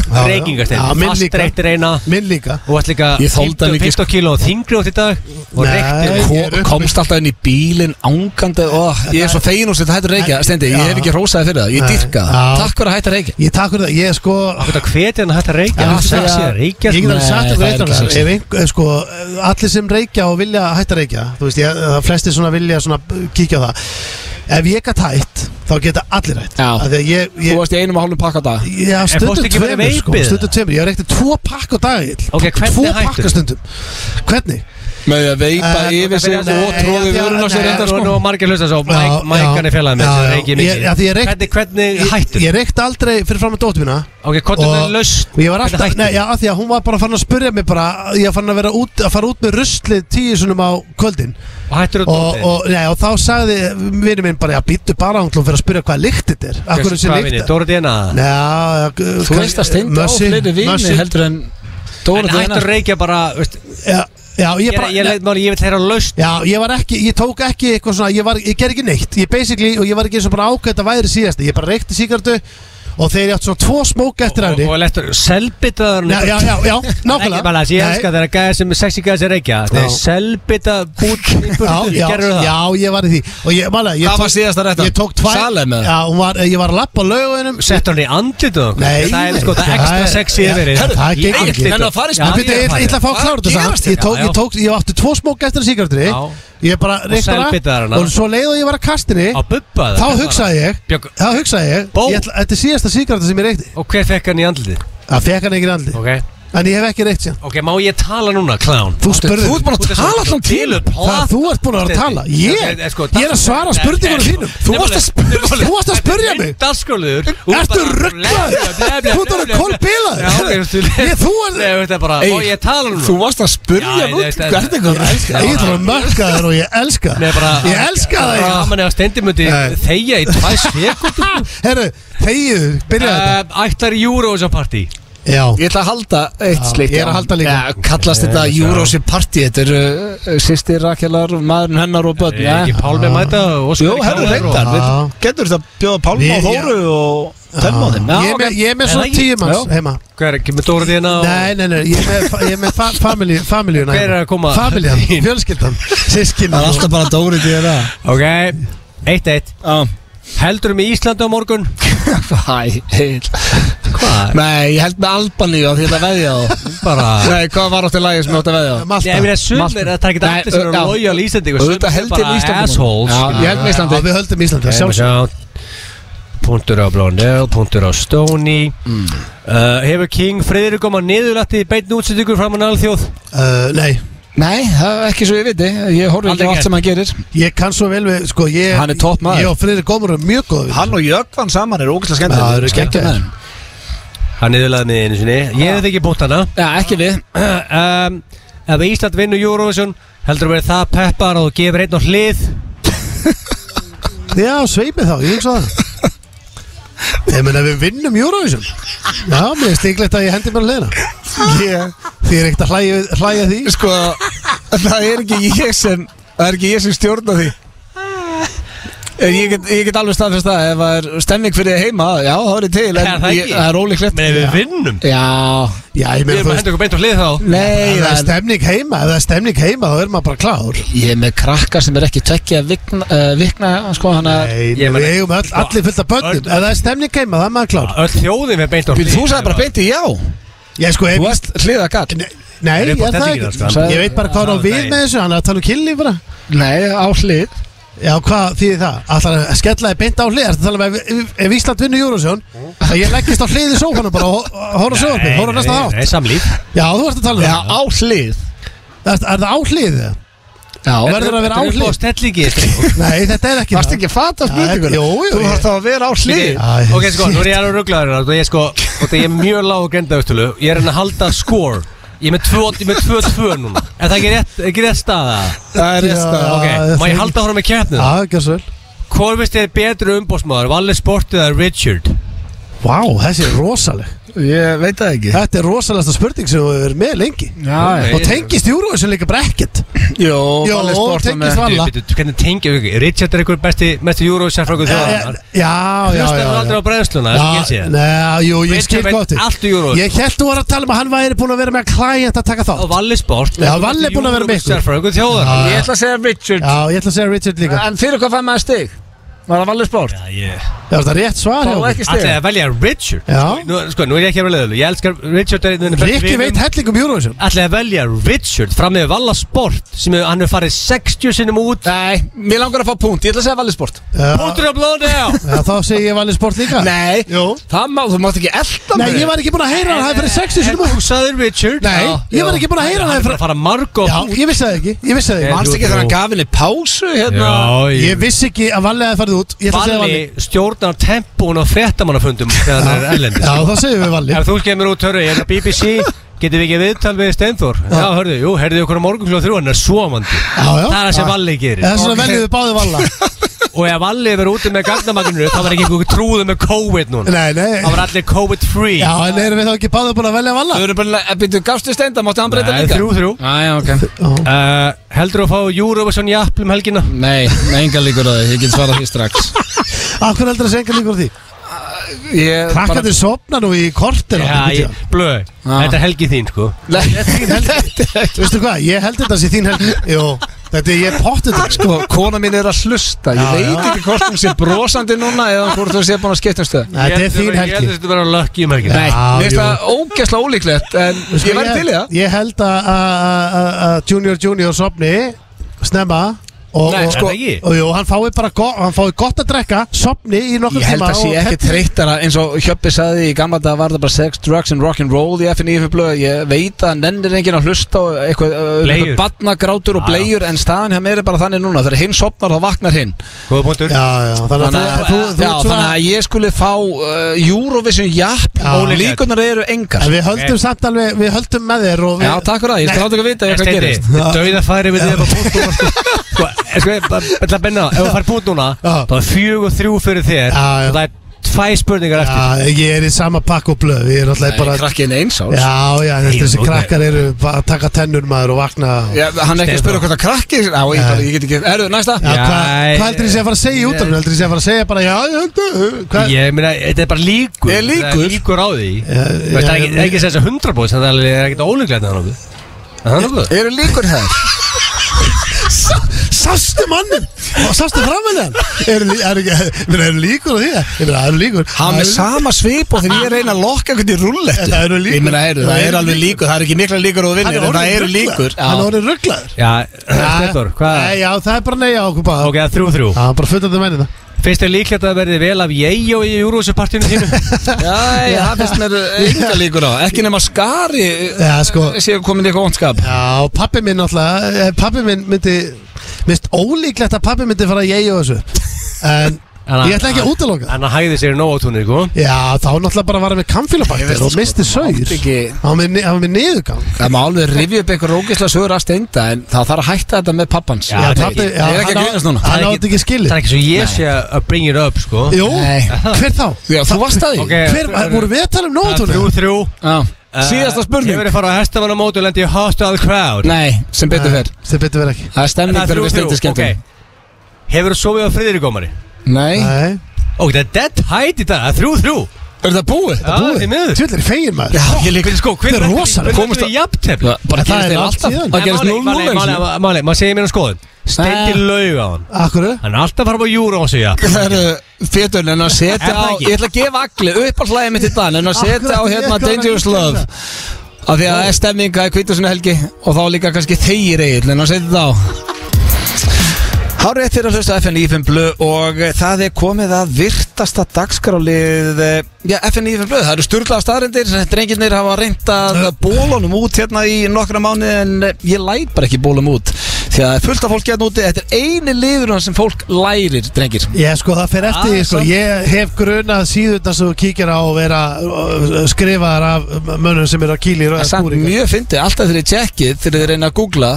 [SPEAKER 3] Já,
[SPEAKER 2] reykingastendi
[SPEAKER 3] minn líka.
[SPEAKER 2] Fastreiktir eina
[SPEAKER 3] Minn líka
[SPEAKER 2] Þú varst líka
[SPEAKER 5] Ég þoldi
[SPEAKER 2] 15
[SPEAKER 5] hann ekki,
[SPEAKER 2] 15 kíló þingri átt í dag Og
[SPEAKER 3] Nei.
[SPEAKER 2] reyktir
[SPEAKER 3] Ég er
[SPEAKER 5] Ko-
[SPEAKER 3] upp-
[SPEAKER 5] komst alltaf inn í bílinn ángandi og ég er svo fegin úr sér þetta hættur reykja Stendi, ég
[SPEAKER 3] Já.
[SPEAKER 5] hef ekki rósaði fyrir það, ég
[SPEAKER 3] Nei.
[SPEAKER 5] dyrka það
[SPEAKER 3] Já.
[SPEAKER 5] Takk fyrir að hætta reykja
[SPEAKER 3] Ég takk fyrir það, ég er sko
[SPEAKER 2] Akkur þetta hvetja hann að hætta að reykja
[SPEAKER 3] Já,
[SPEAKER 2] Það er
[SPEAKER 3] segja-
[SPEAKER 2] sexy að reykja
[SPEAKER 3] Ég get
[SPEAKER 5] Nei,
[SPEAKER 3] alveg sagt um
[SPEAKER 5] það
[SPEAKER 3] okkur
[SPEAKER 5] er
[SPEAKER 3] eitt
[SPEAKER 5] ekki
[SPEAKER 3] annað
[SPEAKER 5] sexy.
[SPEAKER 3] Ef einhver, sko, allir sem reykja og vilja hætta að reykja Þú veist, ég, það flesti svona vilja svona uh, kíkja á það Ef ég gætt hætt, þá geta allir hætt
[SPEAKER 5] Já.
[SPEAKER 3] Af því að ég,
[SPEAKER 5] Þú
[SPEAKER 3] ég,
[SPEAKER 5] varst í einum og hálfum pakka á dag
[SPEAKER 3] Já,
[SPEAKER 2] fórstu
[SPEAKER 3] stundum
[SPEAKER 2] ekki bara í
[SPEAKER 3] tveimur sko,
[SPEAKER 2] veipið?
[SPEAKER 3] stundum tveimur, ég hef reykti tvo pakk á dag Egill.
[SPEAKER 2] Ok, hvernig
[SPEAKER 3] Tvo
[SPEAKER 2] hættirðu?
[SPEAKER 3] pakka stundum Hvernig?
[SPEAKER 5] með því að veipa
[SPEAKER 3] Eh,
[SPEAKER 5] yfir sig
[SPEAKER 3] nei,
[SPEAKER 5] og tróði
[SPEAKER 3] já,
[SPEAKER 5] vörun á sér
[SPEAKER 3] nei,
[SPEAKER 5] reyndar
[SPEAKER 2] Nú
[SPEAKER 5] sko
[SPEAKER 2] nú margir hlusta svo
[SPEAKER 3] Já, já.
[SPEAKER 2] Mækan er félagið
[SPEAKER 3] Já,
[SPEAKER 2] með
[SPEAKER 3] já.
[SPEAKER 2] sem reykja
[SPEAKER 3] Ég- já, því ég
[SPEAKER 2] mikið
[SPEAKER 3] reykti-
[SPEAKER 2] Hvernig- Hvernig
[SPEAKER 3] Ég-
[SPEAKER 2] hættur?
[SPEAKER 3] Ég reykti aldrei fyrir fram að dóttu mína
[SPEAKER 2] Ok, hvernig er laust?
[SPEAKER 3] og ég var alltaf,
[SPEAKER 2] Hvernig
[SPEAKER 3] nei,
[SPEAKER 2] hættur?
[SPEAKER 3] já, af því að hún var bara fann að spyrja mig bara, ég fann að vera út, að fara út með ruslið tíu sunnum á kvöldin
[SPEAKER 2] Og hættur út
[SPEAKER 3] og, og, nei, og þá sagði vinnu minn bara, já, býttu bara hún fyrir að spyrja hvað lykt þetta er, af hverju sem lykt
[SPEAKER 2] Dóru DNA
[SPEAKER 3] Já,
[SPEAKER 5] þú veist að steinda á fleiri vini heldur en
[SPEAKER 2] En
[SPEAKER 5] Dóra
[SPEAKER 2] hættur að
[SPEAKER 5] Dóra
[SPEAKER 2] reykja bara veist,
[SPEAKER 3] Já, já, ég
[SPEAKER 2] Ég
[SPEAKER 3] bara
[SPEAKER 2] ég leit máli, ég vil þeirra laust
[SPEAKER 3] Já, ég var ekki, ég tók ekki eitthvað svona, ég, var, ég ger ekki neitt Ég basically, og ég var ekki eins og bara ákveðt að væri síðast Ég bara reykti síkartu og þegar ég átt svona tvo smók eftir
[SPEAKER 2] Og
[SPEAKER 3] henni
[SPEAKER 2] og lettur Selbitaður
[SPEAKER 3] Já, já, já, já, nákvæmlega
[SPEAKER 2] Ekki bara þess, ég
[SPEAKER 3] Nei.
[SPEAKER 2] elska þeirra gæðir sem sexy gæðir sem reykja Þeir
[SPEAKER 3] Já.
[SPEAKER 2] selbita bút í burtu,
[SPEAKER 3] já,
[SPEAKER 2] gerur
[SPEAKER 3] já,
[SPEAKER 2] það
[SPEAKER 3] já, ég var í því Og ég, mála, ég
[SPEAKER 5] Það var síðasta réttan.
[SPEAKER 3] Ég tók tvær
[SPEAKER 5] Salem, eða?
[SPEAKER 3] Já, hún var, ég var að lappa á laugunum
[SPEAKER 2] Settur hann í andlit og okkur?
[SPEAKER 3] Nei,
[SPEAKER 2] Það er sko það
[SPEAKER 3] það
[SPEAKER 2] ekstra
[SPEAKER 3] er-
[SPEAKER 2] sexy
[SPEAKER 3] já,
[SPEAKER 2] yfir
[SPEAKER 3] herru, það
[SPEAKER 2] Ég-
[SPEAKER 3] gengur ekki.
[SPEAKER 2] ég-
[SPEAKER 5] Menn að fara í
[SPEAKER 2] Já,
[SPEAKER 5] smá-
[SPEAKER 3] En byrju,
[SPEAKER 2] ég
[SPEAKER 3] ég
[SPEAKER 2] er
[SPEAKER 3] ætla- ég ætla að fá
[SPEAKER 5] Hvað
[SPEAKER 3] að klára þetta
[SPEAKER 5] gerast
[SPEAKER 3] samt Ég
[SPEAKER 2] hérna?
[SPEAKER 3] tók,
[SPEAKER 2] Já, já.
[SPEAKER 3] ég tók, ég átti tvo smók eftir að síkartinni
[SPEAKER 2] Já.
[SPEAKER 3] Ég bara reykti
[SPEAKER 2] selbitaði
[SPEAKER 3] bara
[SPEAKER 2] hana.
[SPEAKER 3] Og svo leið og ég var að kastinni
[SPEAKER 2] Á bubba það
[SPEAKER 3] Þá hugsaði ég,
[SPEAKER 2] Björg-
[SPEAKER 3] þá hugsaði ég
[SPEAKER 2] Bó.
[SPEAKER 3] ég ætla- Þetta er síðasta síkartin sem ég reykti
[SPEAKER 2] Og hver fekk hann í andlitið?
[SPEAKER 3] Það fekk hann ekki randi
[SPEAKER 2] Ok
[SPEAKER 3] En ég hef ekki reykt síðan
[SPEAKER 2] Ok, má ég tala núna, klán?
[SPEAKER 3] Þú
[SPEAKER 5] Þú
[SPEAKER 3] spurðir
[SPEAKER 5] ert búin
[SPEAKER 2] Þú
[SPEAKER 5] að
[SPEAKER 2] ert
[SPEAKER 5] tala
[SPEAKER 2] svo
[SPEAKER 5] allan tíma
[SPEAKER 2] tilur, pala.
[SPEAKER 3] Það þú ert búin að vera að tala Ég,
[SPEAKER 2] Eh, eh, sko,
[SPEAKER 3] ég er að svara
[SPEAKER 2] dagskrá- Eh,
[SPEAKER 3] spurningunum þínum
[SPEAKER 2] sko,
[SPEAKER 3] Þú varst að
[SPEAKER 2] nefnilega-
[SPEAKER 3] spurja, þú varst að spurja mig
[SPEAKER 2] Dasgóliður
[SPEAKER 3] Ertu rugglaður? Þú ert orðinn kolbilaður. Ég- þú ert-
[SPEAKER 2] Nei, þetta er bara
[SPEAKER 5] Ey,
[SPEAKER 2] Má ég tala núna?
[SPEAKER 5] Þú varst að spurja
[SPEAKER 2] Já,
[SPEAKER 5] nú
[SPEAKER 2] ég- þetta-
[SPEAKER 5] Hvernig hvað
[SPEAKER 2] ég elska
[SPEAKER 3] Ég þarf að mökka þér og ég elska
[SPEAKER 2] Nei, bara
[SPEAKER 3] þér Ég elska
[SPEAKER 2] Það er
[SPEAKER 3] þér
[SPEAKER 2] gaman ef að stendi myndi
[SPEAKER 3] Nei.
[SPEAKER 2] Þegja í tvæ sekundum
[SPEAKER 3] Herru, þegiðu, byrja
[SPEAKER 5] Eh,
[SPEAKER 3] þetta
[SPEAKER 2] Ætlar í Eurovision party
[SPEAKER 3] Já,
[SPEAKER 5] Ég ætla að halda eitt
[SPEAKER 3] Já,
[SPEAKER 5] sleitt
[SPEAKER 3] ég er að halda líka.
[SPEAKER 5] Kallast þetta Eurosi party Þetta eru uh, sýstir Rakelar, maðurinn hennar og börn
[SPEAKER 2] Er Eh, ekki
[SPEAKER 5] ja.
[SPEAKER 2] Pálmi að mæta og Óskar
[SPEAKER 5] Ah. Jú,
[SPEAKER 2] í
[SPEAKER 5] herru
[SPEAKER 2] klárar
[SPEAKER 5] reyndar
[SPEAKER 2] og-
[SPEAKER 5] við,
[SPEAKER 3] Já.
[SPEAKER 5] Getur þetta að bjóða Pálma
[SPEAKER 3] Við-
[SPEAKER 5] og Þóru og Telma og þeim
[SPEAKER 3] Ég er með- ég er með
[SPEAKER 2] Er það
[SPEAKER 3] svona
[SPEAKER 2] ekki?
[SPEAKER 3] tíu manns
[SPEAKER 5] Já.
[SPEAKER 3] heima
[SPEAKER 2] Hver er ekki með Dóra þína og
[SPEAKER 3] Nei, nei, nei, ég er með, ég er með fa family, familjuna
[SPEAKER 5] hérna.
[SPEAKER 2] Hver er að koma?
[SPEAKER 3] Familjan, fjölskyldan, sískinna
[SPEAKER 5] Það er alltaf bara Dóri til þeirra
[SPEAKER 2] Ok, eitt eitt Heldurum í Íslandi á morgun?
[SPEAKER 5] Hæ, heil
[SPEAKER 2] Hvað?
[SPEAKER 5] Nei, ég held með Albaníu að því að veðja á
[SPEAKER 2] Bara
[SPEAKER 5] Nei, hvað var átti lagi sem ég átti að veðja á?
[SPEAKER 2] Nei, ég meina
[SPEAKER 5] Malta.
[SPEAKER 2] sumir, það er ekki
[SPEAKER 5] Nei,
[SPEAKER 2] allir sem
[SPEAKER 5] já.
[SPEAKER 2] eru lojal Íslandi
[SPEAKER 5] Auðvitað held ég með Íslandi.
[SPEAKER 2] Assholes sko.
[SPEAKER 5] Já, ég held með Íslandi.
[SPEAKER 3] Já, við höldum Íslandi,
[SPEAKER 2] Heim
[SPEAKER 3] sjálfsög
[SPEAKER 2] sjá Puntur á Blondell, puntur á Stoney
[SPEAKER 3] Mm.
[SPEAKER 2] uh, Hefur King Friðrik koma niðurlætti í beitn útsendingur fram á nálþjóð?
[SPEAKER 3] uh, Nei,
[SPEAKER 5] Nei, það er ekki svo ég viti Ég horfi
[SPEAKER 2] Aldrei
[SPEAKER 5] ekki á
[SPEAKER 2] gert.
[SPEAKER 5] allt sem hann gerir
[SPEAKER 3] ég kann svo vel við, sko, ég
[SPEAKER 5] Hann er topp maður.
[SPEAKER 3] Ég og Friðrik Gómur er mjög góð við
[SPEAKER 5] Hann og Jökvan saman er ógæslega skemmt
[SPEAKER 3] Já, það eru geggjaðir.
[SPEAKER 2] Hann niðurlæði mig einu sinni Ég hefði ekki bútt hana
[SPEAKER 5] Já, ekki við
[SPEAKER 2] um, Ef Ísland vinnur Eurovision heldur verið það peppar og þú gefur einn og hlið
[SPEAKER 3] Já, sveimi þá, ég hugsa það Ég meina við vinnum Eurovision Já, mér er stíklegt að ég hendi mér að leina
[SPEAKER 5] Ég,
[SPEAKER 3] Því er ekkert að hlæja, við- hlæja því
[SPEAKER 5] sko Það er ekki ég sem Það er ekki ég sem stjórna því Eh, Ég get, ég get alveg staðfest það Ef það er stemning fyrir þig heima Já, það er til En
[SPEAKER 2] Er það
[SPEAKER 5] ég,
[SPEAKER 2] ekki?
[SPEAKER 5] það er ólíklegt
[SPEAKER 2] Men ef við vinnum
[SPEAKER 5] Já,
[SPEAKER 3] Já, ég
[SPEAKER 2] Við
[SPEAKER 3] meina
[SPEAKER 2] erum að
[SPEAKER 3] þú veist
[SPEAKER 2] henda okkur beint og hlið þá
[SPEAKER 5] nei
[SPEAKER 3] Ef það er
[SPEAKER 5] en,
[SPEAKER 3] stemning heima, ef það er stemning heima þá er maður bara klár
[SPEAKER 5] Ég er með krakka sem er ekki tvekki að vikna, uh, vikna sko, hana,
[SPEAKER 3] Nei,
[SPEAKER 2] Ég
[SPEAKER 3] við
[SPEAKER 2] meina-
[SPEAKER 3] eigum all, allir fullt af börnum Ef það er stemning heima, það er maður klár
[SPEAKER 2] Öll þjóðin við beint og
[SPEAKER 5] Býtu,
[SPEAKER 2] hlið
[SPEAKER 5] Þú sagði bara beinti já
[SPEAKER 3] Ég sko,
[SPEAKER 5] Þú
[SPEAKER 3] ef
[SPEAKER 5] varst hliða gall
[SPEAKER 3] Nei, nei
[SPEAKER 2] Það er
[SPEAKER 3] ég er það
[SPEAKER 2] hypotetikir,
[SPEAKER 3] ekki
[SPEAKER 2] sko.
[SPEAKER 3] Ég veit bara hvað er á við með þessu Hann er að tala um kynlíf bara
[SPEAKER 5] Nei, á hlið
[SPEAKER 3] Já, hvað þýðir það? Ætlar að skella þið beint á hlið Ertu að tala um ef, ef, ef Ísland vinnur Júrasjón að ég leggist á hlið í sófanum bara og ho- og horfa sjóðanbi,
[SPEAKER 2] Nei,
[SPEAKER 3] horfa næsta
[SPEAKER 2] nei,
[SPEAKER 3] þátt
[SPEAKER 2] Nei, samlíf
[SPEAKER 3] Já, þú ert að tala um
[SPEAKER 5] Já,
[SPEAKER 3] það
[SPEAKER 5] á hlið
[SPEAKER 3] Er, er það á hlið? eða?
[SPEAKER 5] Já,
[SPEAKER 3] Verður að vera á
[SPEAKER 2] Þetta er upp
[SPEAKER 3] hlið?
[SPEAKER 2] á stellingi strákur.
[SPEAKER 3] Nei, þetta er ekki
[SPEAKER 5] Varst ekki að fata spurningunum?
[SPEAKER 3] Já, jú, jú,
[SPEAKER 5] Þú
[SPEAKER 3] ég-
[SPEAKER 5] þarfst þá að vera á hlið
[SPEAKER 3] Æ,
[SPEAKER 2] Ok, sko, nú er
[SPEAKER 3] shit.
[SPEAKER 2] ég alveg rugglaður hérna og ég sko, og það ég er mjög lág og grenda öttölu ég er hann að halda score ég er með 2-2 ég er með 2-2 núna en það er ekki rétt, ekki rétt staða
[SPEAKER 5] Það er
[SPEAKER 3] Já.
[SPEAKER 5] rétt að
[SPEAKER 2] ok,
[SPEAKER 3] það
[SPEAKER 2] má
[SPEAKER 3] er-
[SPEAKER 2] ég halda honum með
[SPEAKER 3] Já,
[SPEAKER 2] kjæpnið
[SPEAKER 3] ekki svo vel
[SPEAKER 2] hvort veist þið er betri umbósmaður Valli Sportið eða Richard
[SPEAKER 3] Vá, þessi er rosaleg
[SPEAKER 5] Ég veit það ekki
[SPEAKER 3] Þetta er rosalegsta spurning sem við erum með lengi
[SPEAKER 5] Já,
[SPEAKER 3] Og tengist Júrasjón líka bara ekkert
[SPEAKER 5] Jó,
[SPEAKER 3] Jó,
[SPEAKER 5] Valli Sport var
[SPEAKER 3] tengist
[SPEAKER 5] með-
[SPEAKER 3] Valla
[SPEAKER 2] Bíddu, bíddu, hvernig tengja við Richard er einhver besti mesti júrósjárfrangur
[SPEAKER 3] Já, já,
[SPEAKER 2] þjóðanar
[SPEAKER 3] Eh, já, já,
[SPEAKER 2] hlustar
[SPEAKER 3] já.
[SPEAKER 2] aldrei á brennsluna
[SPEAKER 3] Já,
[SPEAKER 2] skil sér
[SPEAKER 3] Nei, jú, ég
[SPEAKER 2] Richard
[SPEAKER 3] skil
[SPEAKER 2] veit
[SPEAKER 3] gott
[SPEAKER 2] allt í Eurovision.
[SPEAKER 3] Ég held þú var að tala um að hann væri búin að vera með klæjent að taka
[SPEAKER 2] og
[SPEAKER 3] þátt
[SPEAKER 2] Valli Sport
[SPEAKER 3] Já, Valli er búinn að vera miklu.
[SPEAKER 2] júrósjárfrangur þjóðanar
[SPEAKER 5] Ég ætla að segja Richard Ah.
[SPEAKER 3] Já, ég ætla að segja Richard líka
[SPEAKER 5] En fyrir hvað fann maður stig? Var það Valli Sport?
[SPEAKER 3] Það var það rétt svar hjá
[SPEAKER 5] Fá
[SPEAKER 3] okkur
[SPEAKER 5] ekki
[SPEAKER 2] Alltaf
[SPEAKER 5] stig
[SPEAKER 2] að velja Richard
[SPEAKER 3] Já.
[SPEAKER 2] Nú, sko, nú er ég ekki að vera leðileg Ég elskar Richard er einn af bestu
[SPEAKER 3] Rikki
[SPEAKER 2] vinum.
[SPEAKER 3] veit helling um Eurovision
[SPEAKER 2] Ætlaði að velja Richard fram með Valla Sport sem hefur- hann hefur farið 60 sinnum út
[SPEAKER 5] Nei, mér langar að fá punkt Ég ætla að segja Valli Sport
[SPEAKER 3] Já,
[SPEAKER 2] Pótur að blóða á
[SPEAKER 3] já, Þá segi ég valið sport líka
[SPEAKER 5] Nei,
[SPEAKER 3] Jú
[SPEAKER 5] það má, þú mátt ekki elda
[SPEAKER 3] Nei, ég var ekki búin að heyra hann Það er fyrir 60 sinum
[SPEAKER 2] Þú sagðir Richard
[SPEAKER 3] Nei,
[SPEAKER 2] Já.
[SPEAKER 3] ég var ekki búin að heyra hann
[SPEAKER 2] Hann
[SPEAKER 3] Það
[SPEAKER 2] er bara að
[SPEAKER 3] er fyrir
[SPEAKER 2] fara margótt
[SPEAKER 3] Já, ég vissi það ekki Ég vissi það ekki
[SPEAKER 2] Nei,
[SPEAKER 5] Manst ekki
[SPEAKER 2] Jú,
[SPEAKER 5] þegar
[SPEAKER 2] jú.
[SPEAKER 5] hann gaf henni pásu hérna
[SPEAKER 3] Ég vissi ekki að valið að farið út Ég ætla að segja
[SPEAKER 2] Valli
[SPEAKER 3] valið
[SPEAKER 2] stjórnar tempón á fréttamannafundum þegar hann er erlendis
[SPEAKER 3] Já, þá segjum við valið
[SPEAKER 2] Ef þú skemmir út, hörru, hérna ég er á BBC Getum við ekki viðtal við Steinþór Já, hörru, jú, heyrðu okkur á morgun kljóð þrjú Hann er svo mandi
[SPEAKER 3] Já, já.
[SPEAKER 2] Það er það sem Valli gerir
[SPEAKER 3] Það er svona
[SPEAKER 5] Ok.
[SPEAKER 3] veljum við báði vala
[SPEAKER 2] Og ef Valli verið úti með gagnamagninu þá var ekki einhver trúðu með COVID núna
[SPEAKER 3] Nei, nei
[SPEAKER 2] Það var allir COVID free
[SPEAKER 3] Já, en erum við þá ekki báði búin að velja vala?
[SPEAKER 5] Þú eru bara, eh, býttu, gafstu steinda, máttu hann breyta
[SPEAKER 2] Nei,
[SPEAKER 5] líka?
[SPEAKER 2] þrjú, þrjú
[SPEAKER 5] Æja, ok
[SPEAKER 3] Já.
[SPEAKER 2] Uh, heldur þú að fá Eurovision jafn um helgina?
[SPEAKER 5] Nei, enga líkur að þið, ég get svarað því strax
[SPEAKER 3] Af hverju heldur það segja líkur á því?
[SPEAKER 5] Ég
[SPEAKER 3] Krakkandi sopna nú í kortir
[SPEAKER 2] Já, ég, blöð,
[SPEAKER 5] Ah.
[SPEAKER 2] þetta er helgi þín sko
[SPEAKER 5] Nei,
[SPEAKER 3] Veistu hvað, ég held þetta sé þín helgi Jú, þetta er ég pottið þetta
[SPEAKER 5] sko, kona mín er að hlusta Ég
[SPEAKER 3] Já,
[SPEAKER 5] veit
[SPEAKER 3] já.
[SPEAKER 5] ekki hvort hún sé brosandi núna eða hvort hún sé búin að skipta um stöð
[SPEAKER 3] Nei, Þetta er þín
[SPEAKER 2] Ég heldur
[SPEAKER 3] helgi
[SPEAKER 2] þetta vera lökki um helgina
[SPEAKER 5] Nei,
[SPEAKER 3] Já,
[SPEAKER 5] mér finnst
[SPEAKER 3] jú.
[SPEAKER 5] það ógeðslega ólíklegt En
[SPEAKER 3] Veistu
[SPEAKER 5] ég
[SPEAKER 3] hvað,
[SPEAKER 5] væri til í það
[SPEAKER 3] Ég held að- að að- að- að Junior Junior sopni Snemma og,
[SPEAKER 2] Nei,
[SPEAKER 3] og,
[SPEAKER 2] sko-
[SPEAKER 3] og, og jú, hann fái bara go, hann fái gott að drekka sopni í nokkur
[SPEAKER 5] Ég held
[SPEAKER 3] tíma
[SPEAKER 5] að sé
[SPEAKER 3] og
[SPEAKER 5] ekki
[SPEAKER 3] kefli.
[SPEAKER 5] treyttara eins og Hjöppi saði í gamla dag var það bara sex, drugs and rock'n'roll í FNF blöð Ég veit að hann nennir enginn að hlusta og eitthvað,
[SPEAKER 2] Bleiur.
[SPEAKER 5] eitthvað badnagrátur
[SPEAKER 2] Já,
[SPEAKER 5] og
[SPEAKER 2] já.
[SPEAKER 5] bleiur en staðan hjá mér er bara þannig núna þegar hinn sopnar þá vaknar hinn
[SPEAKER 2] Góða punktur
[SPEAKER 3] Já, já, þannig að
[SPEAKER 5] Þannig
[SPEAKER 3] þú-
[SPEAKER 5] að,
[SPEAKER 3] þú- þú
[SPEAKER 5] já,
[SPEAKER 3] ert
[SPEAKER 5] þannig
[SPEAKER 3] svona-
[SPEAKER 5] að ég skulle fá uh, Eurovision japp
[SPEAKER 3] Já.
[SPEAKER 5] og líkunar eru engar
[SPEAKER 3] En við höldum samt alveg, við höldum með þér og við,
[SPEAKER 5] Já, takk fyrir það, ég skal láta ekki vita
[SPEAKER 2] Ég
[SPEAKER 5] ég hvað
[SPEAKER 2] steindi,
[SPEAKER 5] gerist
[SPEAKER 2] dauðafæri við þér á punkt núna sko. Sko, ég sko, ég bara- ég ætla að benna það Ef þú fær punkt núna,
[SPEAKER 3] Já.
[SPEAKER 2] þá er fjög og þrjú fyrir þér
[SPEAKER 3] Já, já.
[SPEAKER 2] Og það er tvæ spurningar eftir
[SPEAKER 3] Já, ég er í sama pakk og blöð Ég er náttúrulega
[SPEAKER 5] Bara
[SPEAKER 3] bara
[SPEAKER 5] krakkin eins árs Já,
[SPEAKER 3] Já, já,
[SPEAKER 2] sko. Nei,
[SPEAKER 3] þessi
[SPEAKER 2] nú-
[SPEAKER 3] krakkar eru bara að taka tennur maður og vakna Já,
[SPEAKER 5] Hann er ekki að spyrja hvort að krakki Já, ég, bara, ég get ekki, erðu, næsta
[SPEAKER 3] hvað
[SPEAKER 2] Já,
[SPEAKER 3] hva heldur ég sé að fara að segja út af Heldur ég sé að fara að segja bara Já, ég heldur hvað-
[SPEAKER 2] Ég meina, þetta er bara líkur
[SPEAKER 5] Ég er líkur.
[SPEAKER 2] Það líkur á því Þú veist,
[SPEAKER 3] já,
[SPEAKER 2] Það er ekki-
[SPEAKER 3] já.
[SPEAKER 2] það er ekki þess að hundra bóð Þannig að það er ekkert ólíklegt að það er nokkuð. Er það nokkuð?
[SPEAKER 5] Eru líkur það?
[SPEAKER 3] Sástu mannin Og Sástu framöndan Eru lí- eru ekki- meina, eru líkur á því Ég meina, eru líkur
[SPEAKER 5] Hann með
[SPEAKER 3] Eru-
[SPEAKER 5] sama svip og þegar ég reyna að lokka einhvern í rullettu
[SPEAKER 3] Það eru líkur.
[SPEAKER 5] Ég meina, heyrðu,
[SPEAKER 3] Það
[SPEAKER 5] það
[SPEAKER 3] eru
[SPEAKER 5] er alveg líkur, það er ekki mikla líkur og þú
[SPEAKER 3] Hann
[SPEAKER 5] vinnir
[SPEAKER 3] er
[SPEAKER 5] En það
[SPEAKER 3] orðinn
[SPEAKER 5] eru líkur
[SPEAKER 3] rugglaður Hann er
[SPEAKER 5] Já.
[SPEAKER 3] orðinn rugglaður
[SPEAKER 2] Já, Stefnur, hvað?
[SPEAKER 3] Nei, Já, það er bara neyja á okkur bara
[SPEAKER 2] Ok, það er þrjú þrjú
[SPEAKER 3] Já, bara fullandi menni það
[SPEAKER 2] Finnst þér líklegt að það verði vel af ég og í Eurovision-partínu þínu?
[SPEAKER 5] Já, ég- það finnst mér enga líkur á Ekki nema skari
[SPEAKER 3] Já, sko
[SPEAKER 5] Sér komin í eitthvað ondskap
[SPEAKER 3] Já, pappi minn náttúrulega Pappi minn myndi Mist ólíklegt að pappi myndi fara að ég og þessu En
[SPEAKER 2] Þannig að-
[SPEAKER 3] ég ætla ekki að útiloka það.
[SPEAKER 2] Þannig að hæði sér í nóatúnu, sko
[SPEAKER 3] Já, þá náttúrulega bara varum við kamfílabaktir og misti saur
[SPEAKER 5] mátti ekki-
[SPEAKER 3] Það var með- hann var með niðurgang
[SPEAKER 5] Það má alveg rifja upp einhver rókislega sögur að steinda En það þarf að hætta þetta með pappans
[SPEAKER 2] Já, það er ekki-
[SPEAKER 3] pabbi- já,
[SPEAKER 5] ég er ekki að
[SPEAKER 3] hann á-
[SPEAKER 5] grínast núna.
[SPEAKER 3] Hann
[SPEAKER 2] Það er
[SPEAKER 3] átti ekki skilið
[SPEAKER 2] Það er ekki svo ég sé að bring it up, sko
[SPEAKER 3] Jú,
[SPEAKER 5] Nei.
[SPEAKER 3] hver þá?
[SPEAKER 5] Já, þú varst að því
[SPEAKER 2] Ok, Uh,
[SPEAKER 3] Hver, voru við að tala um
[SPEAKER 2] það er
[SPEAKER 3] nótunum?
[SPEAKER 2] Þrjú þrjú
[SPEAKER 5] Já. Síðasta
[SPEAKER 2] Ég
[SPEAKER 5] spurning
[SPEAKER 2] verið að fara á hestamannamóti og lendi í hostile crowd
[SPEAKER 5] Nei, sem betur fer
[SPEAKER 3] Þið betur verið ekki
[SPEAKER 5] Það er
[SPEAKER 2] Uh, En
[SPEAKER 5] stemning
[SPEAKER 2] það er
[SPEAKER 5] fyrir
[SPEAKER 2] þrjú
[SPEAKER 5] við
[SPEAKER 2] þrjú,
[SPEAKER 5] steindi skemmtum
[SPEAKER 2] ok Hefur þú sofið á friðirikómari?
[SPEAKER 5] Nei,
[SPEAKER 3] Nei,
[SPEAKER 2] Ok, það er dead height í dag, það er þrjú þrjú
[SPEAKER 5] er það búið?
[SPEAKER 2] Já, því miður
[SPEAKER 3] tjöldur í fegin maður
[SPEAKER 5] Já, ég líka
[SPEAKER 2] Hvernig sko,
[SPEAKER 3] Þetta er
[SPEAKER 2] hvernig
[SPEAKER 3] rosalegt.
[SPEAKER 2] Komist það jafntefn
[SPEAKER 5] Það Bara
[SPEAKER 3] En það er
[SPEAKER 5] gerist þeir
[SPEAKER 3] langt
[SPEAKER 5] alltaf
[SPEAKER 3] síðan.
[SPEAKER 5] Það gerist 0-0 einu sinni.
[SPEAKER 2] Máli, maður segir mér um skoðun Steindi laug á hann
[SPEAKER 3] Akkur er
[SPEAKER 2] Hann er alltaf að fara á Eurovision, já
[SPEAKER 5] Það eru fjötun eh, en að
[SPEAKER 2] Er
[SPEAKER 5] setja
[SPEAKER 2] það
[SPEAKER 5] á
[SPEAKER 2] ekki?
[SPEAKER 5] Ég ætla að gefa allir upp á hlæði mitt í dag En að setja á
[SPEAKER 3] Akkurat, ég
[SPEAKER 5] hérna
[SPEAKER 3] kom að
[SPEAKER 5] Dangerous
[SPEAKER 3] gera
[SPEAKER 5] Love
[SPEAKER 3] það.
[SPEAKER 5] Af því að það er stemming að kvítu sinna helgi Og þá líka kannski þeir eigin En að setja það á Hárið eftir að hlusta á FN í FM Blö og eh, það er komið að virtasta dagskrálið eh, Já, FN í FM Blö, það eru sturglaða staðrindir Drengirnir hafa reynt að bólunum út hérna í nokkra mánu En eh, ég læt bara ekki bólum út Því að það er fullt af fólki hérna úti Þetta er eini liður sem fólk lærir, drengir
[SPEAKER 3] Ég sko það fer eftir því
[SPEAKER 2] Ah,
[SPEAKER 3] sko
[SPEAKER 2] samt.
[SPEAKER 3] Ég hef grunað síðurnar sem þú kíkir á og vera uh, skrifaðar af mönnum sem eru að kýli í
[SPEAKER 5] Það er
[SPEAKER 3] rauða
[SPEAKER 5] samt
[SPEAKER 3] skúringar
[SPEAKER 5] mjög fyndið, alltaf þegar ég tjekkið þegar þið reyna að googla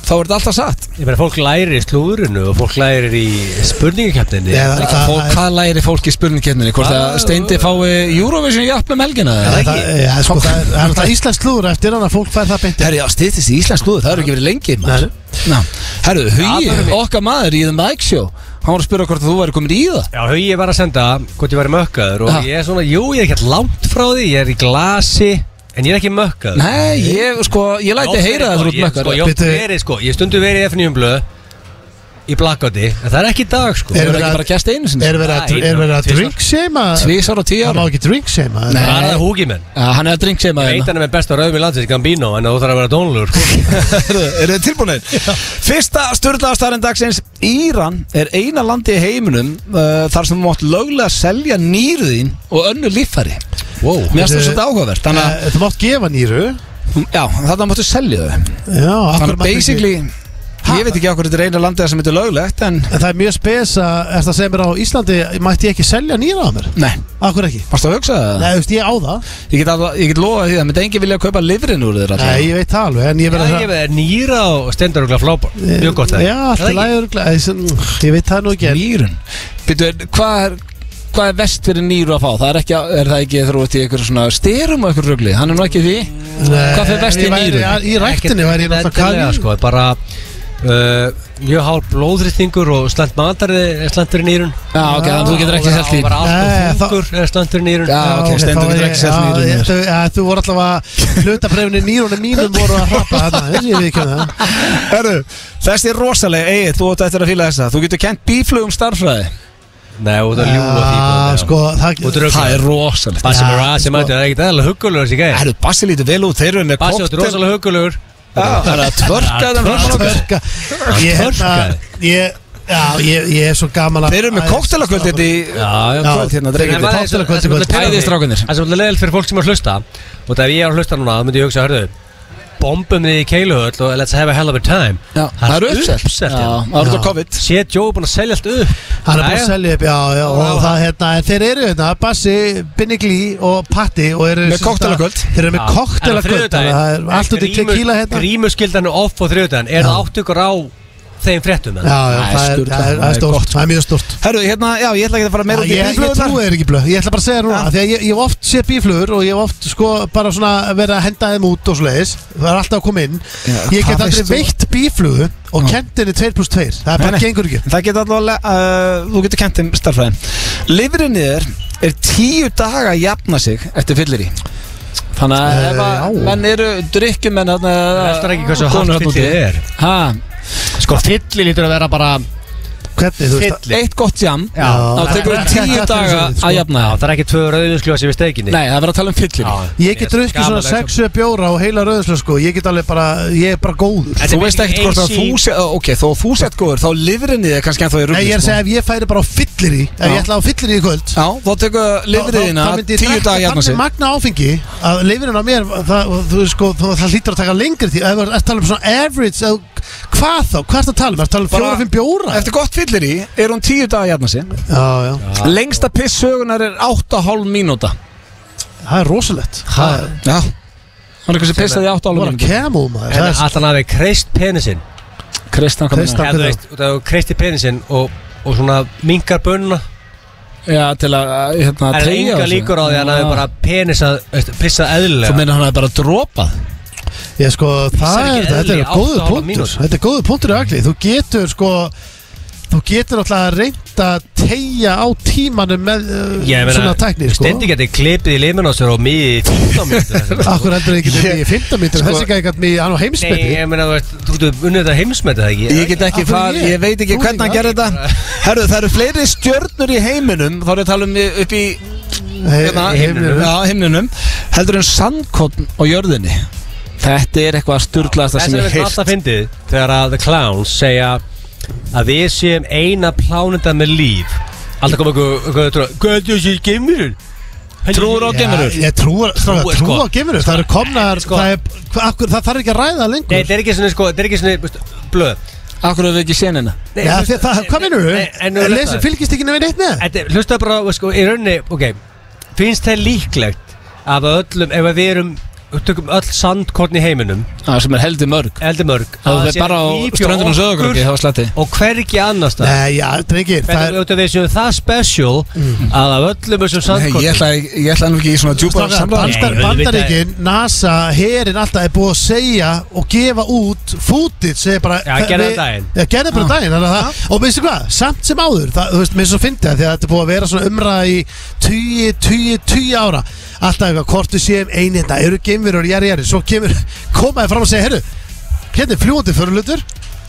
[SPEAKER 5] þá er þetta alltaf satt
[SPEAKER 2] Ég meina, fólk lærir í slúðurinu og fólk lærir í spurningakefninni
[SPEAKER 3] Já, það- það-
[SPEAKER 5] Fólk, Hvað læri fólk í spurningkjarninni? Hvort að Steindi fái Eurovision jafn um helgina? eða?
[SPEAKER 3] Það- það- Já, sko, það er það er náttúrulega íslensk slúður eftir hann að fólk fær það beinti
[SPEAKER 5] Herru, já, stýttist í Íslands klúðu, það eru ekki verið lengi maður. Ná, Herru,
[SPEAKER 2] Já, það
[SPEAKER 5] Hugi,
[SPEAKER 2] er mér.
[SPEAKER 5] okkar maður í The Mike Show hann var að spura hvort að þú væri komin í það
[SPEAKER 2] Já, Hugi var að senda hvort ég væri mökkaður og
[SPEAKER 5] Ha.
[SPEAKER 2] ég er svona, jú, ég er ekkert langt frá því, ég er í glasi, en ég er ekki mökkaður.
[SPEAKER 5] Nei, ég, sko, ég
[SPEAKER 2] Ég
[SPEAKER 5] læti
[SPEAKER 2] oft
[SPEAKER 5] heyra
[SPEAKER 2] verið-
[SPEAKER 5] það
[SPEAKER 2] sko,
[SPEAKER 5] þú ert
[SPEAKER 2] ég-
[SPEAKER 5] mökkar
[SPEAKER 2] Sko, ég oft
[SPEAKER 3] Bittu.
[SPEAKER 2] verið, sko, ég stundu verið í FNJum blöð í blackouti, en það er ekki í dag, sko.
[SPEAKER 5] Þú
[SPEAKER 3] Er-
[SPEAKER 5] er ekki bara gæst einu sinni
[SPEAKER 3] Er verið að-
[SPEAKER 2] Nei,
[SPEAKER 3] er verið að
[SPEAKER 2] tvisvar.
[SPEAKER 3] drink shame
[SPEAKER 5] Tvísar og tíu
[SPEAKER 3] Það má
[SPEAKER 5] ára
[SPEAKER 3] ekki drink shame
[SPEAKER 5] Nei.
[SPEAKER 2] Það er það húgi menn.
[SPEAKER 5] Já, Hann er að drink sema
[SPEAKER 2] Veit hann er með besta rauðum í landsins, Gambino, en þú þarf að vera tónlur, sko.
[SPEAKER 5] Eru þið tilbúinir? Fyrsta störðlaðastærin dagsins Íran er eina landi í heiminum uh, þar sem þú mátt löglega selja nýruðin og önnu líffæri wow. Mér finnst
[SPEAKER 3] Þetta-
[SPEAKER 5] það svolítið áhugavert Þannig að,
[SPEAKER 3] Þú mátt gefa nýru
[SPEAKER 5] já, þarna máttu selja þau
[SPEAKER 3] Já, af
[SPEAKER 5] Þannig
[SPEAKER 3] hverju
[SPEAKER 5] að
[SPEAKER 3] mætti ekki-
[SPEAKER 5] basically Ég veit ekki okkur þetta er eina landið sem þetta er löglegt En,
[SPEAKER 3] En það er mjög spes að eftir að segja mér á Íslandi mætti ég ekki selja nýra á mér
[SPEAKER 5] nei,
[SPEAKER 3] Akkur ekki
[SPEAKER 5] varstu að hugsa það?
[SPEAKER 3] Nei, þú veist, ég á það
[SPEAKER 5] Ég get, alveg- ég get lofað því að myndi enginn vilja að kaupa livrin úr þér
[SPEAKER 3] Nei,
[SPEAKER 5] alltaf
[SPEAKER 3] ég veit það alveg En ég
[SPEAKER 2] Það
[SPEAKER 3] verði
[SPEAKER 2] er ekki
[SPEAKER 3] að
[SPEAKER 2] verið nýra og stendurugla flópar. Mjög gott það.
[SPEAKER 3] Já, allt
[SPEAKER 2] Það
[SPEAKER 3] er
[SPEAKER 2] er
[SPEAKER 3] lægur Ég veit það nú ekki en-
[SPEAKER 5] Nýrun Býtu, hvað er Hvað er vest fyrir nýru að fá? Það er, ekki, er það ekki þegar þú ert í einhverju svona styrum og einhverju rugli? Hann er nú ekki í því?
[SPEAKER 3] Nei,
[SPEAKER 5] Hvað fer best í
[SPEAKER 3] ég væri-
[SPEAKER 5] nýru?
[SPEAKER 3] ja, Í ræktinni væri ég
[SPEAKER 2] Endilega,
[SPEAKER 3] náttúrulega kannínu
[SPEAKER 2] sko, bara uh, mjög hálf blóðrýstingur og slæmt matarið er slæmtur í nýrun
[SPEAKER 5] Já, ok, þannig að þú getur ekki selt
[SPEAKER 2] og
[SPEAKER 5] því
[SPEAKER 2] bara
[SPEAKER 3] Nei,
[SPEAKER 2] allt
[SPEAKER 3] þá-
[SPEAKER 2] og þungur er slæmtur í nýrun
[SPEAKER 5] Já, ok, Steindór getur ekki selt nýrun í þér.
[SPEAKER 3] nýru Þú voru allavega hlutabrefinni nýrunum mínum voru að hrappa þarna Þessi ég við ekki það
[SPEAKER 5] Herru, þessi er rosalega Egið, þú átt eftir að fýla þessa Þú getur kent bíflugum starfræði
[SPEAKER 2] Nei, og það ljúga því
[SPEAKER 3] Já, sko, það
[SPEAKER 2] Og drögg
[SPEAKER 5] Það er rosalegt
[SPEAKER 2] Bassi
[SPEAKER 3] Já,
[SPEAKER 2] Mirage,
[SPEAKER 3] sko.
[SPEAKER 2] sem mætti, það er ekkert eðalega hugulegur þessi gæði
[SPEAKER 5] Herru, Bassi lítur vel út, þeir eru með
[SPEAKER 2] Bassi átti
[SPEAKER 5] koktel
[SPEAKER 2] rosalega hugulegur
[SPEAKER 5] Það er að tvörka þeim fram og okkur.
[SPEAKER 3] Törka Ég hérna Ég Já, ég, ég er svo gaman að
[SPEAKER 5] Þeir eru með kóktelakvöld
[SPEAKER 6] hérna
[SPEAKER 5] þetta í
[SPEAKER 2] Já, já,
[SPEAKER 5] kvöld hérna
[SPEAKER 2] En
[SPEAKER 5] drengir
[SPEAKER 2] var það-
[SPEAKER 5] þetta
[SPEAKER 3] Tóttalakvöld í
[SPEAKER 2] það sem
[SPEAKER 3] kvöld.
[SPEAKER 2] alltaf pirraði
[SPEAKER 5] Æði
[SPEAKER 2] mig-
[SPEAKER 5] strákunir.
[SPEAKER 2] Það sem alltaf leðilegt fyrir fólk sem er að hlusta Og það ef ég er að hlusta núna þá myndi ég hugsa, hörðu Bombum niður í keiluhöll og let's have a hell of a time
[SPEAKER 5] Já, það er uppselt
[SPEAKER 2] uppselt
[SPEAKER 5] Já,
[SPEAKER 2] hérna.
[SPEAKER 5] það er út á COVID
[SPEAKER 2] Shit, Joe er búinn að selja allt upp
[SPEAKER 3] Hann er bara
[SPEAKER 2] Jæja.
[SPEAKER 3] að selja upp, já, já
[SPEAKER 2] Já,
[SPEAKER 3] Og
[SPEAKER 2] já.
[SPEAKER 3] það hérna En þeir eru hérna Bassi, Binni Glí og Patti Og eru
[SPEAKER 5] Með
[SPEAKER 3] sem sagt að-
[SPEAKER 5] koktelakvöld.
[SPEAKER 3] Þeir eru
[SPEAKER 2] Já.
[SPEAKER 3] með
[SPEAKER 2] En á
[SPEAKER 3] koktelakvöld
[SPEAKER 2] þriðjudaginn-
[SPEAKER 3] Það er allt út í
[SPEAKER 2] Grímur-
[SPEAKER 3] tequila hérna
[SPEAKER 2] Grímuskyldan er off á þriðudaginn Er
[SPEAKER 3] Já.
[SPEAKER 2] það átt ykkur á þeim fréttum? eða?
[SPEAKER 3] Já, já,
[SPEAKER 5] Það er
[SPEAKER 3] það er-
[SPEAKER 5] sturlað,
[SPEAKER 3] það er-
[SPEAKER 5] það
[SPEAKER 3] það
[SPEAKER 5] er
[SPEAKER 3] er sko. stórt
[SPEAKER 5] gott.
[SPEAKER 3] Það er mjög stórt
[SPEAKER 5] Herru, hérna, já, ég ætla ekki að fara meira
[SPEAKER 3] Já,
[SPEAKER 5] út í
[SPEAKER 3] Ég, ég
[SPEAKER 5] bílflugurnar.
[SPEAKER 3] trúi þeir ekki blöð, ég ætla bara að segja þér núna
[SPEAKER 5] Já.
[SPEAKER 3] Því að ég, ég hef oft séð bíflugur og ég hef oft sko bara svona verið að henda þeim út og svoleiðis Það er alltaf að koma inn
[SPEAKER 5] Já,
[SPEAKER 3] Ég
[SPEAKER 5] hvað
[SPEAKER 3] get aldrei
[SPEAKER 5] veist þú?
[SPEAKER 3] veitt bíflugu og kent henni 2 plus 2 Það er
[SPEAKER 5] Nei,
[SPEAKER 3] bara
[SPEAKER 5] nei.
[SPEAKER 3] gengur ekki
[SPEAKER 5] Það getur allavega, uh, þú getur kent um starfræðin Livrin niður er tíu daga að jafna sig eftir fyllir í Þannig að
[SPEAKER 3] Eh,
[SPEAKER 5] ef að
[SPEAKER 3] já.
[SPEAKER 5] menn eru drikkjumenn þarna
[SPEAKER 2] Veltar ekki hversu
[SPEAKER 5] konur
[SPEAKER 2] hart
[SPEAKER 5] þarna úti.
[SPEAKER 2] fyllið er
[SPEAKER 5] Ha,
[SPEAKER 2] Sko fyllir lítur að vera bara
[SPEAKER 3] Hvernig þú veist
[SPEAKER 2] Fyll-
[SPEAKER 5] eitt gott jam
[SPEAKER 2] Já.
[SPEAKER 5] þá tekur
[SPEAKER 3] Það
[SPEAKER 5] það
[SPEAKER 3] er-
[SPEAKER 5] tíu
[SPEAKER 3] það er-
[SPEAKER 5] daga
[SPEAKER 3] sko.
[SPEAKER 5] að jafna
[SPEAKER 2] Já,
[SPEAKER 5] það
[SPEAKER 2] það er ekki tvö rauðinskljósi við steikinni
[SPEAKER 5] Nei, það er verið að tala um fyllir í.
[SPEAKER 2] Já,
[SPEAKER 3] Ég get drukkið svona 6 bjóra og heila rauðslega sko Ég get alveg bara, ég er bara góður
[SPEAKER 2] Þetta
[SPEAKER 5] Þú
[SPEAKER 2] er
[SPEAKER 5] veist ekkert hvort að
[SPEAKER 2] AC.
[SPEAKER 5] þú sé, ó, ok, þó þú sett góður, þá livrin niður kannski en þá er
[SPEAKER 3] Nei, ég er að segja ef ég færi bara á fyllir í Ef
[SPEAKER 5] Já.
[SPEAKER 3] ég ætla á fyllir í í kvöld
[SPEAKER 5] sko. Já, þá tekur livriðina tíu daga að jafna
[SPEAKER 3] Þannig
[SPEAKER 5] sig
[SPEAKER 3] magna áfengi að leifirinn á mér það, og þú, veist sko, þú, það hlýtur að taka lengri tíð Það er að tala um svona average eða, Hvað þá? Hvað er það að tala um? Það er að tala um
[SPEAKER 5] Bara-
[SPEAKER 3] fjóra, fimm bjóra
[SPEAKER 5] Eftir gott fyllir í, er hún tíu daga að jafna sig
[SPEAKER 3] Já, já,
[SPEAKER 5] Lengsta piss sögunar er 8,5 mínúta
[SPEAKER 3] það er rosalegt Það er-
[SPEAKER 5] Já Hann er eitthvað sem pissaði í 8,5
[SPEAKER 3] Það var að
[SPEAKER 5] mínúta
[SPEAKER 3] kemú maður Það
[SPEAKER 2] En
[SPEAKER 3] er svo-
[SPEAKER 2] allan hafi kreist penisinn
[SPEAKER 5] Kristján kom
[SPEAKER 3] Kristján.
[SPEAKER 2] Já,
[SPEAKER 3] Takk
[SPEAKER 5] Kristján.
[SPEAKER 2] þú
[SPEAKER 3] fyrir
[SPEAKER 2] veist, út af þú kreistir penisinn og, og svona mingar bönna
[SPEAKER 5] Já, til að uh, hérna,
[SPEAKER 2] Það er
[SPEAKER 5] teygja
[SPEAKER 2] enga
[SPEAKER 5] á sig.
[SPEAKER 2] líkur á því að hann
[SPEAKER 5] Já.
[SPEAKER 2] hafi bara penisað, veist, pissað
[SPEAKER 5] Þú
[SPEAKER 2] eðlilega
[SPEAKER 5] meina hann hafi bara dropað
[SPEAKER 3] Ég sko, það
[SPEAKER 2] ekki
[SPEAKER 3] er, þetta
[SPEAKER 2] eðli,
[SPEAKER 3] er
[SPEAKER 2] átta
[SPEAKER 3] góður
[SPEAKER 2] hálfa
[SPEAKER 3] punktur
[SPEAKER 2] mínútu.
[SPEAKER 3] Þetta er góður punktur í agli Þú getur sko Þú getur alltaf reynd að tegja á tímanum með uh,
[SPEAKER 2] Ég meina,
[SPEAKER 3] svona tækni sko.
[SPEAKER 2] Stendi geti klipið í limin á sér og miðið í 15 mínútur
[SPEAKER 3] Akkur heldur ekki þetta í 15 mítur
[SPEAKER 5] Sko-
[SPEAKER 3] Þessi gæði gætt mér hann á
[SPEAKER 2] Nei,
[SPEAKER 3] heimsbyrni
[SPEAKER 2] ég meina, þú veist, þú getur unnið þetta heimsmetið það ekki
[SPEAKER 5] Ég get ekki
[SPEAKER 3] Af hverju
[SPEAKER 5] far,
[SPEAKER 3] ég?
[SPEAKER 5] ég veit ekki
[SPEAKER 3] Þú
[SPEAKER 5] hvernig hann
[SPEAKER 3] líka.
[SPEAKER 5] gerði þetta Herru, það eru fleiri stjörnur í heiminum Þá er ég að tala um í- upp í hérna,
[SPEAKER 2] í himninum.
[SPEAKER 5] Já, himninum Heldur en sandkotn á jörðinni Þetta er eitthvað sturglaðasta
[SPEAKER 2] Þess
[SPEAKER 5] sem
[SPEAKER 2] að
[SPEAKER 5] ég
[SPEAKER 2] við
[SPEAKER 5] heist
[SPEAKER 2] alltaf fyndið þegar að The Clowns segja að við séum eina plánenda með líf Alltaf kom eitthvað, eitthvað, eitthvað, hvað er þessi geimurinn?
[SPEAKER 5] Trúir á geimverur?
[SPEAKER 3] Ég trúar,
[SPEAKER 2] Trúar,
[SPEAKER 3] stráka,
[SPEAKER 2] sko.
[SPEAKER 3] trúar gemurur Það eru komnar,
[SPEAKER 2] Sko.
[SPEAKER 3] það, er, hva- akkur, það þarf ekki að ræða það
[SPEAKER 2] Nei,
[SPEAKER 3] lengur
[SPEAKER 2] þetta er ekki svona, sko, þetta er ekki svona, veist, blöð
[SPEAKER 5] Akkur hefur við ekki séð hennar
[SPEAKER 2] Nei,
[SPEAKER 3] Já,
[SPEAKER 2] þú veist-
[SPEAKER 3] þið, það, hvað minnur
[SPEAKER 2] Nei, en nú er
[SPEAKER 3] við?
[SPEAKER 2] þetta-
[SPEAKER 3] Fylgist ekki nefnir neitt með?
[SPEAKER 2] Þetta, hlusta bara, á, sko, í rauninni, ok Finnst það líklegt af öllum, ef að við erum við tökum öll sandkorn í heiminum
[SPEAKER 5] Það sem er heldur mörg
[SPEAKER 2] eldimörg
[SPEAKER 5] Það er bara á ströndunum sögur Það var sletti
[SPEAKER 2] og hvergi annars það
[SPEAKER 3] Nei, já, drengir það
[SPEAKER 2] Hvernig
[SPEAKER 3] er- Mm.
[SPEAKER 2] auðvitað við séum það special að af öllum þessum sandkornum
[SPEAKER 5] ég ætla nú ekki í svona
[SPEAKER 3] strákar,
[SPEAKER 2] samræður.
[SPEAKER 3] Bandar,
[SPEAKER 2] Nei, auðvitað-
[SPEAKER 3] Bandaríkin, NASA, herin alltaf er búið að segja og gefa út fútið segir bara
[SPEAKER 2] Já,
[SPEAKER 3] það-
[SPEAKER 2] gerðu það
[SPEAKER 3] við-
[SPEAKER 2] daginn.
[SPEAKER 3] Já, gerðu bara daginn þannig að það- Og veistu hvað, samt sem áður það, Þú veist, mér er svo fyndið að því að þetta er búið að vera svona umræða í 20, 20, 20 ára Alltaf eitthvað, hvort við séum einin Það eru geimverur, jæri, jæri Svo kemur, komaði fram og segja, herru Hérna er fljúandi förulutur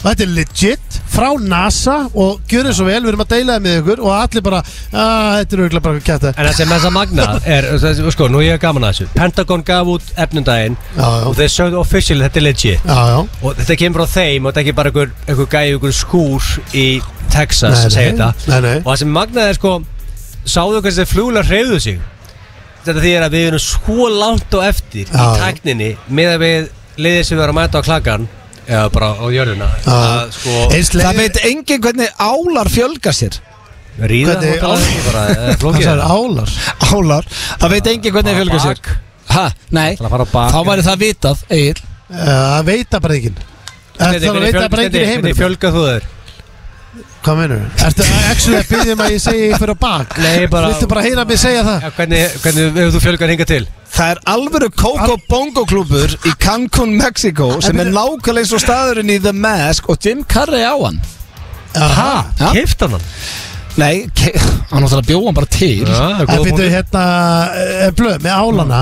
[SPEAKER 3] Þetta er legit frá NASA og gjörðu svo vel, við erum að deila það með ykkur og allir bara, að þetta er auðvitað bara kæta
[SPEAKER 2] En það sem þess að magna er, sko, nú ég er gaman að þessu Pentagon gaf út efnundaginn
[SPEAKER 3] Já, já.
[SPEAKER 2] og þeir sögðu officially þetta er legit
[SPEAKER 3] Já, já
[SPEAKER 2] og þetta kemur frá þeim og þetta er ekki bara einhver, einhver gæði einhver skúr í Texas
[SPEAKER 3] Nei,
[SPEAKER 2] sem segir
[SPEAKER 3] nei,
[SPEAKER 2] þetta
[SPEAKER 3] nei, nei.
[SPEAKER 2] og það sem magnað er sko sáðu hvernig þeir fluglega hreyfðu sig þetta því er að við erum svo langt og eftir í
[SPEAKER 3] Já.
[SPEAKER 2] tækninni með að við liðið sem við erum að mæta á klakan eða bara á jörðina
[SPEAKER 3] Já.
[SPEAKER 2] að sko
[SPEAKER 3] Eins leið-
[SPEAKER 5] Það veit enginn hvernig álar fjölga sér
[SPEAKER 2] ríða
[SPEAKER 3] Hvernig-
[SPEAKER 2] hótala ekki bara eh,
[SPEAKER 3] Hvað
[SPEAKER 2] flókið
[SPEAKER 3] sagði álar?
[SPEAKER 5] Álar Það veit enginn hvernig þeir fjölga
[SPEAKER 2] Bara á
[SPEAKER 5] sér Ha, nei
[SPEAKER 2] Það fara á bak.
[SPEAKER 5] Þá væri það vitað, Egil
[SPEAKER 3] Eh, Það veit það bara enginn Það
[SPEAKER 2] Steindi,
[SPEAKER 3] veit það
[SPEAKER 2] hvernig
[SPEAKER 3] bara enginn í
[SPEAKER 2] Steindi, hvernig
[SPEAKER 3] heiminum
[SPEAKER 2] fjölgað þú þér?
[SPEAKER 3] Hvað mennur? Ertu actually að byggja um að ég segi fyrir á bak?
[SPEAKER 2] Nei, bara-
[SPEAKER 3] Viltu bara heyra mig segja það?
[SPEAKER 2] Já, Hvernig, hvernig hefur þú fjölgað hingað til?
[SPEAKER 5] Það er alvöru Coco Bongo klubur í Cancún, Mexico sem er nákvæmlega eins og staðurinn í The Mask og Jim Carrey á hann
[SPEAKER 3] Aha
[SPEAKER 5] Ha?
[SPEAKER 2] Keift hann hann?
[SPEAKER 5] Nei, ke- hann áttúrulega bjóð hann bara til
[SPEAKER 2] Já,
[SPEAKER 3] En byrju hérna eh, Blöð, með álana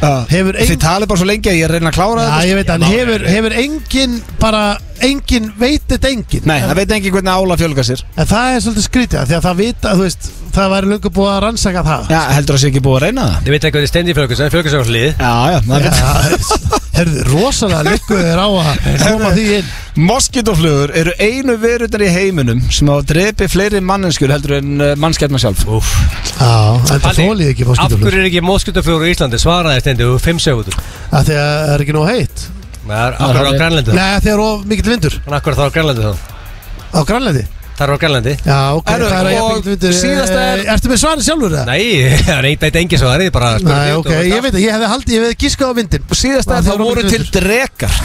[SPEAKER 3] Hefur
[SPEAKER 5] Þið
[SPEAKER 3] enginn
[SPEAKER 5] talið bara svo lengi að ég reyna að klára
[SPEAKER 3] Já,
[SPEAKER 5] þetta
[SPEAKER 3] ég veit hann Hefur, hefur enginn bara Enginn veit þetta enginn
[SPEAKER 5] Nei, það veit enginn hvernig álar fjölga sér
[SPEAKER 3] En það er svolítið skrítið af Því að það vita, þú veist
[SPEAKER 7] það væri lungu búið að rannsaka það
[SPEAKER 5] Já, heldur það sé ekki búið að reyna það?
[SPEAKER 2] Ég veit ekki hvað þið stendir fjölgjus En fjölgjus er á hlið
[SPEAKER 5] Já, já, það veit
[SPEAKER 7] Herðu, rosalega liggur þér á að koma því inn
[SPEAKER 5] Moskítoflugur eru einu verundar í heiminum sem hafa drepið fleiri mannenskjur heldur en uh, mannskjarnar sjálf
[SPEAKER 2] Úf
[SPEAKER 7] Já, þetta þólið ekki
[SPEAKER 2] Af
[SPEAKER 7] moskítoflug
[SPEAKER 2] hverju er ekki moskítoflugur í Íslandi? Svaraði stendur, fimm segundur
[SPEAKER 7] Af því að það er ekki nóg heitt
[SPEAKER 2] Það er akkur á
[SPEAKER 5] það er-
[SPEAKER 2] Grænlandi
[SPEAKER 7] Nei, af því að það er of mikill vindur
[SPEAKER 2] Þannig akkur þá á Grænlandi þá
[SPEAKER 7] á Grænlandi
[SPEAKER 2] Það er á Grænlandi
[SPEAKER 7] Já, ok,
[SPEAKER 5] Herru,
[SPEAKER 7] það er að
[SPEAKER 5] og
[SPEAKER 7] jafn mikill vindur
[SPEAKER 5] síðasta er-
[SPEAKER 7] Eh, Ertu með svarið sjálfur það?
[SPEAKER 2] Nei, það er eitt eitt engi svar Ég bara spurði
[SPEAKER 7] Nei,
[SPEAKER 2] út og
[SPEAKER 7] ok,
[SPEAKER 2] veist
[SPEAKER 7] ég
[SPEAKER 2] allt.
[SPEAKER 7] veit að ég hefði haldið, ég hefði giskað á vindin
[SPEAKER 5] Síðast
[SPEAKER 7] Var
[SPEAKER 5] að
[SPEAKER 7] það
[SPEAKER 5] það voru
[SPEAKER 7] mikið
[SPEAKER 5] til drekar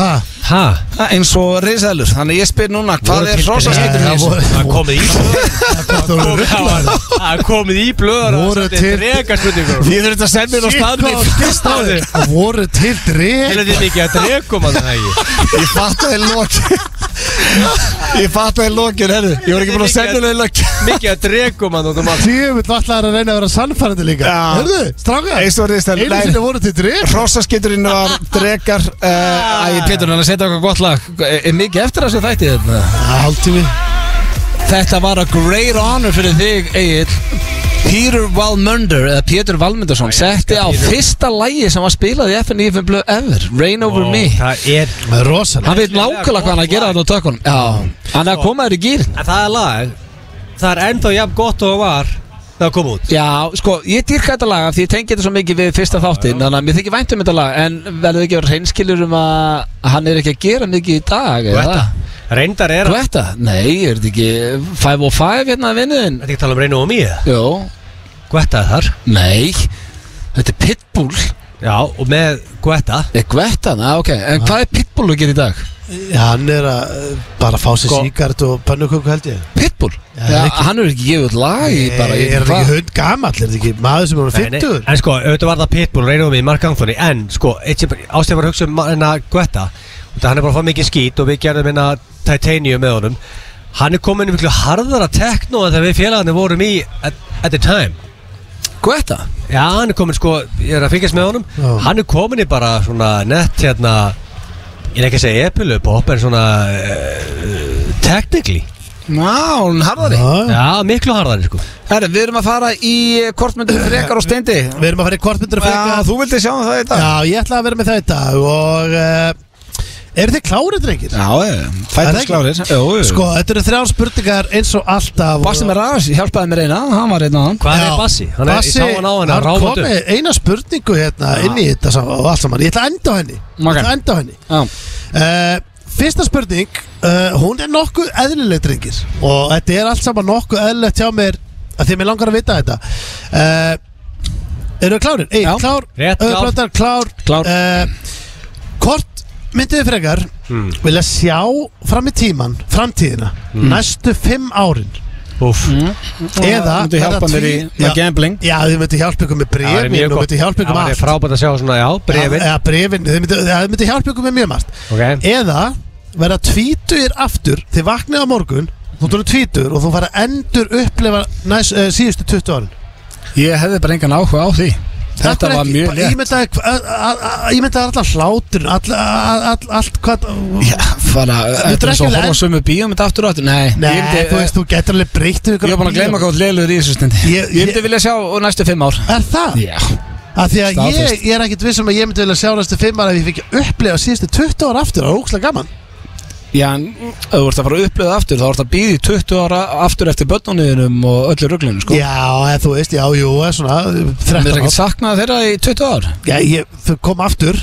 [SPEAKER 7] Ha,
[SPEAKER 2] Ha?
[SPEAKER 5] Ha, eins og risaðlur Þannig ég spyr núna, hvað
[SPEAKER 2] Voru
[SPEAKER 5] er
[SPEAKER 2] til
[SPEAKER 5] rosaskýtur
[SPEAKER 7] drekar?
[SPEAKER 5] í þessu?
[SPEAKER 7] voru-
[SPEAKER 2] Það er komið í
[SPEAKER 7] þetta voru rugglaður
[SPEAKER 2] Það er komið í blöður
[SPEAKER 7] Voru til-
[SPEAKER 2] Drega spurningur
[SPEAKER 5] Ég þurft að senda mér á staðnir
[SPEAKER 7] skist á þig Það voru til dreg
[SPEAKER 2] Helviti mikið að dregum að það ekki
[SPEAKER 5] Ég fatt að ég lokin Ég fatt að ég lokin, herru Ég var ekki búin að senda mér eða
[SPEAKER 2] Mikið að dregum að það
[SPEAKER 7] Tjöfull vallar að reyna að vera sannfærandi líka
[SPEAKER 5] Já.
[SPEAKER 7] Hörðu, stráka
[SPEAKER 5] Eins og
[SPEAKER 7] Einu
[SPEAKER 5] risaðlur
[SPEAKER 7] sinni voru til dreg
[SPEAKER 5] Hrossaskýturinn var drekar uh, Æ, Pétur, hann að setja okkur gott lag Er, er mikið eftir þessu þætti þetta?
[SPEAKER 7] Haldtími
[SPEAKER 5] Þetta var a great honor fyrir þig, Egil Peter Valmunder, eða Pétur Valmundarsson setti á fyrsta lægi sem var spilað í FNF Blue Ever, Rain Over Me
[SPEAKER 2] Það er
[SPEAKER 7] Það er rosalega
[SPEAKER 5] Hann veit nákvæmlega hvað hann að gera þarna á tökunum Já, hann er að koma þér í gýr
[SPEAKER 2] En það er lag Það er ennþá jafn gott og það var Það kom út
[SPEAKER 5] Já, sko, ég dýrka þetta lag af því ég tengi þetta svo mikið við fyrsta þáttinn þannig að mér þykir vænt um þetta lag en verður ekki að vera reynskilur um að hann er ekki að gera mikið í dag eða?
[SPEAKER 2] Reyndar er Þetta
[SPEAKER 5] Guetta? Nei, er þetta ekki 5 og 5 hérna að vinnuðin?
[SPEAKER 2] ekki að tala um reynu og mýja
[SPEAKER 5] Jó,
[SPEAKER 2] Guetta er þar
[SPEAKER 5] nei Þetta er Pitbull
[SPEAKER 2] Já og með Guetta
[SPEAKER 5] Er Guetta, na ok, en hvað er Pitbull að gera í dag?
[SPEAKER 7] Já, Hann er að eh, bara fá sér
[SPEAKER 2] Sko.
[SPEAKER 7] síkart og pönnuköku held ég
[SPEAKER 5] Pitbull?
[SPEAKER 7] Já,
[SPEAKER 5] Já,
[SPEAKER 7] ekki.
[SPEAKER 5] hann er ekki gefið út lag í bara
[SPEAKER 7] Nei,
[SPEAKER 5] ég,
[SPEAKER 7] Er hann
[SPEAKER 5] hvað?
[SPEAKER 7] ekki hund gamall, er þetta ekki maður sem er
[SPEAKER 2] Nei, nei,
[SPEAKER 7] 50
[SPEAKER 2] En sko, auðvitað var það Pitbull, reynum við Mark Anthony En sko, eitt sem ástæðan var að hugsa um hennar Guetta Þannig hann er bara að fá mikið skít og við gerðum hérna Titanium með honum Hann er komin í miklu harðara tekno en þegar við félagarnir vorum í at, at the time
[SPEAKER 5] Guetta?
[SPEAKER 2] Já, hann er komin sko, ég er að fylgjast með honum
[SPEAKER 7] Já.
[SPEAKER 2] Hann er komin í bara svona nett hérna Ég er ekki að segja epilöpop en svona uh, Technically
[SPEAKER 5] Ná, hún harðari
[SPEAKER 7] Já,
[SPEAKER 2] Já, miklu harðari sko
[SPEAKER 5] Herra, við erum að fara í eh, kortmyndir frekar og steindi
[SPEAKER 7] Við erum að fara í kortmyndur og
[SPEAKER 5] Já,
[SPEAKER 7] frekar
[SPEAKER 5] þú vildi sjá um það í dag
[SPEAKER 7] Já, ég ætla að vera með það í dag og uh, eru þið klárið, drengir?
[SPEAKER 5] Já, eh, fætast klárir Jú, jú.
[SPEAKER 7] Sko, þetta eru þrjár spurningar eins og alltaf
[SPEAKER 5] Bassi með ræðs, hjálpaði mér eina, hann var einn á hann
[SPEAKER 2] Hvað er Bassi? Hann er,
[SPEAKER 7] Bassi,
[SPEAKER 2] ég sá hann á hann,
[SPEAKER 7] hann kom
[SPEAKER 2] rámandu
[SPEAKER 7] með eina spurningu hérna inn í þetta sam- og allt saman Ég ætla að enda á henni Ég
[SPEAKER 5] Ok.
[SPEAKER 7] ætla að enda á henni
[SPEAKER 5] Já,
[SPEAKER 7] uh, Fyrsta spurning, uh, hún er nokkuð eðlileg drengir Og þetta er allt saman nokkuð eðlilegt hjá mér að Því að mér langar að vita þetta uh, Eru þið klárir? Ei,
[SPEAKER 5] Já.
[SPEAKER 7] klár,
[SPEAKER 2] Rétt,
[SPEAKER 7] Ö,
[SPEAKER 2] klár.
[SPEAKER 7] Blöndal, klár,
[SPEAKER 5] Klár.
[SPEAKER 7] uh, Kort myndið þið frekar
[SPEAKER 2] Mm.
[SPEAKER 7] Vilja sjá fram í tíman, framtíðina
[SPEAKER 2] Hmm.
[SPEAKER 7] Næstu fimm árin
[SPEAKER 2] Úf,
[SPEAKER 7] Eða
[SPEAKER 5] Þú myndi hjálpa
[SPEAKER 7] verða
[SPEAKER 5] mér í
[SPEAKER 7] tví-
[SPEAKER 5] með
[SPEAKER 7] Já.
[SPEAKER 5] gambling
[SPEAKER 7] Já, þið myndi hjálpa ykkur með
[SPEAKER 2] Já, það er
[SPEAKER 7] brefin
[SPEAKER 2] mjög
[SPEAKER 7] og
[SPEAKER 2] gott.
[SPEAKER 7] myndi hjálpa ykkur
[SPEAKER 2] Já,
[SPEAKER 7] með
[SPEAKER 2] það er
[SPEAKER 7] allt
[SPEAKER 2] frábært að sjá svona, já, brefin
[SPEAKER 7] Já, brefin, þið myndi, þið myndi hjálpa ykkur með mjög margt
[SPEAKER 2] Ok,
[SPEAKER 7] Eða vera tvítugir aftur Þið vaknið á morgun, þú tólu tvítugur og þú fara að endur upplefa næs, uh, síðustu 20 árin
[SPEAKER 5] Ég hefði bara engan áhuga á því
[SPEAKER 7] Af
[SPEAKER 5] Þetta
[SPEAKER 7] hverju
[SPEAKER 5] var
[SPEAKER 7] ekki?
[SPEAKER 5] mjög
[SPEAKER 7] Bara
[SPEAKER 5] létt
[SPEAKER 7] Ímyndaði hva- a- a- a- ímyndaði allan hlátur all, all, all, Allt hvað
[SPEAKER 5] Já, fara, þetta er
[SPEAKER 7] drekkur
[SPEAKER 5] svo að
[SPEAKER 7] enn-
[SPEAKER 5] horfa á sömu bíum Þetta aftur og aftur, nei
[SPEAKER 7] Nei,
[SPEAKER 5] ég myndi-
[SPEAKER 7] þú veist, þú getur alveg breytt við ykkur
[SPEAKER 5] Ég var búin að gleyma hvað leilur í þessu stundi
[SPEAKER 7] Ég-
[SPEAKER 5] Ég myndi
[SPEAKER 7] ég-
[SPEAKER 5] vilja sjá á næstu fimm ár
[SPEAKER 7] Er það?
[SPEAKER 5] Já
[SPEAKER 7] Af því að
[SPEAKER 5] Staðfest.
[SPEAKER 7] ég, ég er ekkit vissum að ég myndi vilja sjá næstu 5 ára ef ég fikk að upplefa síðustu 20 ára aftur Það er ókslega gaman
[SPEAKER 5] Já, en ef þú ert að fara að upplöða aftur þá ert að býði 20 ára aftur eftir börnunniðinum og öllu ruglunum sko
[SPEAKER 7] Já, eða, þú veist, já, jú, eða svona
[SPEAKER 5] Mér er
[SPEAKER 7] 13
[SPEAKER 5] ekkert
[SPEAKER 7] átt
[SPEAKER 5] saknað þeirra í 20 ár
[SPEAKER 7] Já, ég, þau kom aftur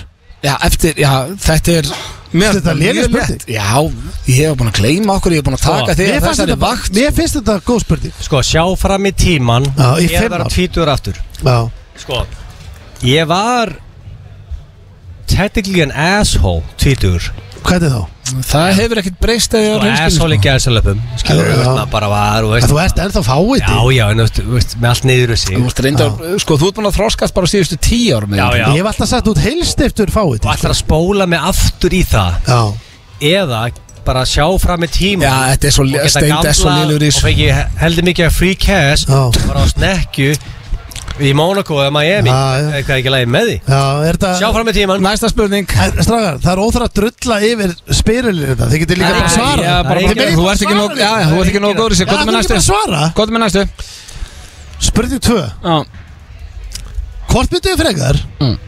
[SPEAKER 5] Já, eftir, já, þetta er mér-
[SPEAKER 7] Þetta er léleg
[SPEAKER 5] mjög
[SPEAKER 7] spurning.
[SPEAKER 5] létt. Já, ég hef búin að gleyma okkur, ég hef búin að taka þig
[SPEAKER 7] Mér
[SPEAKER 5] að
[SPEAKER 7] fannst
[SPEAKER 5] þessari
[SPEAKER 7] þetta bara-
[SPEAKER 5] vakt
[SPEAKER 7] Mér finnst þetta góð spurning
[SPEAKER 2] sko, sjá fram í tíman
[SPEAKER 7] Já, í
[SPEAKER 2] Ég
[SPEAKER 7] fimm
[SPEAKER 2] var
[SPEAKER 7] ár.
[SPEAKER 2] tvítur aftur
[SPEAKER 7] Já,
[SPEAKER 2] Sko Ég var Technically an asshole Tvítur
[SPEAKER 7] hvað er þá?
[SPEAKER 5] Sko, Það hefur ekkert breyst að ég
[SPEAKER 2] Og
[SPEAKER 5] var
[SPEAKER 2] asshole í gæðsalöpum Skilur
[SPEAKER 7] Já.
[SPEAKER 2] við maður bara var og
[SPEAKER 7] Að
[SPEAKER 2] veist
[SPEAKER 7] þú ert ennþá fáið
[SPEAKER 2] Já, já, en þú veist, með allt niður í sig
[SPEAKER 5] Þú ert reyndar, sko, þú ert búin að þroskast bara síðustu 10 ára með
[SPEAKER 2] Já, já
[SPEAKER 7] Ég hef alltaf sagt út heilstiftur fáið
[SPEAKER 2] Og ætlar að spóla mig aftur í það
[SPEAKER 7] Já,
[SPEAKER 2] Eða bara sjá fram í tíman
[SPEAKER 5] Já, þetta er svo,
[SPEAKER 2] Og geta
[SPEAKER 5] steind er svo
[SPEAKER 2] gamblað
[SPEAKER 5] leilur í
[SPEAKER 2] Og
[SPEAKER 5] þessu
[SPEAKER 2] fengi heldur mikið af free cash
[SPEAKER 7] Já.
[SPEAKER 2] Bara á snekju Í Monaco eða Miami
[SPEAKER 7] Já, já.
[SPEAKER 2] Eitthvað er ekki lægi með því
[SPEAKER 7] Já, er þetta
[SPEAKER 2] Sjá fram með tíman
[SPEAKER 5] Næsta spurning
[SPEAKER 7] En, Strágar, það er óþara að drulla yfir spirilinu þetta Þið getur líka bara að svara
[SPEAKER 5] Já, bara,
[SPEAKER 2] Nei,
[SPEAKER 7] Þið megið
[SPEAKER 5] þú
[SPEAKER 7] bara
[SPEAKER 5] ert ekki
[SPEAKER 7] svara
[SPEAKER 5] nóg
[SPEAKER 7] þessu.
[SPEAKER 5] Já, þú ert ekki nóg góður í sig
[SPEAKER 7] Já,
[SPEAKER 5] Hvað er
[SPEAKER 7] þið
[SPEAKER 5] með næstu?
[SPEAKER 7] getur bara að svara
[SPEAKER 5] Hvað er með næstu?
[SPEAKER 7] Spurning 2
[SPEAKER 5] Já
[SPEAKER 7] Hvort myndu við frekar
[SPEAKER 5] Mm.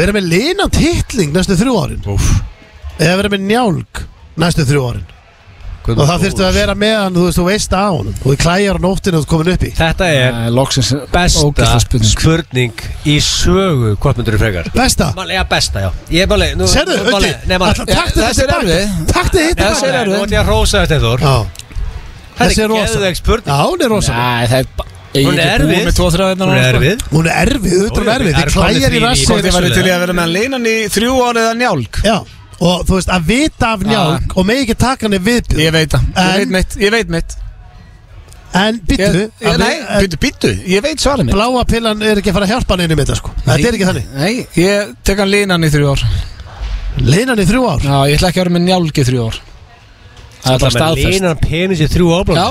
[SPEAKER 7] Verið með linand hitling næstu þrjú árin
[SPEAKER 2] Úf
[SPEAKER 7] Eða verið með njálg næstu þrjú árin Og það þurftu að vera með hann, þú veist, þú veist á honum Og þið klæjar á nóttinu og þú komin upp í
[SPEAKER 2] Þetta er
[SPEAKER 5] Eh, Loksins
[SPEAKER 2] besta
[SPEAKER 5] ógeðslega spurning
[SPEAKER 2] spurning í sögu Hvort myndur þú frekar?
[SPEAKER 7] Besta
[SPEAKER 2] Máli, já, besta, já Ég sko, er máli
[SPEAKER 7] Serðu, Öggi,
[SPEAKER 2] Nei,
[SPEAKER 7] alltaf
[SPEAKER 2] máli
[SPEAKER 5] Já,
[SPEAKER 7] taktu þessi
[SPEAKER 5] þessi er
[SPEAKER 7] baka
[SPEAKER 5] erfið.
[SPEAKER 7] Taktu hitt
[SPEAKER 5] þessi er
[SPEAKER 2] Nei,
[SPEAKER 5] erfið.
[SPEAKER 2] Nú ætlum ég að rósa þetta Þór
[SPEAKER 7] Já,
[SPEAKER 2] Þetta
[SPEAKER 7] þessi er
[SPEAKER 2] er
[SPEAKER 7] rosa.
[SPEAKER 2] geðveik spurning
[SPEAKER 7] Já, hún er rosa
[SPEAKER 5] Næ, það er ba- Ég
[SPEAKER 2] Hún
[SPEAKER 5] er
[SPEAKER 2] er
[SPEAKER 5] ekki búið
[SPEAKER 2] erfið.
[SPEAKER 5] með tvo
[SPEAKER 2] Hún er erfið Ó, já, það er komið
[SPEAKER 5] hérna þrjáðina
[SPEAKER 7] Hún er erfið, auðvitað hún er erfið Þið klæjar
[SPEAKER 2] þrír
[SPEAKER 7] í
[SPEAKER 2] í-
[SPEAKER 7] rassi
[SPEAKER 5] Hvort ég væri til í að vera með leinan í þrjú ára eða njálg
[SPEAKER 7] Já, og þú veist, að vita af njálg Og megi ekki taka hann í viðbjöð
[SPEAKER 5] Ég veit það, ég
[SPEAKER 7] En-
[SPEAKER 5] veit mitt, ég veit mitt
[SPEAKER 7] En
[SPEAKER 5] Ég-
[SPEAKER 7] byttu
[SPEAKER 5] ég- Nei, býttu, býttu, ég veit svarið mitt
[SPEAKER 7] Bláa pillan er ekki að fara að hjálpa hann inn í þetta sko Þetta er ekki þannig
[SPEAKER 5] Nei, ég tek hann línan í þrjú ár
[SPEAKER 7] Leinan í þrjú ár
[SPEAKER 5] Já, ég ætla ekki að vera með njálg í þrjú ár Það
[SPEAKER 2] Bara
[SPEAKER 5] er það
[SPEAKER 2] með
[SPEAKER 5] staðfest
[SPEAKER 2] Línan penis í þrjú áblóð
[SPEAKER 5] Já,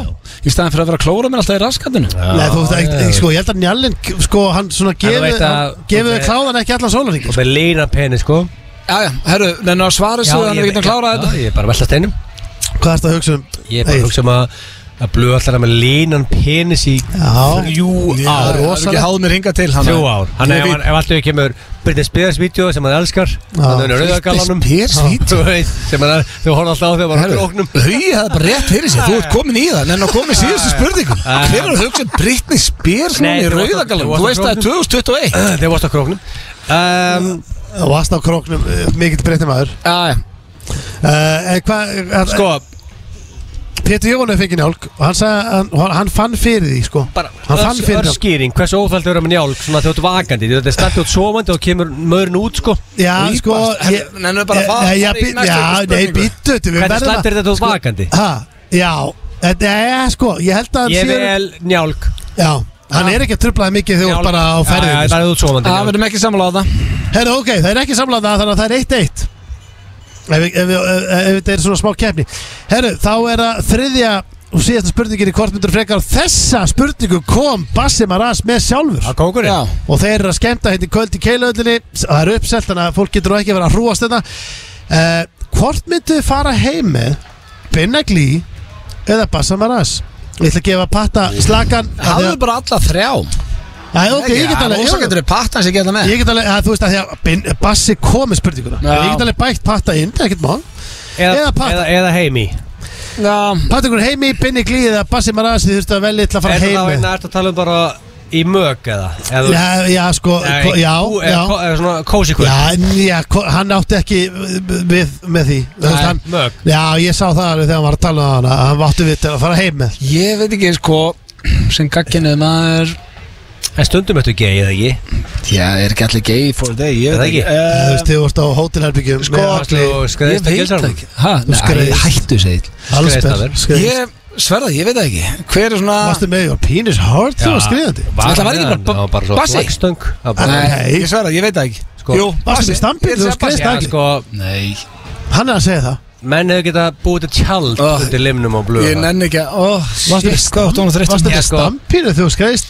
[SPEAKER 5] í staðan fyrir að vera að klóra mér alltaf í raskatinu
[SPEAKER 7] Nei, þú veist, ekki, sko, ég held að njálinn Sko, hann svona gefið
[SPEAKER 2] veit að-
[SPEAKER 7] hann Gefið
[SPEAKER 2] ok.
[SPEAKER 7] þau kláðan ekki allan sólarhingi
[SPEAKER 2] Og með línan penis, sko
[SPEAKER 5] Já, já, herru, nennu að svara svo þannig að við getum klárað þetta
[SPEAKER 2] Já, ég er bara að velta steinum
[SPEAKER 7] Hvað er þetta að hugsa um?
[SPEAKER 2] Ég er bara að
[SPEAKER 7] Egill?
[SPEAKER 2] hugsa um að að blöða alltaf með línan penis í
[SPEAKER 7] Já,
[SPEAKER 5] Jú, á,
[SPEAKER 7] það er
[SPEAKER 5] það er ekki
[SPEAKER 7] rosalegt.
[SPEAKER 5] háð mér hinga til hann
[SPEAKER 2] þrjú ár Þannig
[SPEAKER 7] Ég
[SPEAKER 2] ef, hann- ef alltaf kemur Britney Spears vídeo sem hann elskar Þannig hann er
[SPEAKER 5] Britney
[SPEAKER 2] rauðagallanum
[SPEAKER 5] Spears vídeó?
[SPEAKER 2] Sem hann er, þú horfði alltaf á þegar hann var oknum
[SPEAKER 5] Hauði það bara rétt fyrir sig, þú ert komin í það En að komin í síðustu spurningum Hver er að hugsa um Britney Spears
[SPEAKER 2] Nei,
[SPEAKER 5] núna í
[SPEAKER 2] þú varst-
[SPEAKER 5] rauðagalum
[SPEAKER 2] þú varst
[SPEAKER 5] Þú veist
[SPEAKER 2] að
[SPEAKER 5] það er 2021
[SPEAKER 2] Þeir varst á króknum um,
[SPEAKER 7] og aðst á króknum eh, Mikill breytti maður
[SPEAKER 5] Já, já,
[SPEAKER 7] uh, Hvað,
[SPEAKER 2] Sko,
[SPEAKER 7] Pétur Jónu fengi njálg og hann, sagði, að hann, og hann fann fyrir því sko
[SPEAKER 2] bara
[SPEAKER 7] hann fann fyrir því
[SPEAKER 2] örskýring Hversu óþælt er að vera með njálg Svona þegar þú ert vakandi Þetta er stætti út sovandi og kemur mörn út sko
[SPEAKER 7] já
[SPEAKER 5] Rýpast.
[SPEAKER 7] sko ég-
[SPEAKER 5] Herru, nennum við bara að fara-
[SPEAKER 7] Nei, já,
[SPEAKER 5] fara í
[SPEAKER 7] bí-
[SPEAKER 5] næstu
[SPEAKER 7] já,
[SPEAKER 5] spurningu?
[SPEAKER 7] nei, býttu þetta, við
[SPEAKER 2] Hvernig
[SPEAKER 7] verðum Sko,
[SPEAKER 2] stætti er þetta út vakandi
[SPEAKER 7] ha, já, þetta er sko ég held að
[SPEAKER 2] Ég
[SPEAKER 7] hann sé-
[SPEAKER 2] vel njálg
[SPEAKER 7] já, hann er ekki að trublaði mikið þegar þú ert bara á
[SPEAKER 2] Já,
[SPEAKER 7] ferðinu
[SPEAKER 2] já, bara út sovandi
[SPEAKER 5] það verðum ekki sammála á það
[SPEAKER 7] herru, ok, það er ekki samlað það þannig að það er eitt eitt ef við- ef við- ef- ef þetta er svona smá keppni herru, þá er að þriðja og síðasta spurningin í kortmyndur frekar þessa spurningu kom Bassi Maras með sjálfur
[SPEAKER 2] Að kókurinn
[SPEAKER 5] Já,
[SPEAKER 7] og þeir eru að skemmta hérna í kvöld í keilöðlinni það er uppselt þannig að fólk getur nú ekki að vera að hrúast þetta uh, hvort myndu þið fara heim með Binna Glí eða Bassa Maras ég ætla að gefa patta slakan af því
[SPEAKER 5] hafðu bara alla þrjá
[SPEAKER 7] að, að, okay, ég get alveg
[SPEAKER 5] Rósa
[SPEAKER 7] jú,
[SPEAKER 5] getur við patta sem geta með
[SPEAKER 7] ég get alveg að, þú veist að því að Bin, Bassi komi spurninguna
[SPEAKER 5] Já.
[SPEAKER 7] ég get alveg bætt patta inn það er ekkert mál Eða
[SPEAKER 2] Eða,
[SPEAKER 7] patta.
[SPEAKER 2] eða, eða heimi
[SPEAKER 5] Já,
[SPEAKER 7] patta ykkur heimi Binna Glí eða Bassi Maras þið þurftu að velja til að fara
[SPEAKER 2] Er það
[SPEAKER 7] heim
[SPEAKER 2] þá
[SPEAKER 7] með
[SPEAKER 2] ertu að tala um bara í mög eða? eða
[SPEAKER 7] já, já sko
[SPEAKER 2] Nei,
[SPEAKER 7] ko- já,
[SPEAKER 2] kú- eða
[SPEAKER 7] já
[SPEAKER 2] ko- Eða svona kósi kvöld
[SPEAKER 7] Já, en já, ko- hann átti ekki við með því Þú veist,
[SPEAKER 2] Nei,
[SPEAKER 7] hann,
[SPEAKER 2] mög.
[SPEAKER 7] Já, ég sá það alveg þegar hann var að tala um hana að hann átti við til að fara heim með
[SPEAKER 5] ég veit ekki sko sem gagginnið maður
[SPEAKER 2] En stundum ertu gay eða ekki?
[SPEAKER 5] Já, er ekki allir gay for a day
[SPEAKER 2] Er
[SPEAKER 5] Ég
[SPEAKER 2] það
[SPEAKER 5] veit
[SPEAKER 2] ekki?
[SPEAKER 5] ekki Eh,
[SPEAKER 7] Þú veist, þið vorst á hótelherbyggjum
[SPEAKER 5] Sko,
[SPEAKER 7] allir
[SPEAKER 2] Þú
[SPEAKER 5] Ég
[SPEAKER 2] skreðist að
[SPEAKER 5] veit það
[SPEAKER 2] gilsarum
[SPEAKER 5] ekki Hæ,
[SPEAKER 7] skreið.
[SPEAKER 5] hættu segil
[SPEAKER 2] skrifaðist að
[SPEAKER 7] allsberg
[SPEAKER 2] þér.
[SPEAKER 7] skrifaðist.
[SPEAKER 5] Ég sverða, ég veit það ekki Hver er svona
[SPEAKER 7] Varstu með, ég var penis hard þegar þú var skriðandi
[SPEAKER 5] Þetta var ekki bara ba-
[SPEAKER 2] bara svo
[SPEAKER 5] bassi?
[SPEAKER 2] flagstöng Það var bara-
[SPEAKER 5] Nei,
[SPEAKER 7] Nei.
[SPEAKER 5] ég sverða, ég veit það ekki
[SPEAKER 2] Sko,
[SPEAKER 5] Jú,
[SPEAKER 7] varstu
[SPEAKER 5] Bassi,
[SPEAKER 7] með stampið,
[SPEAKER 5] ég er að segja
[SPEAKER 7] þú
[SPEAKER 5] Bassi.
[SPEAKER 7] skreist
[SPEAKER 2] Já,
[SPEAKER 7] dagli.
[SPEAKER 2] sko
[SPEAKER 5] Nei,
[SPEAKER 7] Hann er að segja það
[SPEAKER 2] Menn hefur getað búið til tjald
[SPEAKER 5] Oh.
[SPEAKER 2] undir limnum og blöð
[SPEAKER 5] ég nenni ekki að Ó,
[SPEAKER 7] Varstu
[SPEAKER 5] shit,
[SPEAKER 7] með
[SPEAKER 5] hvað áttu hún að
[SPEAKER 7] stamp-
[SPEAKER 5] þreytta
[SPEAKER 7] varstu með
[SPEAKER 2] sko.
[SPEAKER 7] stampinu þegar þú skriðist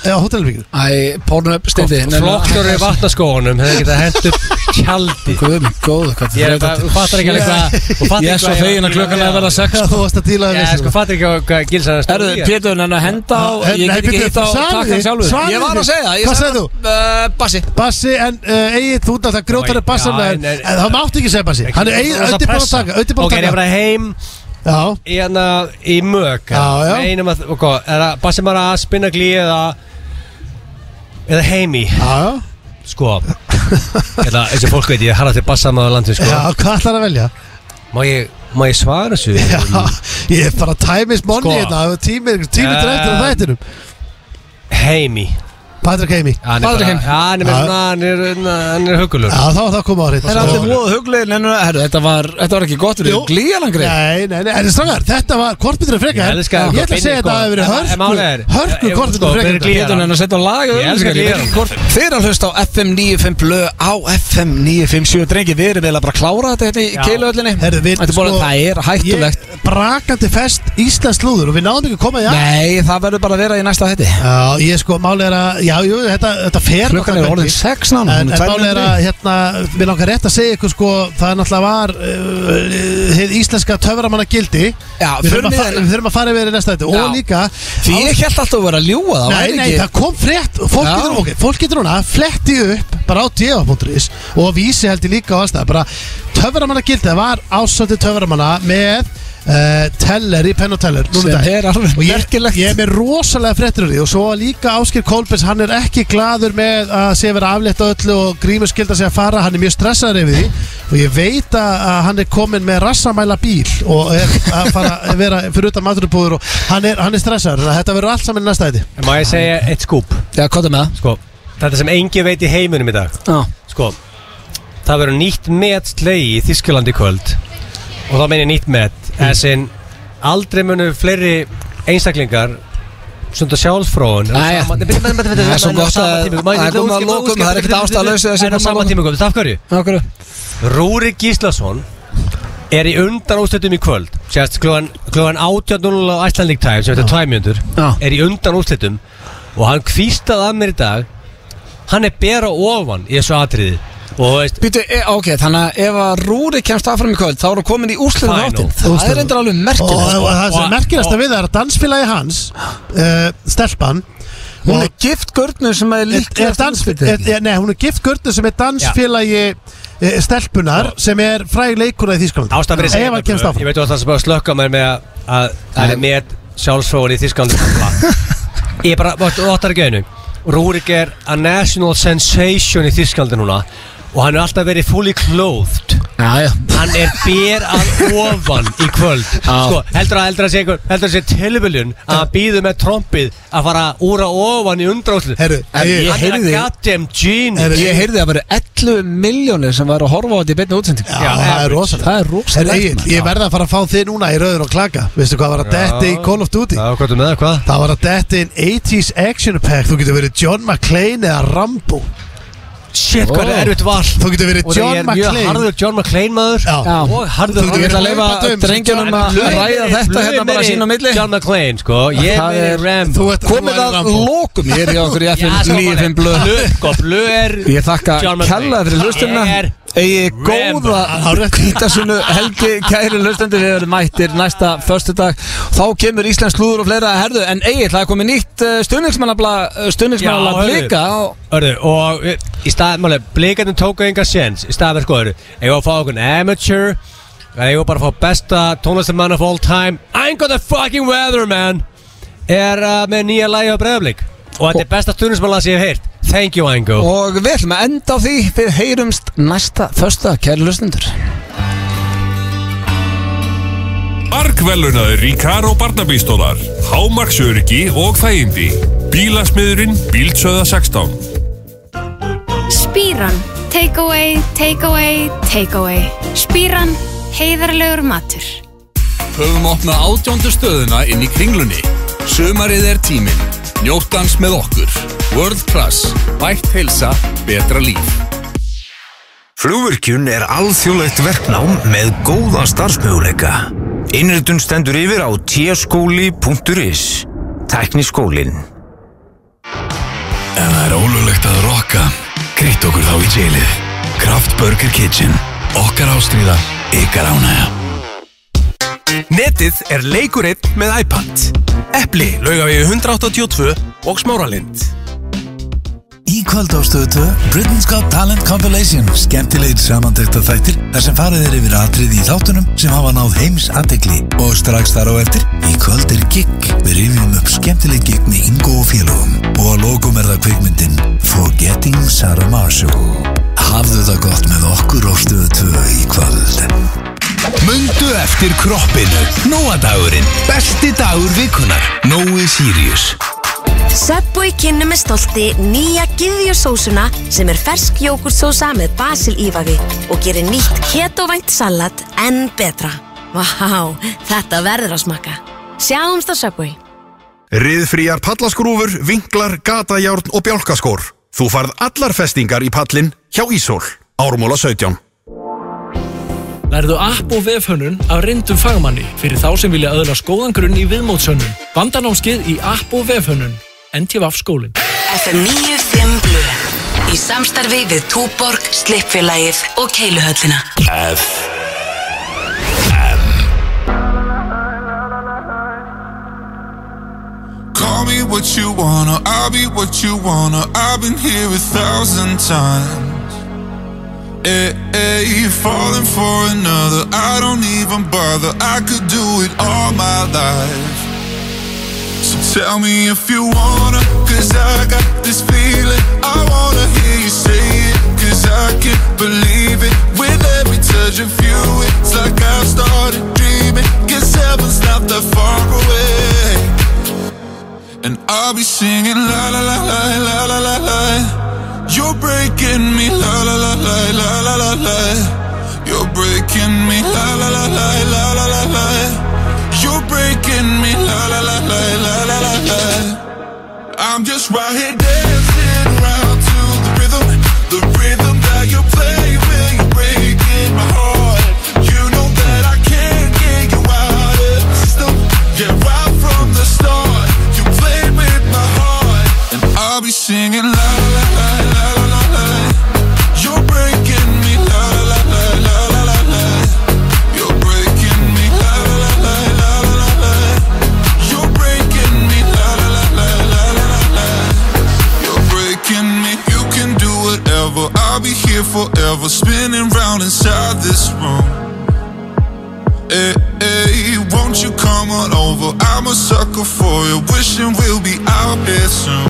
[SPEAKER 7] á hótelherbyggjum
[SPEAKER 5] Æ, pórnum upp, steindi
[SPEAKER 2] Flokkur í vatnaskóunum hefur getað hent upp tjaldi
[SPEAKER 5] Guðum, góðu, hvað
[SPEAKER 2] Ég er
[SPEAKER 5] þetta
[SPEAKER 2] bara, þú fattar ekki alveg hvað þú fattar
[SPEAKER 5] Ég er
[SPEAKER 2] ekki
[SPEAKER 5] svo
[SPEAKER 2] hvað
[SPEAKER 5] fegin að klukkan er að verða sex
[SPEAKER 7] Þú varst að díla
[SPEAKER 2] Já,
[SPEAKER 7] við
[SPEAKER 2] sko, fattar ekki hvað- hvað gilsarum
[SPEAKER 5] Erðu, Pétur, hann að henda á
[SPEAKER 7] Nei,
[SPEAKER 5] Ég
[SPEAKER 7] nei,
[SPEAKER 5] get ekki
[SPEAKER 7] bíddu,
[SPEAKER 5] hitt á
[SPEAKER 7] svaraðu
[SPEAKER 5] takkan
[SPEAKER 7] því,
[SPEAKER 5] sjálfur
[SPEAKER 7] svaraðu
[SPEAKER 5] Ég var
[SPEAKER 7] því.
[SPEAKER 5] að segja það
[SPEAKER 7] Hvað sagði þú?
[SPEAKER 5] Uh, bassi
[SPEAKER 7] Bassi en uh, Egið, þú ert alltaf grjótarið
[SPEAKER 2] Já,
[SPEAKER 7] Bassan en
[SPEAKER 2] en- en-
[SPEAKER 7] en það mátti ekki segja Bassi Hann er Egið, öndi búin að taka Öndi
[SPEAKER 2] Ok,
[SPEAKER 7] búin
[SPEAKER 2] ég er
[SPEAKER 7] að taka
[SPEAKER 2] bara heim
[SPEAKER 7] Já,
[SPEAKER 2] í, hana, í mög
[SPEAKER 7] Já, já.
[SPEAKER 2] einum að, ok, er það bara sem er að spinna glí eða eða heimi,
[SPEAKER 7] já, já
[SPEAKER 2] sko eða eins og fólk veit, ég harra til bassamaður landin, sko
[SPEAKER 7] Já, hvað ætlar að velja?
[SPEAKER 2] má ég, má ég svara þessu
[SPEAKER 7] Já, ég er bara tæmis monni
[SPEAKER 2] Sko.
[SPEAKER 7] hérna Það er tími, tími
[SPEAKER 2] Eh.
[SPEAKER 7] drættur á þættinum
[SPEAKER 2] heimi
[SPEAKER 7] Patrik Heimi Já,
[SPEAKER 2] hann er
[SPEAKER 5] Patrik
[SPEAKER 2] bara,
[SPEAKER 5] Heimi.
[SPEAKER 2] hann er,
[SPEAKER 7] Já.
[SPEAKER 2] með svona- hann er, hann er hugulur
[SPEAKER 7] þá þá koma á hreint
[SPEAKER 5] Það er allir voða huglegir en herru, þetta var, þetta var ekki gott
[SPEAKER 7] Jú.
[SPEAKER 5] Þetta var glíjalangri
[SPEAKER 7] Nei, nei, nei, en strákar, þetta var kortbyttur að freka
[SPEAKER 2] Ég elska
[SPEAKER 7] Ég ætla
[SPEAKER 2] þetta.
[SPEAKER 7] að segja þetta að það
[SPEAKER 2] En- en
[SPEAKER 7] hefur
[SPEAKER 2] málið
[SPEAKER 7] verið
[SPEAKER 2] er-
[SPEAKER 7] hörku Hörku
[SPEAKER 2] Ef-
[SPEAKER 7] kortbyttur
[SPEAKER 2] sko,
[SPEAKER 7] að
[SPEAKER 2] fyrir
[SPEAKER 7] freka
[SPEAKER 2] glíð-
[SPEAKER 5] Pétur en að setja á lag
[SPEAKER 2] Ég elska glíjalangri.
[SPEAKER 5] Þeir eru að hlusta á FM 95 blö á FM 957 Drengi, við erum vel að bara klára þetta hérna
[SPEAKER 2] Já.
[SPEAKER 5] í keiluöllinni
[SPEAKER 7] Herru, við-
[SPEAKER 5] Þetta er bara,
[SPEAKER 7] sko,
[SPEAKER 5] það er hættulegt
[SPEAKER 7] Ég brakandi fest Íslands slúður og við náðum ekki að koma í að
[SPEAKER 5] Nei, það verður bara að vera í næsta þetta
[SPEAKER 7] Já, ég sko, málið er að, já, já, jú, þetta, þetta fer
[SPEAKER 5] Klukkan
[SPEAKER 7] náttúrulega
[SPEAKER 5] er orðin
[SPEAKER 7] hvergi.
[SPEAKER 5] sex nána, hún
[SPEAKER 7] En,
[SPEAKER 5] er
[SPEAKER 7] en
[SPEAKER 5] tvær
[SPEAKER 7] máli er
[SPEAKER 5] mínútur
[SPEAKER 7] að, hérna, við langar rétt að segja ykkur sko Það náttúrulega var uh, Hið íslenska töframanna gildi
[SPEAKER 5] Já,
[SPEAKER 7] Við þurfum
[SPEAKER 5] förum í
[SPEAKER 7] að fa-
[SPEAKER 5] þennan.
[SPEAKER 7] við þurfum að fara yfir í næsta þetta
[SPEAKER 5] Já.
[SPEAKER 7] Og líka
[SPEAKER 5] Því ég held alltaf að vera að ljúa það
[SPEAKER 7] Nei, nei, það kom frétt Fólk
[SPEAKER 5] Já.
[SPEAKER 7] getur, okay, fólk getur núna fletti upp bara á djöfa.is og á vísi held ég líka á allstað bara töframanna gildið var ásöldi töframanna með uh, teller í penn og teller núna
[SPEAKER 5] Sem
[SPEAKER 7] í dag.
[SPEAKER 5] er alveg
[SPEAKER 7] Og ég,
[SPEAKER 5] merkilegt.
[SPEAKER 7] ég er með rosalega fréttur úr því og svo var líka Áskir Kolbens hann er ekki gladur með að sé vera aflétt á öllu og grímur skildar sig að fara hann er mjög stressaður yfir því og ég veit að að hann er komin með rassamæla bíl og er að fara að vera fyrir utan maturubúður og hann er, hann er stressaður þannig að þetta verður allt saman í næsta þetta
[SPEAKER 2] En Má ég segja eitt skúp
[SPEAKER 5] Já, hvað er með
[SPEAKER 2] sko, Þetta sem engi veit í heiminum í dag
[SPEAKER 5] það?
[SPEAKER 2] sko, Það verður nýtt met slegi í Þískalandi kvöld Og þá meina ég nýtt met Þess mm. en aldrei munu fleiri einstaklingar Sunda sjálfsfróun
[SPEAKER 5] Jæja. Það er svo gott að- það er komið að lokum, það er ekkert ástæðulausu þessi
[SPEAKER 2] Það er á sama
[SPEAKER 5] lokum.
[SPEAKER 2] tíma komið, af hverju?
[SPEAKER 5] Já, okkur
[SPEAKER 2] Rúri Gíslason er í undan úrslitum í kvöld sérst klugan, klugan 18.00 á Icelandic Time sem þetta er tvæmjöndur
[SPEAKER 5] Já.
[SPEAKER 2] er í undan úrslitum og hann kvístaði að mér í dag hann er bera ofan í þessu atriði og veist
[SPEAKER 5] Býtu, e, ok, þannig að ef að Rúri kemst áfram í kvöld þá eru komin í úrslitum
[SPEAKER 2] Final.
[SPEAKER 5] áttinn Það
[SPEAKER 7] Úrslitum.
[SPEAKER 5] er endur alveg
[SPEAKER 7] og,
[SPEAKER 5] merkilegt
[SPEAKER 7] og,
[SPEAKER 5] sko.
[SPEAKER 7] það sem
[SPEAKER 2] Og-
[SPEAKER 7] er merkilegast
[SPEAKER 2] og-
[SPEAKER 7] að við það er að dansfélagi hans uh, stelpan
[SPEAKER 5] Hún er gift gurnur sem er
[SPEAKER 7] er, er
[SPEAKER 5] líklegast
[SPEAKER 7] dans, er, er, nei, hún er gift Gördu sem er dansfélagi eh, stelpunar sem er fræg leikuna í Þýskalandi
[SPEAKER 2] ástæðan fyrir
[SPEAKER 7] Ef hann kemst
[SPEAKER 2] ég
[SPEAKER 7] áfram
[SPEAKER 2] veit að það sem bara slökka mér með að- að það er með sjálfsfróun í Þísklandi ég bara, óttar ekki einu Rúrik er a national sensation í Þísklandi núna og hann er alltaf verið fully clothed
[SPEAKER 5] Já, já
[SPEAKER 2] hann er bér að ofan í kvöld
[SPEAKER 5] Já.
[SPEAKER 2] sko, heldur að heldur að sé einhver heldur að sé tilviljun að hann býður með trompið að fara úr að ofan í undráslu hann
[SPEAKER 7] Herru,
[SPEAKER 5] En
[SPEAKER 7] ég,
[SPEAKER 5] ég-
[SPEAKER 2] er að
[SPEAKER 5] heyrði-
[SPEAKER 2] goddamn genius
[SPEAKER 5] Ég heyrði að vera 11 miljónir sem var að horfa á þetta í beinni útsending
[SPEAKER 7] já, það er
[SPEAKER 2] average.
[SPEAKER 7] rosalega
[SPEAKER 5] Það er
[SPEAKER 7] Herru,
[SPEAKER 5] rosalegt
[SPEAKER 7] Egil, ég verða að fara að fá þið núna í rauður og klaka Veistu hvað var að detti í Call of Duty?
[SPEAKER 2] já, hvað er með það, hvað?
[SPEAKER 7] Það var að detti inn 80s action pack Þú getur verið John McClane eða Rambo
[SPEAKER 2] shit, hvað
[SPEAKER 5] Ó.
[SPEAKER 2] er erfitt val
[SPEAKER 7] Þú getur verið
[SPEAKER 2] og það
[SPEAKER 7] John
[SPEAKER 2] er mjög
[SPEAKER 7] McClane
[SPEAKER 2] harður John McClane maður
[SPEAKER 7] Já.
[SPEAKER 2] og harður
[SPEAKER 7] Þú
[SPEAKER 5] Ég
[SPEAKER 7] getur
[SPEAKER 5] ætla að
[SPEAKER 7] verið
[SPEAKER 5] leifa
[SPEAKER 7] hlaupa um-
[SPEAKER 5] drengjunum að
[SPEAKER 7] Blöð-
[SPEAKER 5] ræða þetta hérna bara sín á milli
[SPEAKER 2] John McClane, sko, ég
[SPEAKER 5] Það
[SPEAKER 2] er
[SPEAKER 5] er-
[SPEAKER 2] Rambo
[SPEAKER 7] ert-
[SPEAKER 5] Komið
[SPEAKER 7] værir
[SPEAKER 5] að
[SPEAKER 7] Rambo.
[SPEAKER 5] lokum Ég er hjá okkur í FM 95 blöð
[SPEAKER 2] sko, blöð er
[SPEAKER 5] Ég þakka
[SPEAKER 2] John McClane.
[SPEAKER 5] kella fyrir hlustunna
[SPEAKER 2] Ég er
[SPEAKER 5] Egi
[SPEAKER 2] Rambo.
[SPEAKER 5] góða kvítasunu helgi kæri hlustundi Við erum mættir næsta föstudag Þá kemur Íslands slúður og fleira að herðu En Egi, það er komið nýtt eh, stundingsmannabla Stundingsmannabla
[SPEAKER 2] Já,
[SPEAKER 5] blika og-
[SPEAKER 2] Örðu, og e, í stað, máli, blikarnir tóku enga séns Í stað verð sko, örðu, ég var að fá okkur amateur Ég var bara að fá besta tónlistamann of all time I ain't got the fucking weather, man Er uh, með nýja lægi á breyðablík Og þetta er besta stundismann sem ég hef heyrt Thank you, Ango
[SPEAKER 5] Og við ætlum að enda á því Við heyrumst næsta föstudag Kæri hlustundur
[SPEAKER 8] Markvelunaður í kar og barnabístólar, hámaksöryggi og þægindi. Bílasmiðurinn Bílsöða 16.
[SPEAKER 9] Spíran. Takeaway, takeaway, takeaway. Spíran. Heiðarlegur matur.
[SPEAKER 6] höfum opnað átjóndu stöðuna inn í kringlunni. Sumarið er tíminn. Njóttans með okkur. World Class. Bætt heilsa. Betra líf.
[SPEAKER 10] Flugvirkjun er alþjóðlegt verknám með góða starfsmöguleika. Innritun stendur yfir á tskóli.is Tekniskólinn
[SPEAKER 6] Ef það er ólulegt að rokka, grýtt okkur þá í jailið. Kraft Burger Kitchen. Okkar ástríða, ykkar ánægja.
[SPEAKER 10] Netið er leikurinn með iPad. Epli, laugavegi 182 og smáralind.
[SPEAKER 11] Í kvöld á stöðu 2, Britain's Got Talent Compilation, skemmtilegir samantekta þættir þar sem farið er yfir atrið í þáttunum sem hafa náð heims aðtegli og strax þar á eftir, í kvöld er gig, við rifjum upp skemmtileg gig með Ingo og félögum og að lókum er það kvikmyndin Forgetting Sarah Marshall. Hafðu það gott með okkur á stöðu 2 í kvöld.
[SPEAKER 6] Mundu eftir kroppinu. Nóadagurinn. Besti dagur vikunar. Nói Sirius.
[SPEAKER 12] Subway kynna með stolti nýja gyðjusósuna sem er fersk jógurtsósa með basilífavi og gerir nýtt ketovænt salat enn betra. Vá, þetta verður að smakka. Sjáumst á Subway.
[SPEAKER 13] Riðfríjar pallaskrúfur, vinklar, gatajárn og bjálkaskór. Þú farð allar festingar í pallin hjá Ísól. Ármóla 17.
[SPEAKER 14] Lærðu app og vefhönnun af reyndum fagmanni fyrir þá sem vilja öðla skóðan grunn í viðmótshönnun. Vandanámskið í app og vefhönnun. NTVAF skólinn.
[SPEAKER 15] FM 95 Blu Í samstarfi við Túborg, Slippfélagið og Keiluhöllina
[SPEAKER 16] F
[SPEAKER 6] Call me what you wanna, I'll be what you wanna. I've been here a thousand times. Hey, hey, falling for another. I don't even bother. I could do it all my life. So tell me if you wanna, cause I got this feeling. I wanna hear you say it, cause I can't believe it. With every touch of you, it's like I've started dreaming. Guess heaven's not that far away. And I'll be singing la la la la la la la la. You're breaking me la la la la la la la la. You're breaking me la la la la la la la la. You're breaking me la la la la la la la la. I'm just right here dancing round to the rhythm, the rhythm that you play when you're breaking my heart. You know that I can't get you out of the system. Yeah, right from the start, you played with my heart, and I'll be singing la la la la la la la. You're breaking me la la la la la la la la. You're breaking me la la la la la la la la. You're breaking me la la la la la la la la. You're breaking me. You can do whatever. I'll be here forever, spinning round inside this room. Hey, hey, won't you come on over? I'm a sucker for you, wishing we'll be out there soon.